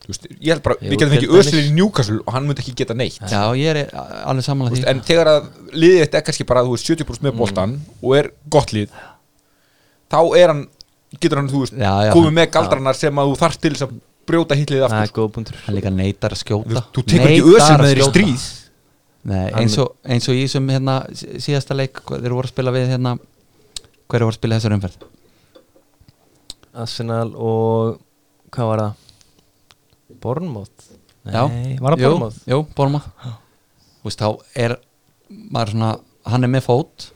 Þú veist, ég held bara,
Jú,
við getum
til
ekki Özil
dæmis.
í Newcastle og hann myndi ekki geta neitt
Já, ég er eh, alveg
Þú
samanlega því Mm.
veist, en þegar að liðið þetta er kannski bara þú veist 70% með boltan og er gott lið þá er hann getur hann, þú veist,
Já, já,
komið
hann-
með galdrarnar sem að þú þarft til þess að brjóta hitlið
Það er
aftur sko.
góð punktur
hann líka neitar að
Þú
skjóta
veist, þú tekur ekki
Neitar
Özil
að
með þeir í
skjóta.
stríð
Nei,
Hann-
eins, og, eins og í þessum hérna, sí- síðasta leik hvað þeir voru að spila við hérna, hver voru að spila þessar umferð
Arsenal og, hvað var það? Bornmót Nei, var það
jú,
Bornmót?
Jú, Bormóð Þú veist, þá er maður svona, hann er með fót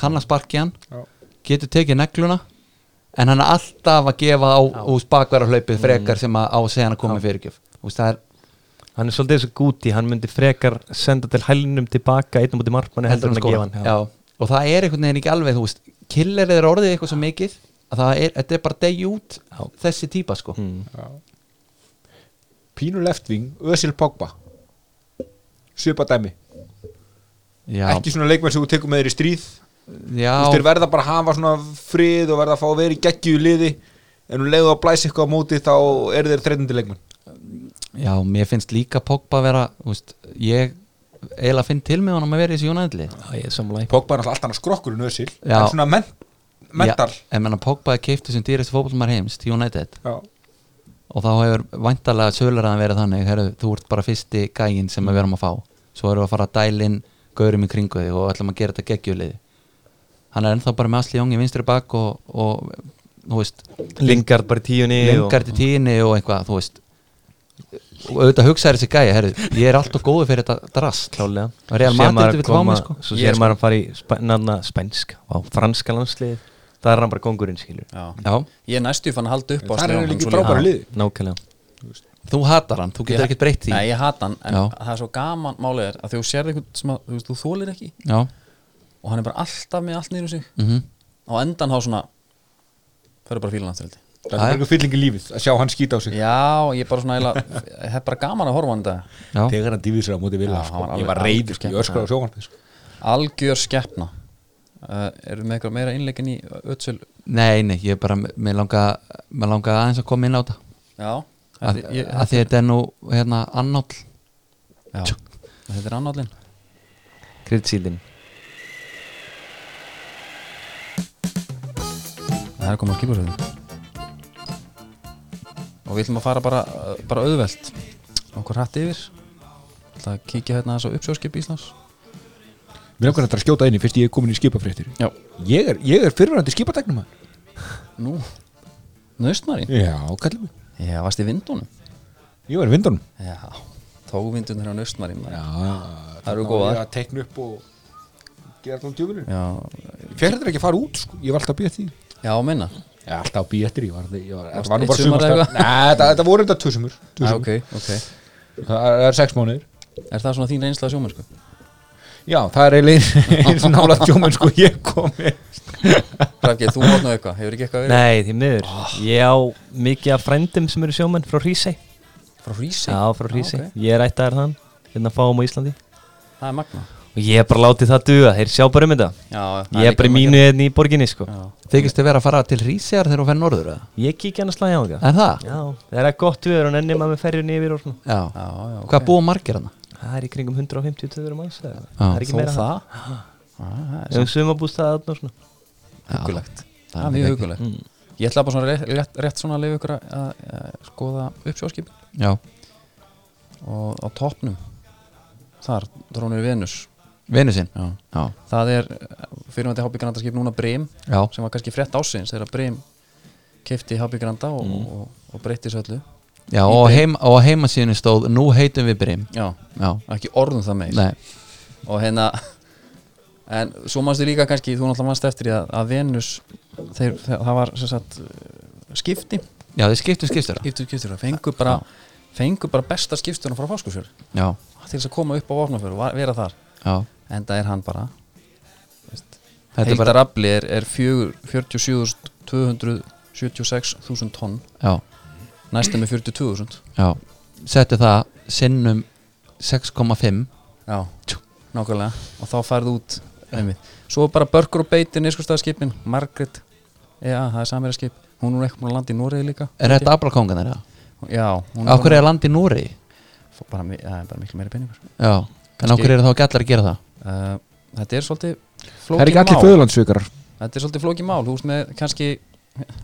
kann að sparki hann
Já.
getur tekið negluna en hann er alltaf að gefa á ús bakverða
Mm.
hlaupið frekar sem að á að segja hann að koma í fyrirgjöf Þú veist, það er
Hann er svolítið eins og gúti, hann myndi frekar senda til hælinum tilbaka einn á múti markmanni heldur hann að
skora.
gefa hann
já. og það er einhvern veginn ekki alveg þú veist, killerið er orðið eitthvað svo mikið að það er, þetta er bara degi út
Já.
þessi típa sko
Hmm.
Mm.
Pínu leftving, Özil Pogba svipa dæmi
já,
ekki svona leikmenn sem þú tekur með þeir í stríð
já,
Þú veist, þeir verða bara að hafa svona frið og verða að fá að vera í geggju liði en nú leiðu að blæsa eitthvað á móti þá eru þeir þreitandi leikmenn
já, mér finnst líka Pogba vera, þú veist, ég eiginlega finn til með honum að vera í þessu Jónæðli
Já, ég er sammála í.
Pogba er alltaf allt annars skrokkur en Özil
Já.
en svona men mental
en menna Pogba er keiftu sem dýrist fótbolmar heims til United
Já.
og þá hefur væntalega sölaraðan verið þannig herru, þú ert bara fyrsti gægin sem við erum að fá svo erum við að fara að dælin gaurum í kringu þig og ætlum að gera þetta geggjulið hann er ennþá bara með Asli Jóngi vinstri bak og, og þú veist,
Lingard bara í tíunni
lengar til tíðinni og eitthvað, þú veist og auðvitað hugsaði þessi gæja, herru, ég er alltaf góður fyrir þetta drast
klálega
Og Real
Svo
Madrid
sér maður að
vill fá mig,
koma-
sko.
svo
Ég,
sér maður að fara í spænna spænsk á franska landslið það er hann bara kongurinn skilur
Já,
ég er næstu fann að halda upp á
Þar
Asli
eru
Jóhann
líka
svo
frábæru
lengi.
liði. Liðið.
nákvæmlega
þú hatar hann, þú getur
Ég-
ekkert breytt því
Nei, ég hata hann, en
Já.
það er svo gaman málið er að þegar þú sér einhvern sem að, þú veist, þú þólir ekki
Já,
og hann er bara alltaf með allt niður um sig
mhm
á endan þá svona það eru bara fílan aftur held ég.
Það er bara einhver fylling í lífið að sjá hann skýta á sig
Já, ég er bara svona eila Það er bara gaman að horfa á þetta
Já,
Þegar hann dýfið sér á móti vilja
Já,
sko.
hann var alveg-
Ég var
alveg
reyður, sko.
skemmt.
ég öskar á sjóhann sko.
Algjör skeppna uh, Erum við með eitthvað meira innleikin í Ötsöl
nei, nei, ég er bara mér langa, mér langa aðeins að koma inn á þetta
Já,
að,
þetta, ég,
að því þetta er nú hérna annáll
já, þetta er annállin
Kryddsíldin
Það er komið að kýpa Og við ætlum að fara bara, bara auðvelt Okkur hratt yfir Það að kíkja hérna þess að uppsjóðskip Íslands
Mér langar þetta að skjóta einni fyrst ég er komin í skipafréttir
Já
Ég er, ég er fyrirvændi skipadegnum
Nú, nöstmarín
Já, kallum við
Já, varst í vindunum
Ég var í vindunum
Já, tóvindunir á nöstmarín maður.
Það
eru góðar.
Ég að teikna upp og gera allan djöfunum
Já,
Fyrir þetta ekki að fara út, sko. ég var alltaf að býja því
já, minna
Ég var alltaf að býja eftir, ég var, ég var,
Varst
þetta var nú
eitt
bara
sumar
sumar
eða
Nei, þetta, þetta voru þetta tvisumur
Já, ok, ok
Það er sex mánuðir
Er það svona þín reynsla að sjóma, sko?
Já, það er eiginlega eins og nála tjóman sko ég komi
Rafgeir, þú mátt nú eitthvað, hefur ekki eitthvað verið?
Nei, því miður Ég á mikið af frændum sem eru sjómenn frá Hrísey
Frá Hrísi?
Já, frá Hrísey
ok.
Ég er ættaður þann Hérna fáum á Íslandi
Það er magna
Og ég er bara látið það duga Þeir sjá bara um þetta
Já, það
Ég er
líka
bara í
um að
mínu hérna í borginni sko
gera. Já,
þykist þið vera að fara til Rísjar þegar þú fenn norður eða?
Ég kíkja hann að slæja á það
Er það?
Já, það er gott viður og nenni maður með ferjunni yfir og svona
Já,
já, já ok.
hvað búa margir hana?
Það er í kringum 150-200 manns eða eitthvað.
Já,
Það er ekki meira það
Það
Ef sumabústað þarna og svona
hugulegt Það er mjög hugulegt Ég ætla bara svona rétt, rétt, rétt svona að leifa ykkur að, að, að skoða uppsjóðskip
Já,
og á toppnum þar drónir Venus
vinnu sinn
Já.
Já,
Það er eh, fyrirvændi hábyggandarskip núna Brim
já,
sem var kannski frétt ásins þegar Brim kefti hábyggranda og, og, og breytti þessu öllu
já og, heim, og á heimasíðinu stóð Nú heitum við Brim
Já,
Já,
ekki orðum það meir
nei,
og hérna en svo mannstu líka kannski, þú náttúrulega mannst eftir því að, að Venus, þeir, þeir, það var sem sagt, uh, skipti
já þið skiptum skipstur
skiptu skipstjóra, fengu bara fengu bara besta skipstjóra frá fáskúsjóri
Já,
til þess að koma upp á vopnafjör og va- vera þar
já
en það er hann bara
Þetta er bara,
heildarafli er, er fjögur- 47.276.000 tonn
já,
næstum með 42.000
já Setti það sinnum 6,5
já, nákvæmlega og þá færðu út einmitt. svo bara börkur og beiti nýrskustafskipin Margaret, já, það er samverja skip hún er ekki búin að landa í Noregi líka
Er þetta ablakongan þeirra?
Já, hún
Á hverju er land í Núri?
bara, bara, mi- það er bara miklu meiri peningur
Já, en á
Kannski-
hverju er þá ekki allir að gera það?
uh, Þetta er svolítið
Það er
flókið
ekki allir
mál
föðurlandsveikarar
Þetta er svolítið flókið mál, þú veist með kannski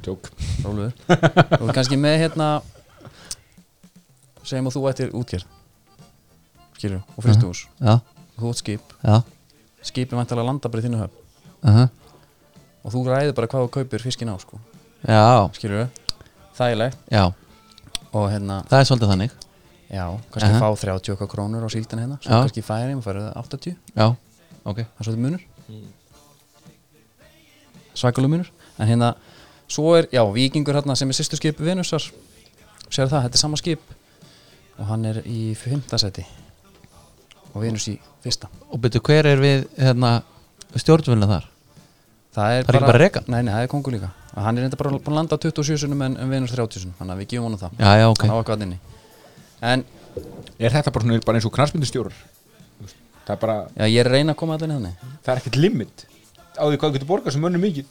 Tjók
Róluður Þú veist kannski með hérna segjum að þú ættir útgerð skilur, og fristús
Já,
þú átt skip,
já,
skipið væntalega landa bara í þínu höfn
uh
og þú ræður bara hvað þú kaupir fiskin á sko,
já,
skilur þægilegt
já
og hérna,
Það er svolítið þannig
já, kannski
Aha.
fá 30 okkar krónur á síldina hérna, svo
Já.
kannski færi og færið 80
Já, ok
það er svolítið munur
Mm.
svakalug munur en hérna, svo er, já, vikingur hérna sem er sýstu skip Venusar sér það, þetta er sama skip og hann er í fymtasæti og Venus í fyrsta
Og betur hver er við hérna, stjórnvölinu þar?
það er,
Það er ekki bara reka?
nei, nei, það er kongur líka og hann er reynda bara búin að landa á 27 sunum en, en Venus 30 sunum, þannig að við gefum honum það
Já, já, ok
hann á eitthvað inni en
Er þetta bara, svona, bara eins og knarsmyndustjórar? Það er bara,
já, ég er að reyna að koma allir hérna. þannig
það er ekkert limit á því hvað þú getur borgað sem mönnum mikið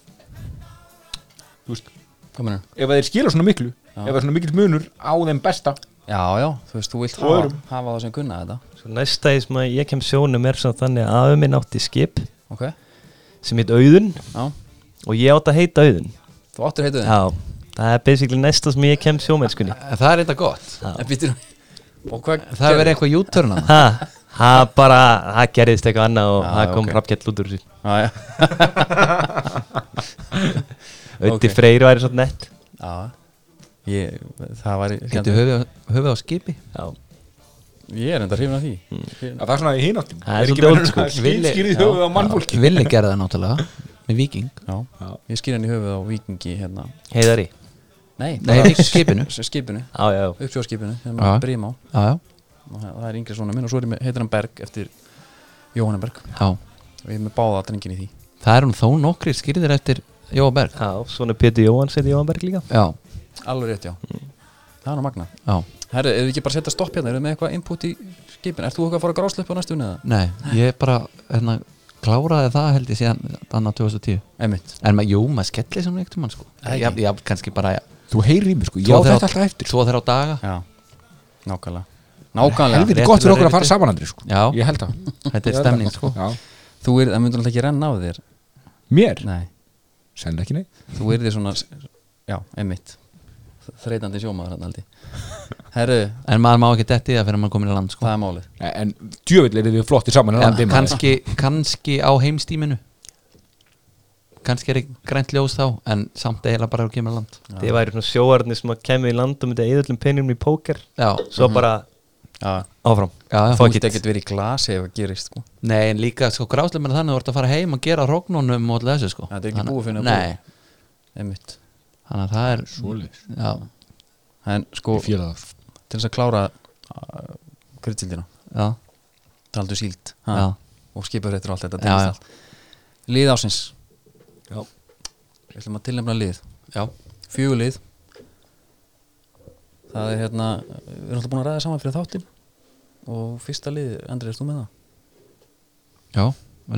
Þú veist,
hvað mennur?
ef að þeir skila svona miklu
Já.
ef það er svona mikill munur á þeim besta
já, já, þú veist, þú vilt
Og
hafa,
öðrum.
hafa það sem kunna þetta
Svo næsta því sem að ég kem sjónum er svona þannig að afi minn átti skip
ok,
sem heit Auðun
já,
og ég átti að heita Auðun
þú áttir heituð
Já, það er basically næsta sem ég kem sko. sjómennskunni
Það er eitthvað gott
En býtur Og hvað
Það verður eitthvað júturna
Ha, það bara, það gerðist eitthvað annað og
Já,
það kom
ok.
okay. rafkjall út úr þessu
Já, já.
Ötti
Ok.
Freyr væri svona nett
já. Ég, það var
Getur höfuð, höfuð á skipi
Já,
Ég er enda hrifin af því
að það er svona í hináttum
Það er svolítið old school.
Villi-
skýrið höfuð á mannfólki
Villi gerði það náttúrulega Með viking
Já.
Já.
Ég skýr henni í höfuð á vikingi hérna
heiðari
Nei,
Nei, ekki skipinu
s- skipinu
Já, já, já.
Uppsjóðskipinu sem
Já.
að brýma á
Já, já,
Og það það er yngri svona minn og svo er ég með, heitir hann Berg eftir Jóhannaberg
já
og ég er með báða drengin í því
Það er hún þó nokkri skýrðir eftir Jóa Berg
já svona Pétur Jóhann seti Jóhann Berg líka
Já,
alveg rétt já það er nú magna
já,
herru, erum við ekki bara að setja stopp hérna, erum við með eitthvað input í skipin ert þú eitthvað að fara að grásleppa á næstu unni eða?
nei, ég bara hérna, kláraði það held ég síðan annar 2010,
einmitt,
en maður, jú, maður skellir sem neitt um hann sko,
Æ.
já, já, kannski bara já,
Þú heyrir í mér sko, ég á þetta alltaf eftir
tvo þeirra á daga,
já, nákvæmlega nákvæmlega,
Helviti
rétt
gott
til að
fyrir okkur að fara
rifja
saman andri sko
Já.
Ég held það
þetta er
Ég held
stemning
það.
sko
Já.
þú er, það myndur alltaf ekki renna á þér
Mér?
nei,
Senn ekki nei
þú er þér svona já, einmitt þreitandi sjómaður hann aldi herru,
en maður má ekki detti það fyrir maður komin í land sko
það er málið
Nei, En djöfull er þið flottir saman en
en
landi, maður.
kannski, kannski á heimstíminu kannski er ekki grænt ljós þá en samt eiginlega bara að kemur í land
Þið væri svona sjóarni sem að kemur í land og myndi að eðallum penjum í póker
já,
Svo bara
já,
áfram
já, já.
þú
Fuck
get
it.
ekki verið í glasi ef það gerist sko.
nei, en líka sko gráslega með þannig að þú ert að fara heim og gera rognunum og allir þessu sko
Já, þetta er ekki
Þannig-
búið fyrir að
nei,
einmitt
þannig að það er
Svoleiðis.
já,
en sko,
Ég fíla það.
til þess að klára uh, kryddildina,
já,
taldu síld ha,
já,
og skiparéttur og allt þetta
Já, já.
já, já. lið ásins
Já.
við ætlum að tilnefna lið
já.
fjögur lið það er hérna við erum alltaf búin að ræða saman fyrir þáttin og fyrsta lið, Andri, erst þú með það?
já.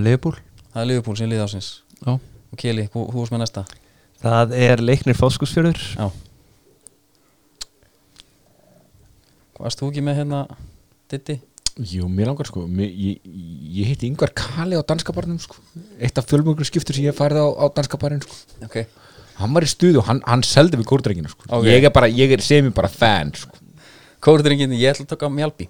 leifbúl
það er liðupúl sem er lið ásins
já.
og Keli, hú, hú varst með næsta
Það er leiknir fóskusfjörður
já varst þú ekki með hérna Diddi?
Jú, mér langar sko mér, ég, ég hitti yngvar Kali á danskabarnum sko. Eitt af fjölmögru skiptur sem ég hef farið á, á danskabarnum sko.
ok
Hann var í stuðu og hann, hann seldi við kórdrengina sko.
Ok.
Ég er bara, ég er semi bara fan sko.
Kórdringin, ég ætla að taka Mjálpi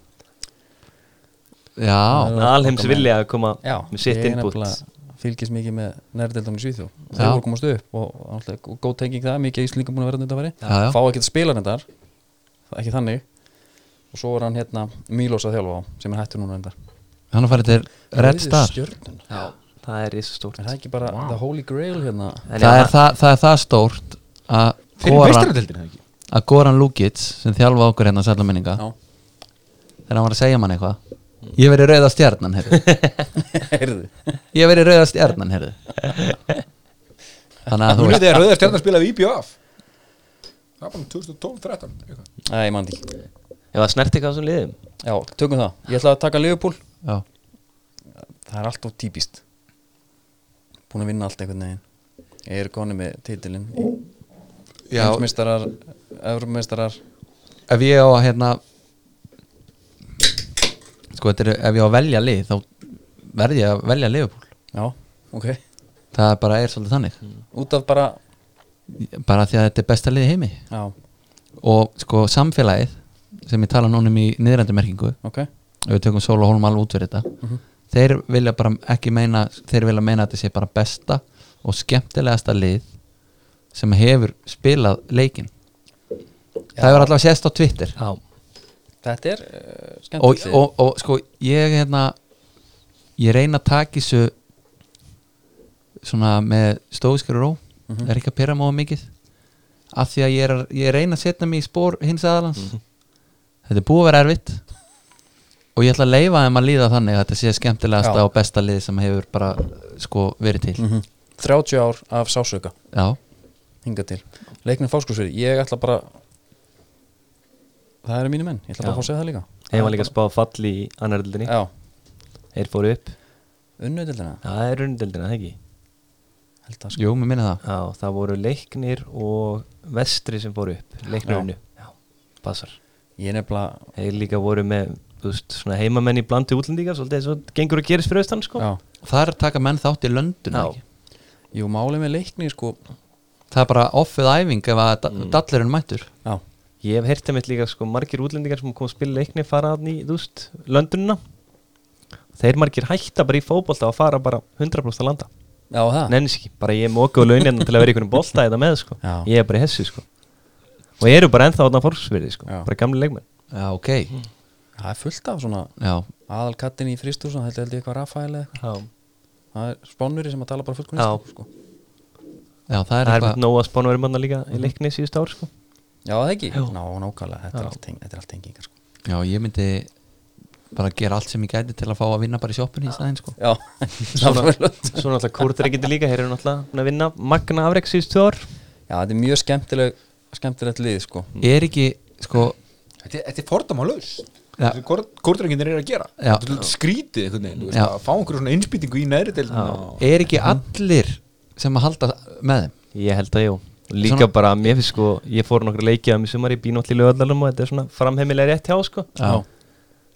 já,
Alheims vilja að koma
Já,
með sitt
ég
input
nefnilega fylgist mikið með nærdeldum í Svíþjó Þeir
Já.
voru að komast upp og, og náttúrulega gó- góð tenging það, mikið íslingum búin að vera þetta
Já, já.
Fá ekkert spilar þar, ekki þannig Og svo er hann hérna Mílos að þjálfa á, sem er hættur núna endar
hann er farið til Red Star
Stjörnun,
Það er risastórt
er það ekki bara The Holy Grail hérna
En
það
já,
er það, það, er það stórt að
Fyrir
Goran,
meistaradeldina ekki
að Goran Lukic sem þjálfa okkur hérna sæluminninga
Já,
þegar hann var að segja mann eitthvað ég veri rauða stjarnan hérna. herri.
heyrðu
ég veri rauða stjarnan herri. þannig að þú
Hún
veist
hefði að Rauðar Stjarnar spilaði í IBF Það var bara 2012-13 eitthvað.
Nei, ég man það ekki
Ef það snerti eitthvað á þessum liðum
Já, tökum það, ég ætla að taka Liverpool
já,
Það er allt of típist Búin að vinna allt einhvern veginn Ég er konu með titilinn
Já.
Heimsmeistarar, Evropameistarar
ef ég á að hérna sko þetta er ef ég á að velja lið þá verð ég að velja liðbúl
Já, ok
það er bara er svolítið þannig
Út af bara,
bara því að þetta er besta lið í heimi
já,
og sko samfélagið sem ég tala núna um í niðrændi merkingu
ok
ef við tökum Sól og Hólm alveg út fyrir þetta
Mhm.
þeir vilja bara ekki meina þeir vilja meina að þetta sé bara besta og skemmtilegasta lið sem hefur spilað leikin það hefur allavega sést á Twitter
Já
Þetta er uh,
og,
skemmtilegt
og, og sko ég hérna ég reyna að taka þessu svona með stóðskri ró er ekki að pyrra móða mikið af því að ég, er, að- ég reyna að setja mig í spór hins aðalans þetta er búið að vera erfitt og ég ætla að leifa þeim að líða þannig að þetta sé skemmtilegasta
Já. Mhm.
og besta lið sem hefur bara sko verið til
30 ár af sásauka
já,
hinga til Leiknir fáskursveri, ég ætla bara Það eru mínu menn, ég ætla bara
Já.
að fá að segja það líka
Þeir var líka að spá fall í annar dildinni
Já,
Þeir fóru upp
unnöðildina
Það er runndildina, það ekki
Held að sko
jú, mér minna það
Já, það voru leiknir og vestri sem fóru upp Leiknir
Já.
unnu Já, passar
Ég er nefnilega,
Þeir líka voru með, þú veist, svona heimamenn í blandi útlendingar Svolítið eins og gengur að gerist fyrir austan, sko
já
þar taka menn þátt í löndun
Já.
ekki?
Jú, málið með leikni sko
það er bara offið æfing ef að mm. dallurinn mættur
Já,
Ég hef heyrtið mitt líka sko margir útlendingar sem kom að spila leikni fara hann í, þú veist, löndununa Þeir margir hætta bara í fótbolta og fara bara 100% að landa
já það
Nennis Ah. ekki, bara ég móka á launin hérna til að vera í einhvern bolta eða með sko
Já.
Ég er bara í hessu sko Og ég eru bara ennþá þarna fórsverði sko,
Já.
bara gamli leikmenn
já, ok,
Það er fullt af svona
já,
aðalkattin í fristúsan, þetta held ég eitthvað Rafael eða eitthvað.
Já.
það er spánuri sem að tala bara fullkunni
Já.
sko.
já það er
Það er
eitthvað
verið nóg að spána verið manna líka í leikni síðust ár sko
já, það ekki, ná, nákvæmlega þetta er allt teng- þetta er allt tengingar sko.
Já, ég myndi bara gera allt sem ég gæti til að fá að vinna bara í sjoppunni í staðinn sko.
já, það var vel-
Svo náttúrulega kúrtreikindi líka, þeir eru náttúrulega búin að vinna magna afrek síðust tvö ár
já, þetta er mjög skemmtileg skemmtilegt lið sko
er ekki sko,
Þetta er- þetta er fordamalaus
Já.
Kortrenginir eru að gera
Já.
Þetta er svolítið skrítið einhvern veginn þú veist,
Já.
að fá einhverju svona innspýtingu í næri deildina og-
er ekki allir sem að halda með þeim
Ég held að jú Líka
Svona-
bara, mér finnst sko, ég fór nokkra leikið um í sumar í bínótli lögadalum og þetta er svona framheimilega rétt hjá sko
Já.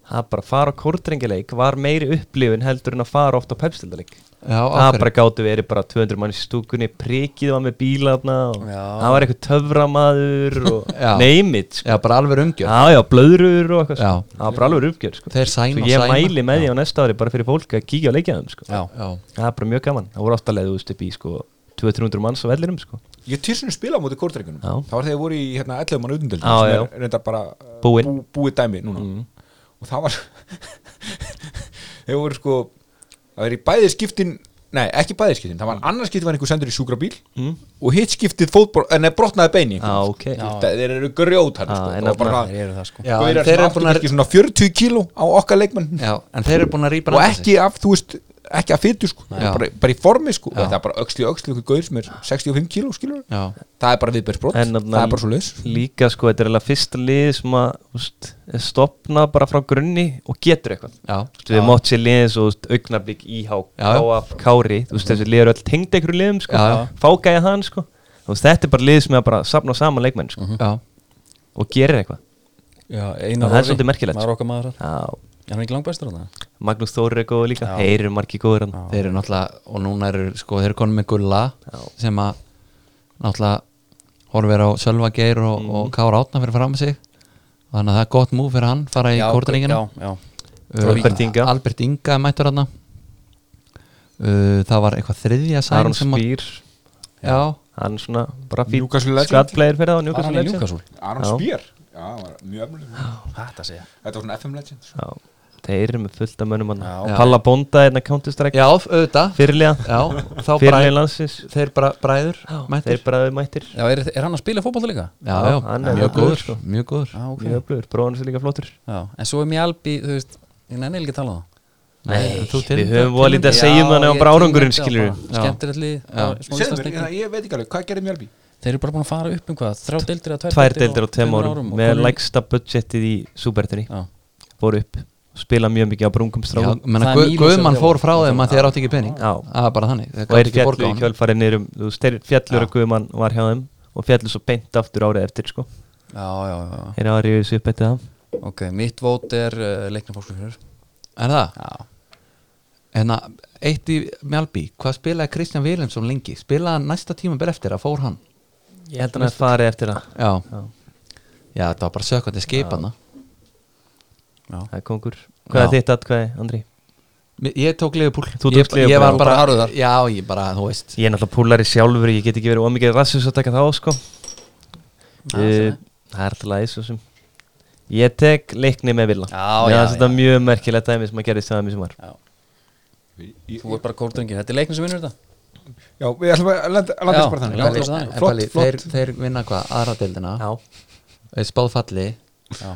Það er bara að fara á kórdrengileik var meiri upplifun heldur en að fara oft á pepstildarleik
Já, á
Það
hverju?
Ah, bara gáttu verið bara 200 mann í stúkunni prikið var með bílarna og
Já.
það var eitthvað töframaður og
Já.
neymit sko.
Já, bara alveg umgjör
Já, já, blöðrur og eitthvað sko.
Já.
Það var bara alveg uppgjör sko.
Þeir sæna
Svo ég
sæna.
mæli með því á næsta ári bara fyrir fólk að kíkja á leikjaðum sko.
Já,
Já.
Það er bara mjög gaman Það voru oftalega þú veist upp í sko 200-300 manns á vellinum sko
Ég týrsinu spila á móti kortrenginum
Já.
Það var þegar voru í hérna, 11 mann utendeldin
Já, já.
Reynda bara uh,
Búin. Mm.
bú, búið dæmi núna Og það var Þeir voru sko Það er í bæði skiptin Nei, ekki bæði skiptin Það var
Mm.
annars skiptin var einhver sendur í sjúkrabíl mm. Og hitt skiptið fótból En það brotnaði beini
Já, Ah, ok
Það sko. þeir eru grjótar
Já,
sko.
en
Það var bara
þeir eru það sko
Já,
Gaurar
en
sem
þeir eru
áttu
búin að-
kannski svona 40 kíló á okkar leikmann
Já, en þeir eru búin að rýpa
og
hann
ekki af, þú veist, ekki af fytu sko,
Já.
bara, bara í formi sko
Já.
það er bara öxli og öxli ykkur gauður sem er 65 kíló skilur,
Já.
það er bara viðbærsbrot
En
það
þarna-
er bara svo laus
Líka sko, þetta er alveg fyrsta lið sem að úst, stopna bara frá grunni og getur eitthvað
Já.
Úst, Við mátt sér liðin svo úst, augnablík íhá,
Já.
KF, Kári Þú veist þessi lið eru öll tengd einhverju liðum sko
Já.
Fágæja hann sko Þú veist, Þetta er bara lið sem er bara að sapna saman leikmenn sko
Já.
og gerir eitthvað
Já, Einar
Það er
Orri,
svolítið merkilegt,
Maður okkar maður þar
Já,
Er hann ekki langbæstur á það?
Magnús Þóri er góð líka Þeir eru margi góður hann
Þeir eru náttúrulega og núna eru sko, þeir eru konum með gulla sem að náttúrulega horfir á Sölva Geir og, og Kára Átna fyrir fram sig þannig að það er gott múf fyrir hann fara í kórtringinu
Já, já
Uh,
Eh, Albert Inga.
Albert Inga er mættur hann uh, það var eitthvað þriðja sæn
Aron
sem að
Spýr
já,
Hann svona bara fín
Newcastle legend.
skallplegir fyrir
Var hann í
það Newcastle legend.
Newcastle?
Aron
Já.
Spýr, já, það var mjög ömlega
Þetta segja
þetta var svona FM legend sko.
Já, þeir eru með fullt af mönnum hann
Já.
Palla Bonda er þetta Counter-Strike
já, auðvitað
Fyrirlega,
já, þá
fyrirlega
bræð,
landsins
þeir bara bræður mættur
Þeir bara þau mættir
Já, er, er hann að spila fótbolta líka?
já,
Já,
já,
hann er
mjög
öflugur,
góður,
sko.
mjög góður
Já, ok
Mjög öflugur, bróðan er líka flottur
Já, en svo er mér albi, þú veist Ég nenni ekki að tala um það
Nei, þú til-
Við höfum voða lítið að segja um þannig á bara árangurinn skilur við
Skemmtilegt lið bara smá
Segðu mér,
Íslandsleikir.
hérna, ég veit ekki alveg, hvað gerði Mjölby?
Þeir eru bara búin að fara upp um hvað Þrjá deildir að tvær
Tvær deildir á tveim árum
og
Með
konur-
lægsta budgetið í Súbertinni
Já,
Fóru upp, spila mjög mikið á brungum
Já,
strákum
Það
menna,
er
guð,
Mílos
Guðmann
sem
fór
þjálfar.
frá þeim að þeir átti ekki pening
Já.
það er bara þannig Þeir
og
gátu
er
ekki borgað
fjallu í
honum.
kjölfarið niðurum þú veist, þeir fjallur og guðmann var hjá þeim og fjallur svo beint aftur árið eftir sko
já, já, já, já.
þeir hafa rífið þessu upp eftir það
Ok, mitt vót er uh, leiknum fólksfjörður
er það?
Já
Hérna, eitt í Mjálby hvað spilaði Kristján Vilhelmsson lengi spilaði hann næsta tíma ber eftir að fór hann
ég held hann að farið eftir það
já,
Já.
já þetta var bara sökandi skipana
það er kongur hvað
Já.
er þitt atkvæði, Andri?
ég tók Leifupúl
Þú
ég,
tókst Liverpool,
ég var bara
já.
Bara harður þar.
já, ég bara, þú veist
ég er náttúrulega púlari sjálfur ég get ekki verið ómikið rassus að taka þá sko Eh, það er alltaf aðeins sem ég tek leikni með vilja
Já,
Mér
já,
fannst þetta mjög merkilegt dæmi sem að gerðist það sem var
Þú ert bara kórdrengir, þetta er leiknum sem vinnur þetta
Já, við ætlum að landa landa
Já,
þess bara þannig
landa þessu
Já,
þannig.
Flott,
Pali, þeir,
flott
þeir vinna hvað, aðra deildina
já,
spáðfalli,
Já,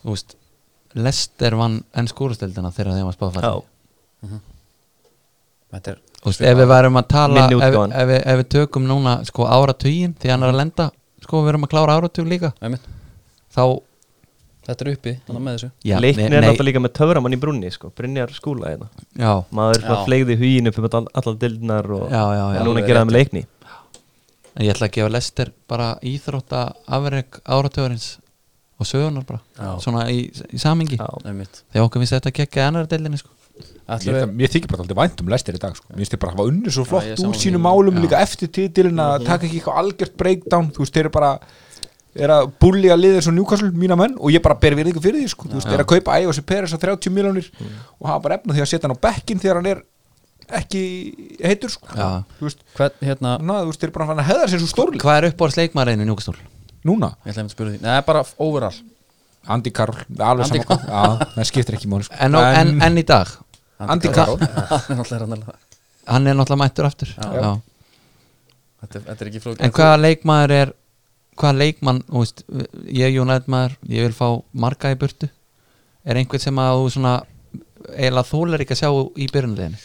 þú veist Lester vann enn skórasteldina þegar þeim var
já.
spáðfalli
þetta er
Þú veist, ef við værum að tala
Minni
ef,
útgáfan.
ef, við- ef við tökum núna sko áratugin því hann er að lenda, sko við erum að klára áratug líka
Einmitt.
þá,
Þetta er uppi, hann er með þessu
já,
leikni
nei-
er
nei,
náttúrulega líka með töframann í brunni sko, Brynjar skúla hérna
já,
maður svona
Já.
fleigði hugin upp um all- allar dildnar og
Já, já, já.
en núna
Alveg
gera það með leikni
En ég ætla að gefa Lester bara íþrótta afreg áratugurins og sögunar bara, svona í, í samingi
Já.
Einmitt.
þegar okkur finnst þetta að kekka ennara deildinni sko.
Ætlum
Ég,
við-
það, ég þykir bara alltaf vænt um lestir í dag sko. Mér finnst þið bara að hafa unnið svo flott
ég er
úr
sammála
sínum
því.
málum líka eftir titilin að
Mhm.
taka ekki eitthvað algjört breakdown Þú veist, þeir eru bara er að búli að liða svo njúkassul mína menn og ég bara ber virðingu fyrir því sko. Þú veist, þeir eru að kaupa ægjum sem Peres á 30 miljónir
Mm.
og hafa bara efna því að setja hann á bekkin þegar hann er ekki heitur sko.
Já.
Þú veist,
Hvern, hérna
ná, þú veist, þeir eru bara að fara að heða sér svo stórli
Hvað er uppbóðs leikmaðurinn í njúkastól?
Núna,
Ég ætla einmitt að spyrja því Nei, bara overall
Andy Karl, alveg
Andy
saman Já, það skiptir ekki máli sko.
En, en, en, en í dag,
Andy Karl
Hann er alltaf rannalega
hann er náttúrulega mættur aftur já.
Þetta er- þetta er ekki flók
En hvaða leikmaður er hvaða leikmann, þú veist, ég er United maður, ég vil fá marga í burtu er einhvern sem að þú svona eiginlega þólar ekki að sjá í byrjunleginu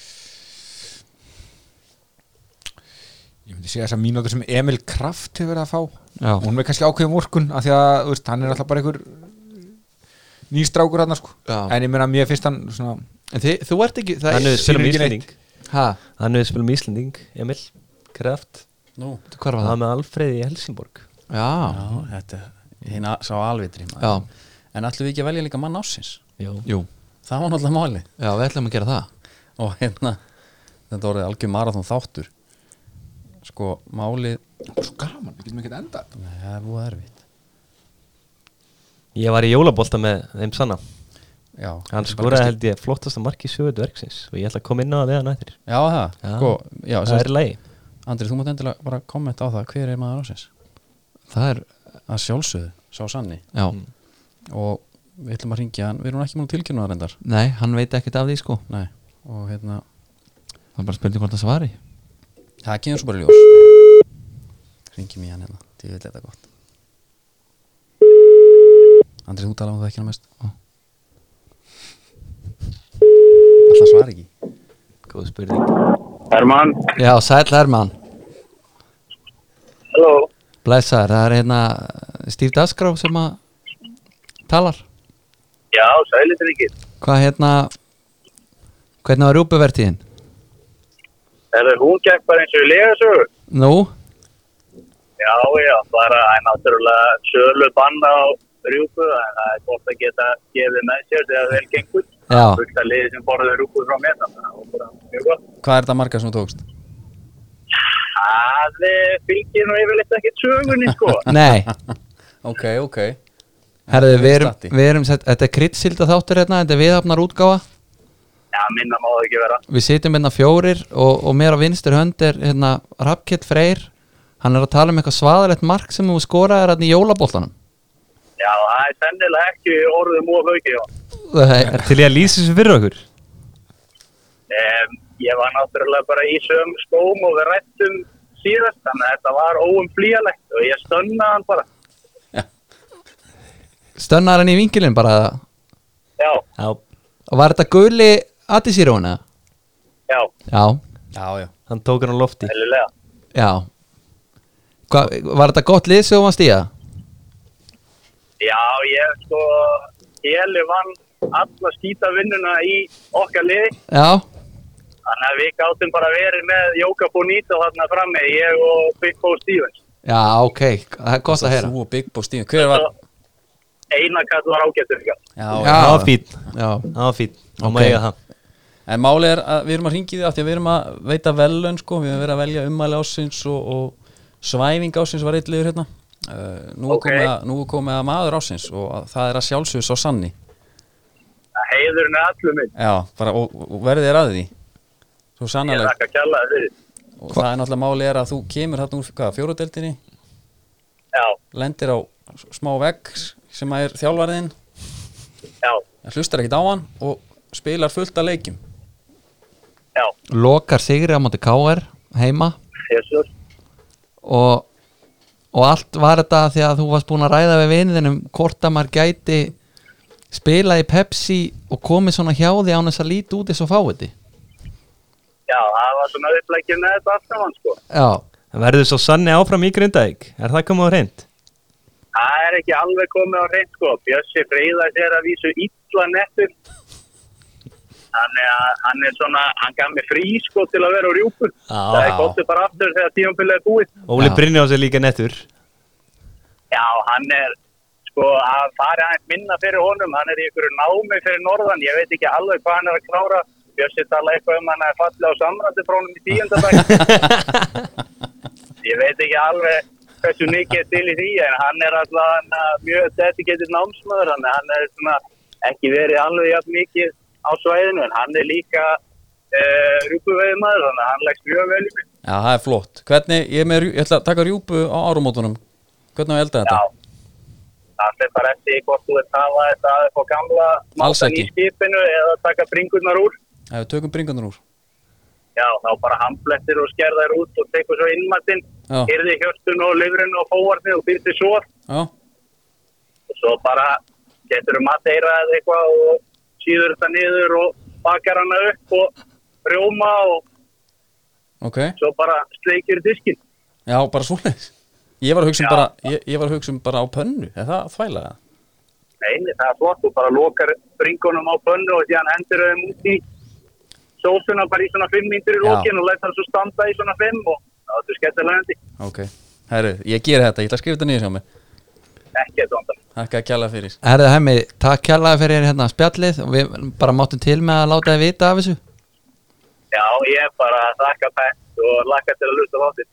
ég myndi segja þessar mínútur sem Emil Kraft hefur verið að fá
Já.
og hún er kannski ákveðið morgun af því að þú veist, hann er alltaf bara einhver nýstrákur hann sko.
Já.
en ég meina mér finnst hann svona,
En þið, þú ert ekki það
Hann er spilum
ekki neitt.
Íslending
Hæ,
Hann er spilum Íslending, Emil Kraft,
Nú,
hvað var
það
það?
með Alfreði í Helsingborg
Já,
já, þetta Hina sá alvitri maður.
já,
En ætlum við ekki að velja líka mann ásins
Jó
jú
Það var náttúrulega máli
Já, við ætlum að gera það
Og hérna, þetta voruð algjör marathon þáttur Sko, málið
bara svo gaman, við getum ekki að enda
Nei, það er búið erfitt
Ég var í jólabólta með þeim sanna
Já,
Hann
Þetta er
skoraði
kannski-
held ég flottasta marki sögut verksins og ég ætla að koma inn á það við hann eftir
Já, það,
Já.
sko, já,
Það
sérst,
er í lagi
Andri, þú mátt endilega bara kommenta á það Hver er maður ásins?
Það er, Mm.
Að sjálfsögðu, sá sanni
já,
Og við ætlum að ringja hann Við erum ekki múin tilkynna það reyndar
nei, hann veit ekkert af því sko
Nei, og hérna,
Það er bara spurning hvort það svari
það kemur svo bara í ljós Ringjum í hann hérna, því vil þetta gott Andri, þú talaðum það ekki hann mest Alltaf svar ekki
Góð spurning
Herman,
Já, sæll Herman,
halló,
blessaður Það er hérna Steve Dasgrá sem að talar
já, sælitryggir,
Hvað hérna Hvernig var rjúpuvertíðin?
er hún gekk bara eins og í legasögu?
Nú,
Já, já, bara það er náttúrulega sölu banna á rjúpu, en það er gott að geta gefið með sér þegar vel gengur.
Já.
Fullt að liði sem borðið rjúpu frá mér, þannig að það var bara mjög gott.
Hvað er þetta marga sem þú tókst?
Það eh, fylgir nú yfirleitt ekki sögunni, sko.
nei
Ok, ok
Herðu, við erum,
Statti.
við erum sett, Þetta er kryddsilda þáttur hérna, þetta er viðhafnar útgáfa
Já, minna má það ekki vera.
Við sitjum hérna fjórir og, og mér á vinstur hönd er hérna Rappkett Freyr Hann er að tala um eitthvað svaðalegt mark sem þú skoraðir hérna í jólabóltanum
Já, það er sennilega ekki orðum og hauki, já.
Nei,
Til ég að lýsa þessu fyrir okkur
Um, ég var náttúrulega bara í sögum skóm og við rættum síðast, þannig að þetta var óumflýjalegt og ég stönnaði hann bara.
Stönnar hann í vingilin bara eða?
Já,
Já,
Og var þetta guli aðisýrjóna?
já,
Já,
Já, já
hann tók hann á lofti
hellulega.
já Hva, Var þetta gott lið sem þú varst í það?
Já, ég sko, Heli vann alla skítavinnuna í okkar liði,
Já,
þannig að við gáttum bara verið með Jóka Bonito þarna frammi, ég og Big Bo Stevens.
já, ok, það er gott að heyra
Þú og Big Bo Stíðan, hver var?
Einakall var ágættur líka.
Já,
Já.
já
Það var fín
Já,
Það var fín
Ok.
Og maður eiga það
En málið er að við erum að ringi því af því að við erum að veita velun sko, við erum að vera að velja ummæli ásins og, og svæfing ásins var eitt liður hérna uh, nú,
Ok.
okay. komið að, nú er komið að maður ásins og að, það er að sjálfsögðu svo sanni
Það heiður henni allum minn,
Já, bara, og, og verðið er að því svo
ég
sannarlega
þakka kjallaði fyrir.
og það er náttúrulega málið er að þú kemur þarna úr hvað, fjóruðdeldinni
Já,
lendir á s- smá vegg sem að er þjálfarðinn
já,
hlustar ekkit á hann og spilar fullt af leikjum
já,
lokar sigri á móti KR heima
Jesus.
og, og allt var þetta því að þú varst búin að ræða við vinninum hvort að maður gæti spila í Pepsi og komið svona hjá því án þess að líti út eins og fáiði
Já, það var svona upplækjum með þetta aftur mann, sko.
Já,
En Verður svo sanni áfram í Grindavík Er það komið á reynd?
Það er ekki alveg komið á reynd sko. Bjössi Freyðars er að vísu illa nettur. Þannig að hann er svona, hann gaf mér frí sko til að vera á rjúpu.
Já.
Það er gott bara aftur þegar tímanbyrðið er búið.
Óli
Já.
Brynjáns er líka nettur
Já, hann er, sko, að fara aðeins minna fyrir honum. Hann er í ykkur námi fyrir norðan. Ég veit ekki alveg hvað hann er að klára. Bjössi tala eitthvað um hann að falla á samrættu frá honum í tíundabæk. Ég veit ekki alveg hversu mikið er til í því en hann er alltaf mjög dedicated námsmaður þannig að hann er svona ekki verið alveg jafn mikið á svæðinu en hann er líka uh, rjúpuveiðmaður þannig að hann leggst mjög vel í mig.
Já, það er flott Hvernig, ég, er með, rjú- ég ætla að taka rjúpu á árumótunum Hvernig á að elda
Já,
þetta?
það er bara eftir hvort þú ert að hafa þetta upp á gamla
Alls
mátan í
ekki.
skipinu eða taka bringurnar úr.
Ef við tökum bringandur úr
Já, þá bara hamblettir og skerðar út og tekur svo innmatinn,
Já.
hyrði hjörtun og lifrun og fóvarnið og byrti svo
Já,
og svo bara getur um að deyra eða eitthvað og síður þetta niður og bakar hana upp og rjóma og
ok,
svo bara sleikir diskinn
já, bara svoleiðis Ég var að hugsa um
Já.
bara, ég, ég var að hugsa um bara á pönnu, er það þvæla það?
Nei, það er flott, þú bara lokar bringunum á pönnu og síðan hendur þeim út í sósuna bara í svona 5 mínútur í
Já.
lokin og læt hann svo standa í svona 5 og það er skettilegandi,
Ok, herru, ég ger þetta, ég ætla að skrifa þetta niður hjá mig
ekkert vandan.
Þakka að kjalla fyrir
Herðu hemmi, takk kjærlega fyrir hérna spjallið og við bara máttum til með að láta þið vita af þessu
Já, ég er bara að þakka pænt og lakka til að luta þáttið.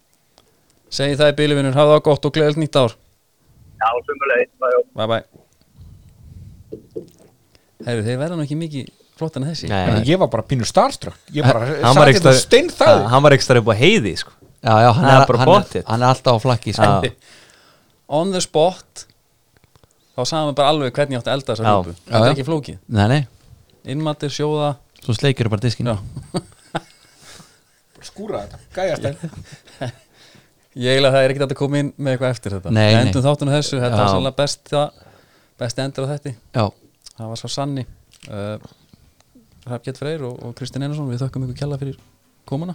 Segði það í bíluvinur, hafa það gott og gleðilt nýtt ár
Já, sumulegis, það er
Bye bye Herru, þeir verða nú ekki mikið flott en þessi
Nei.
En ég var bara pínu starstruck Ég bara hérna
Hann var
satt þetta stein það
Ha, hann var ekstra upp á heiði sko.
Já, já, hann,
Það er
er,
bara
hann,
pottet.
er, hann er alltaf á flakki sko.
Já.
On the spot Þá sagðum við bara alveg hvernig ég átti að elda þessa
Já.
hlupu Þetta
Já.
er ekki flókið
Nei, nei,
Innmatir, sjóða
svo sleikir bara diskin
Já.
Skúra þetta, gæjast það
Ég eiginlega það er ekki hægt að koma inn með eitthvað eftir þetta
Nei,
Við
nei.
Endum þáttunum þessu, þetta
Já.
var sannlega besta Besti endur á þetta
Já.
Það var svo sanni uh, Hrafgjert Freyr og, og Kristinn Einarsson Við þökkum ykkur kjalla fyrir komuna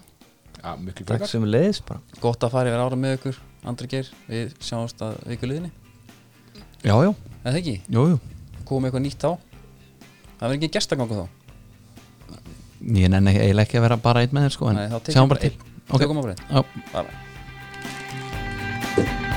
Já, miklu
Takk
frekar
sem leiðis bara
Gott að fara yfir ára með ykkur, Andri Geir Við sjáumst að vikuliðinni
já, já,
Eða ekki,
jú, jú
komum eitthvað nýtt þá Það verður ekki gestagangu þá
Ég nenni eiginlega ekki að vera bara einn með þér sko en
Nei, þá tekum
sjáum
bara
bara til
einn.
Ok.
Tökum á breytt
Já.
Bara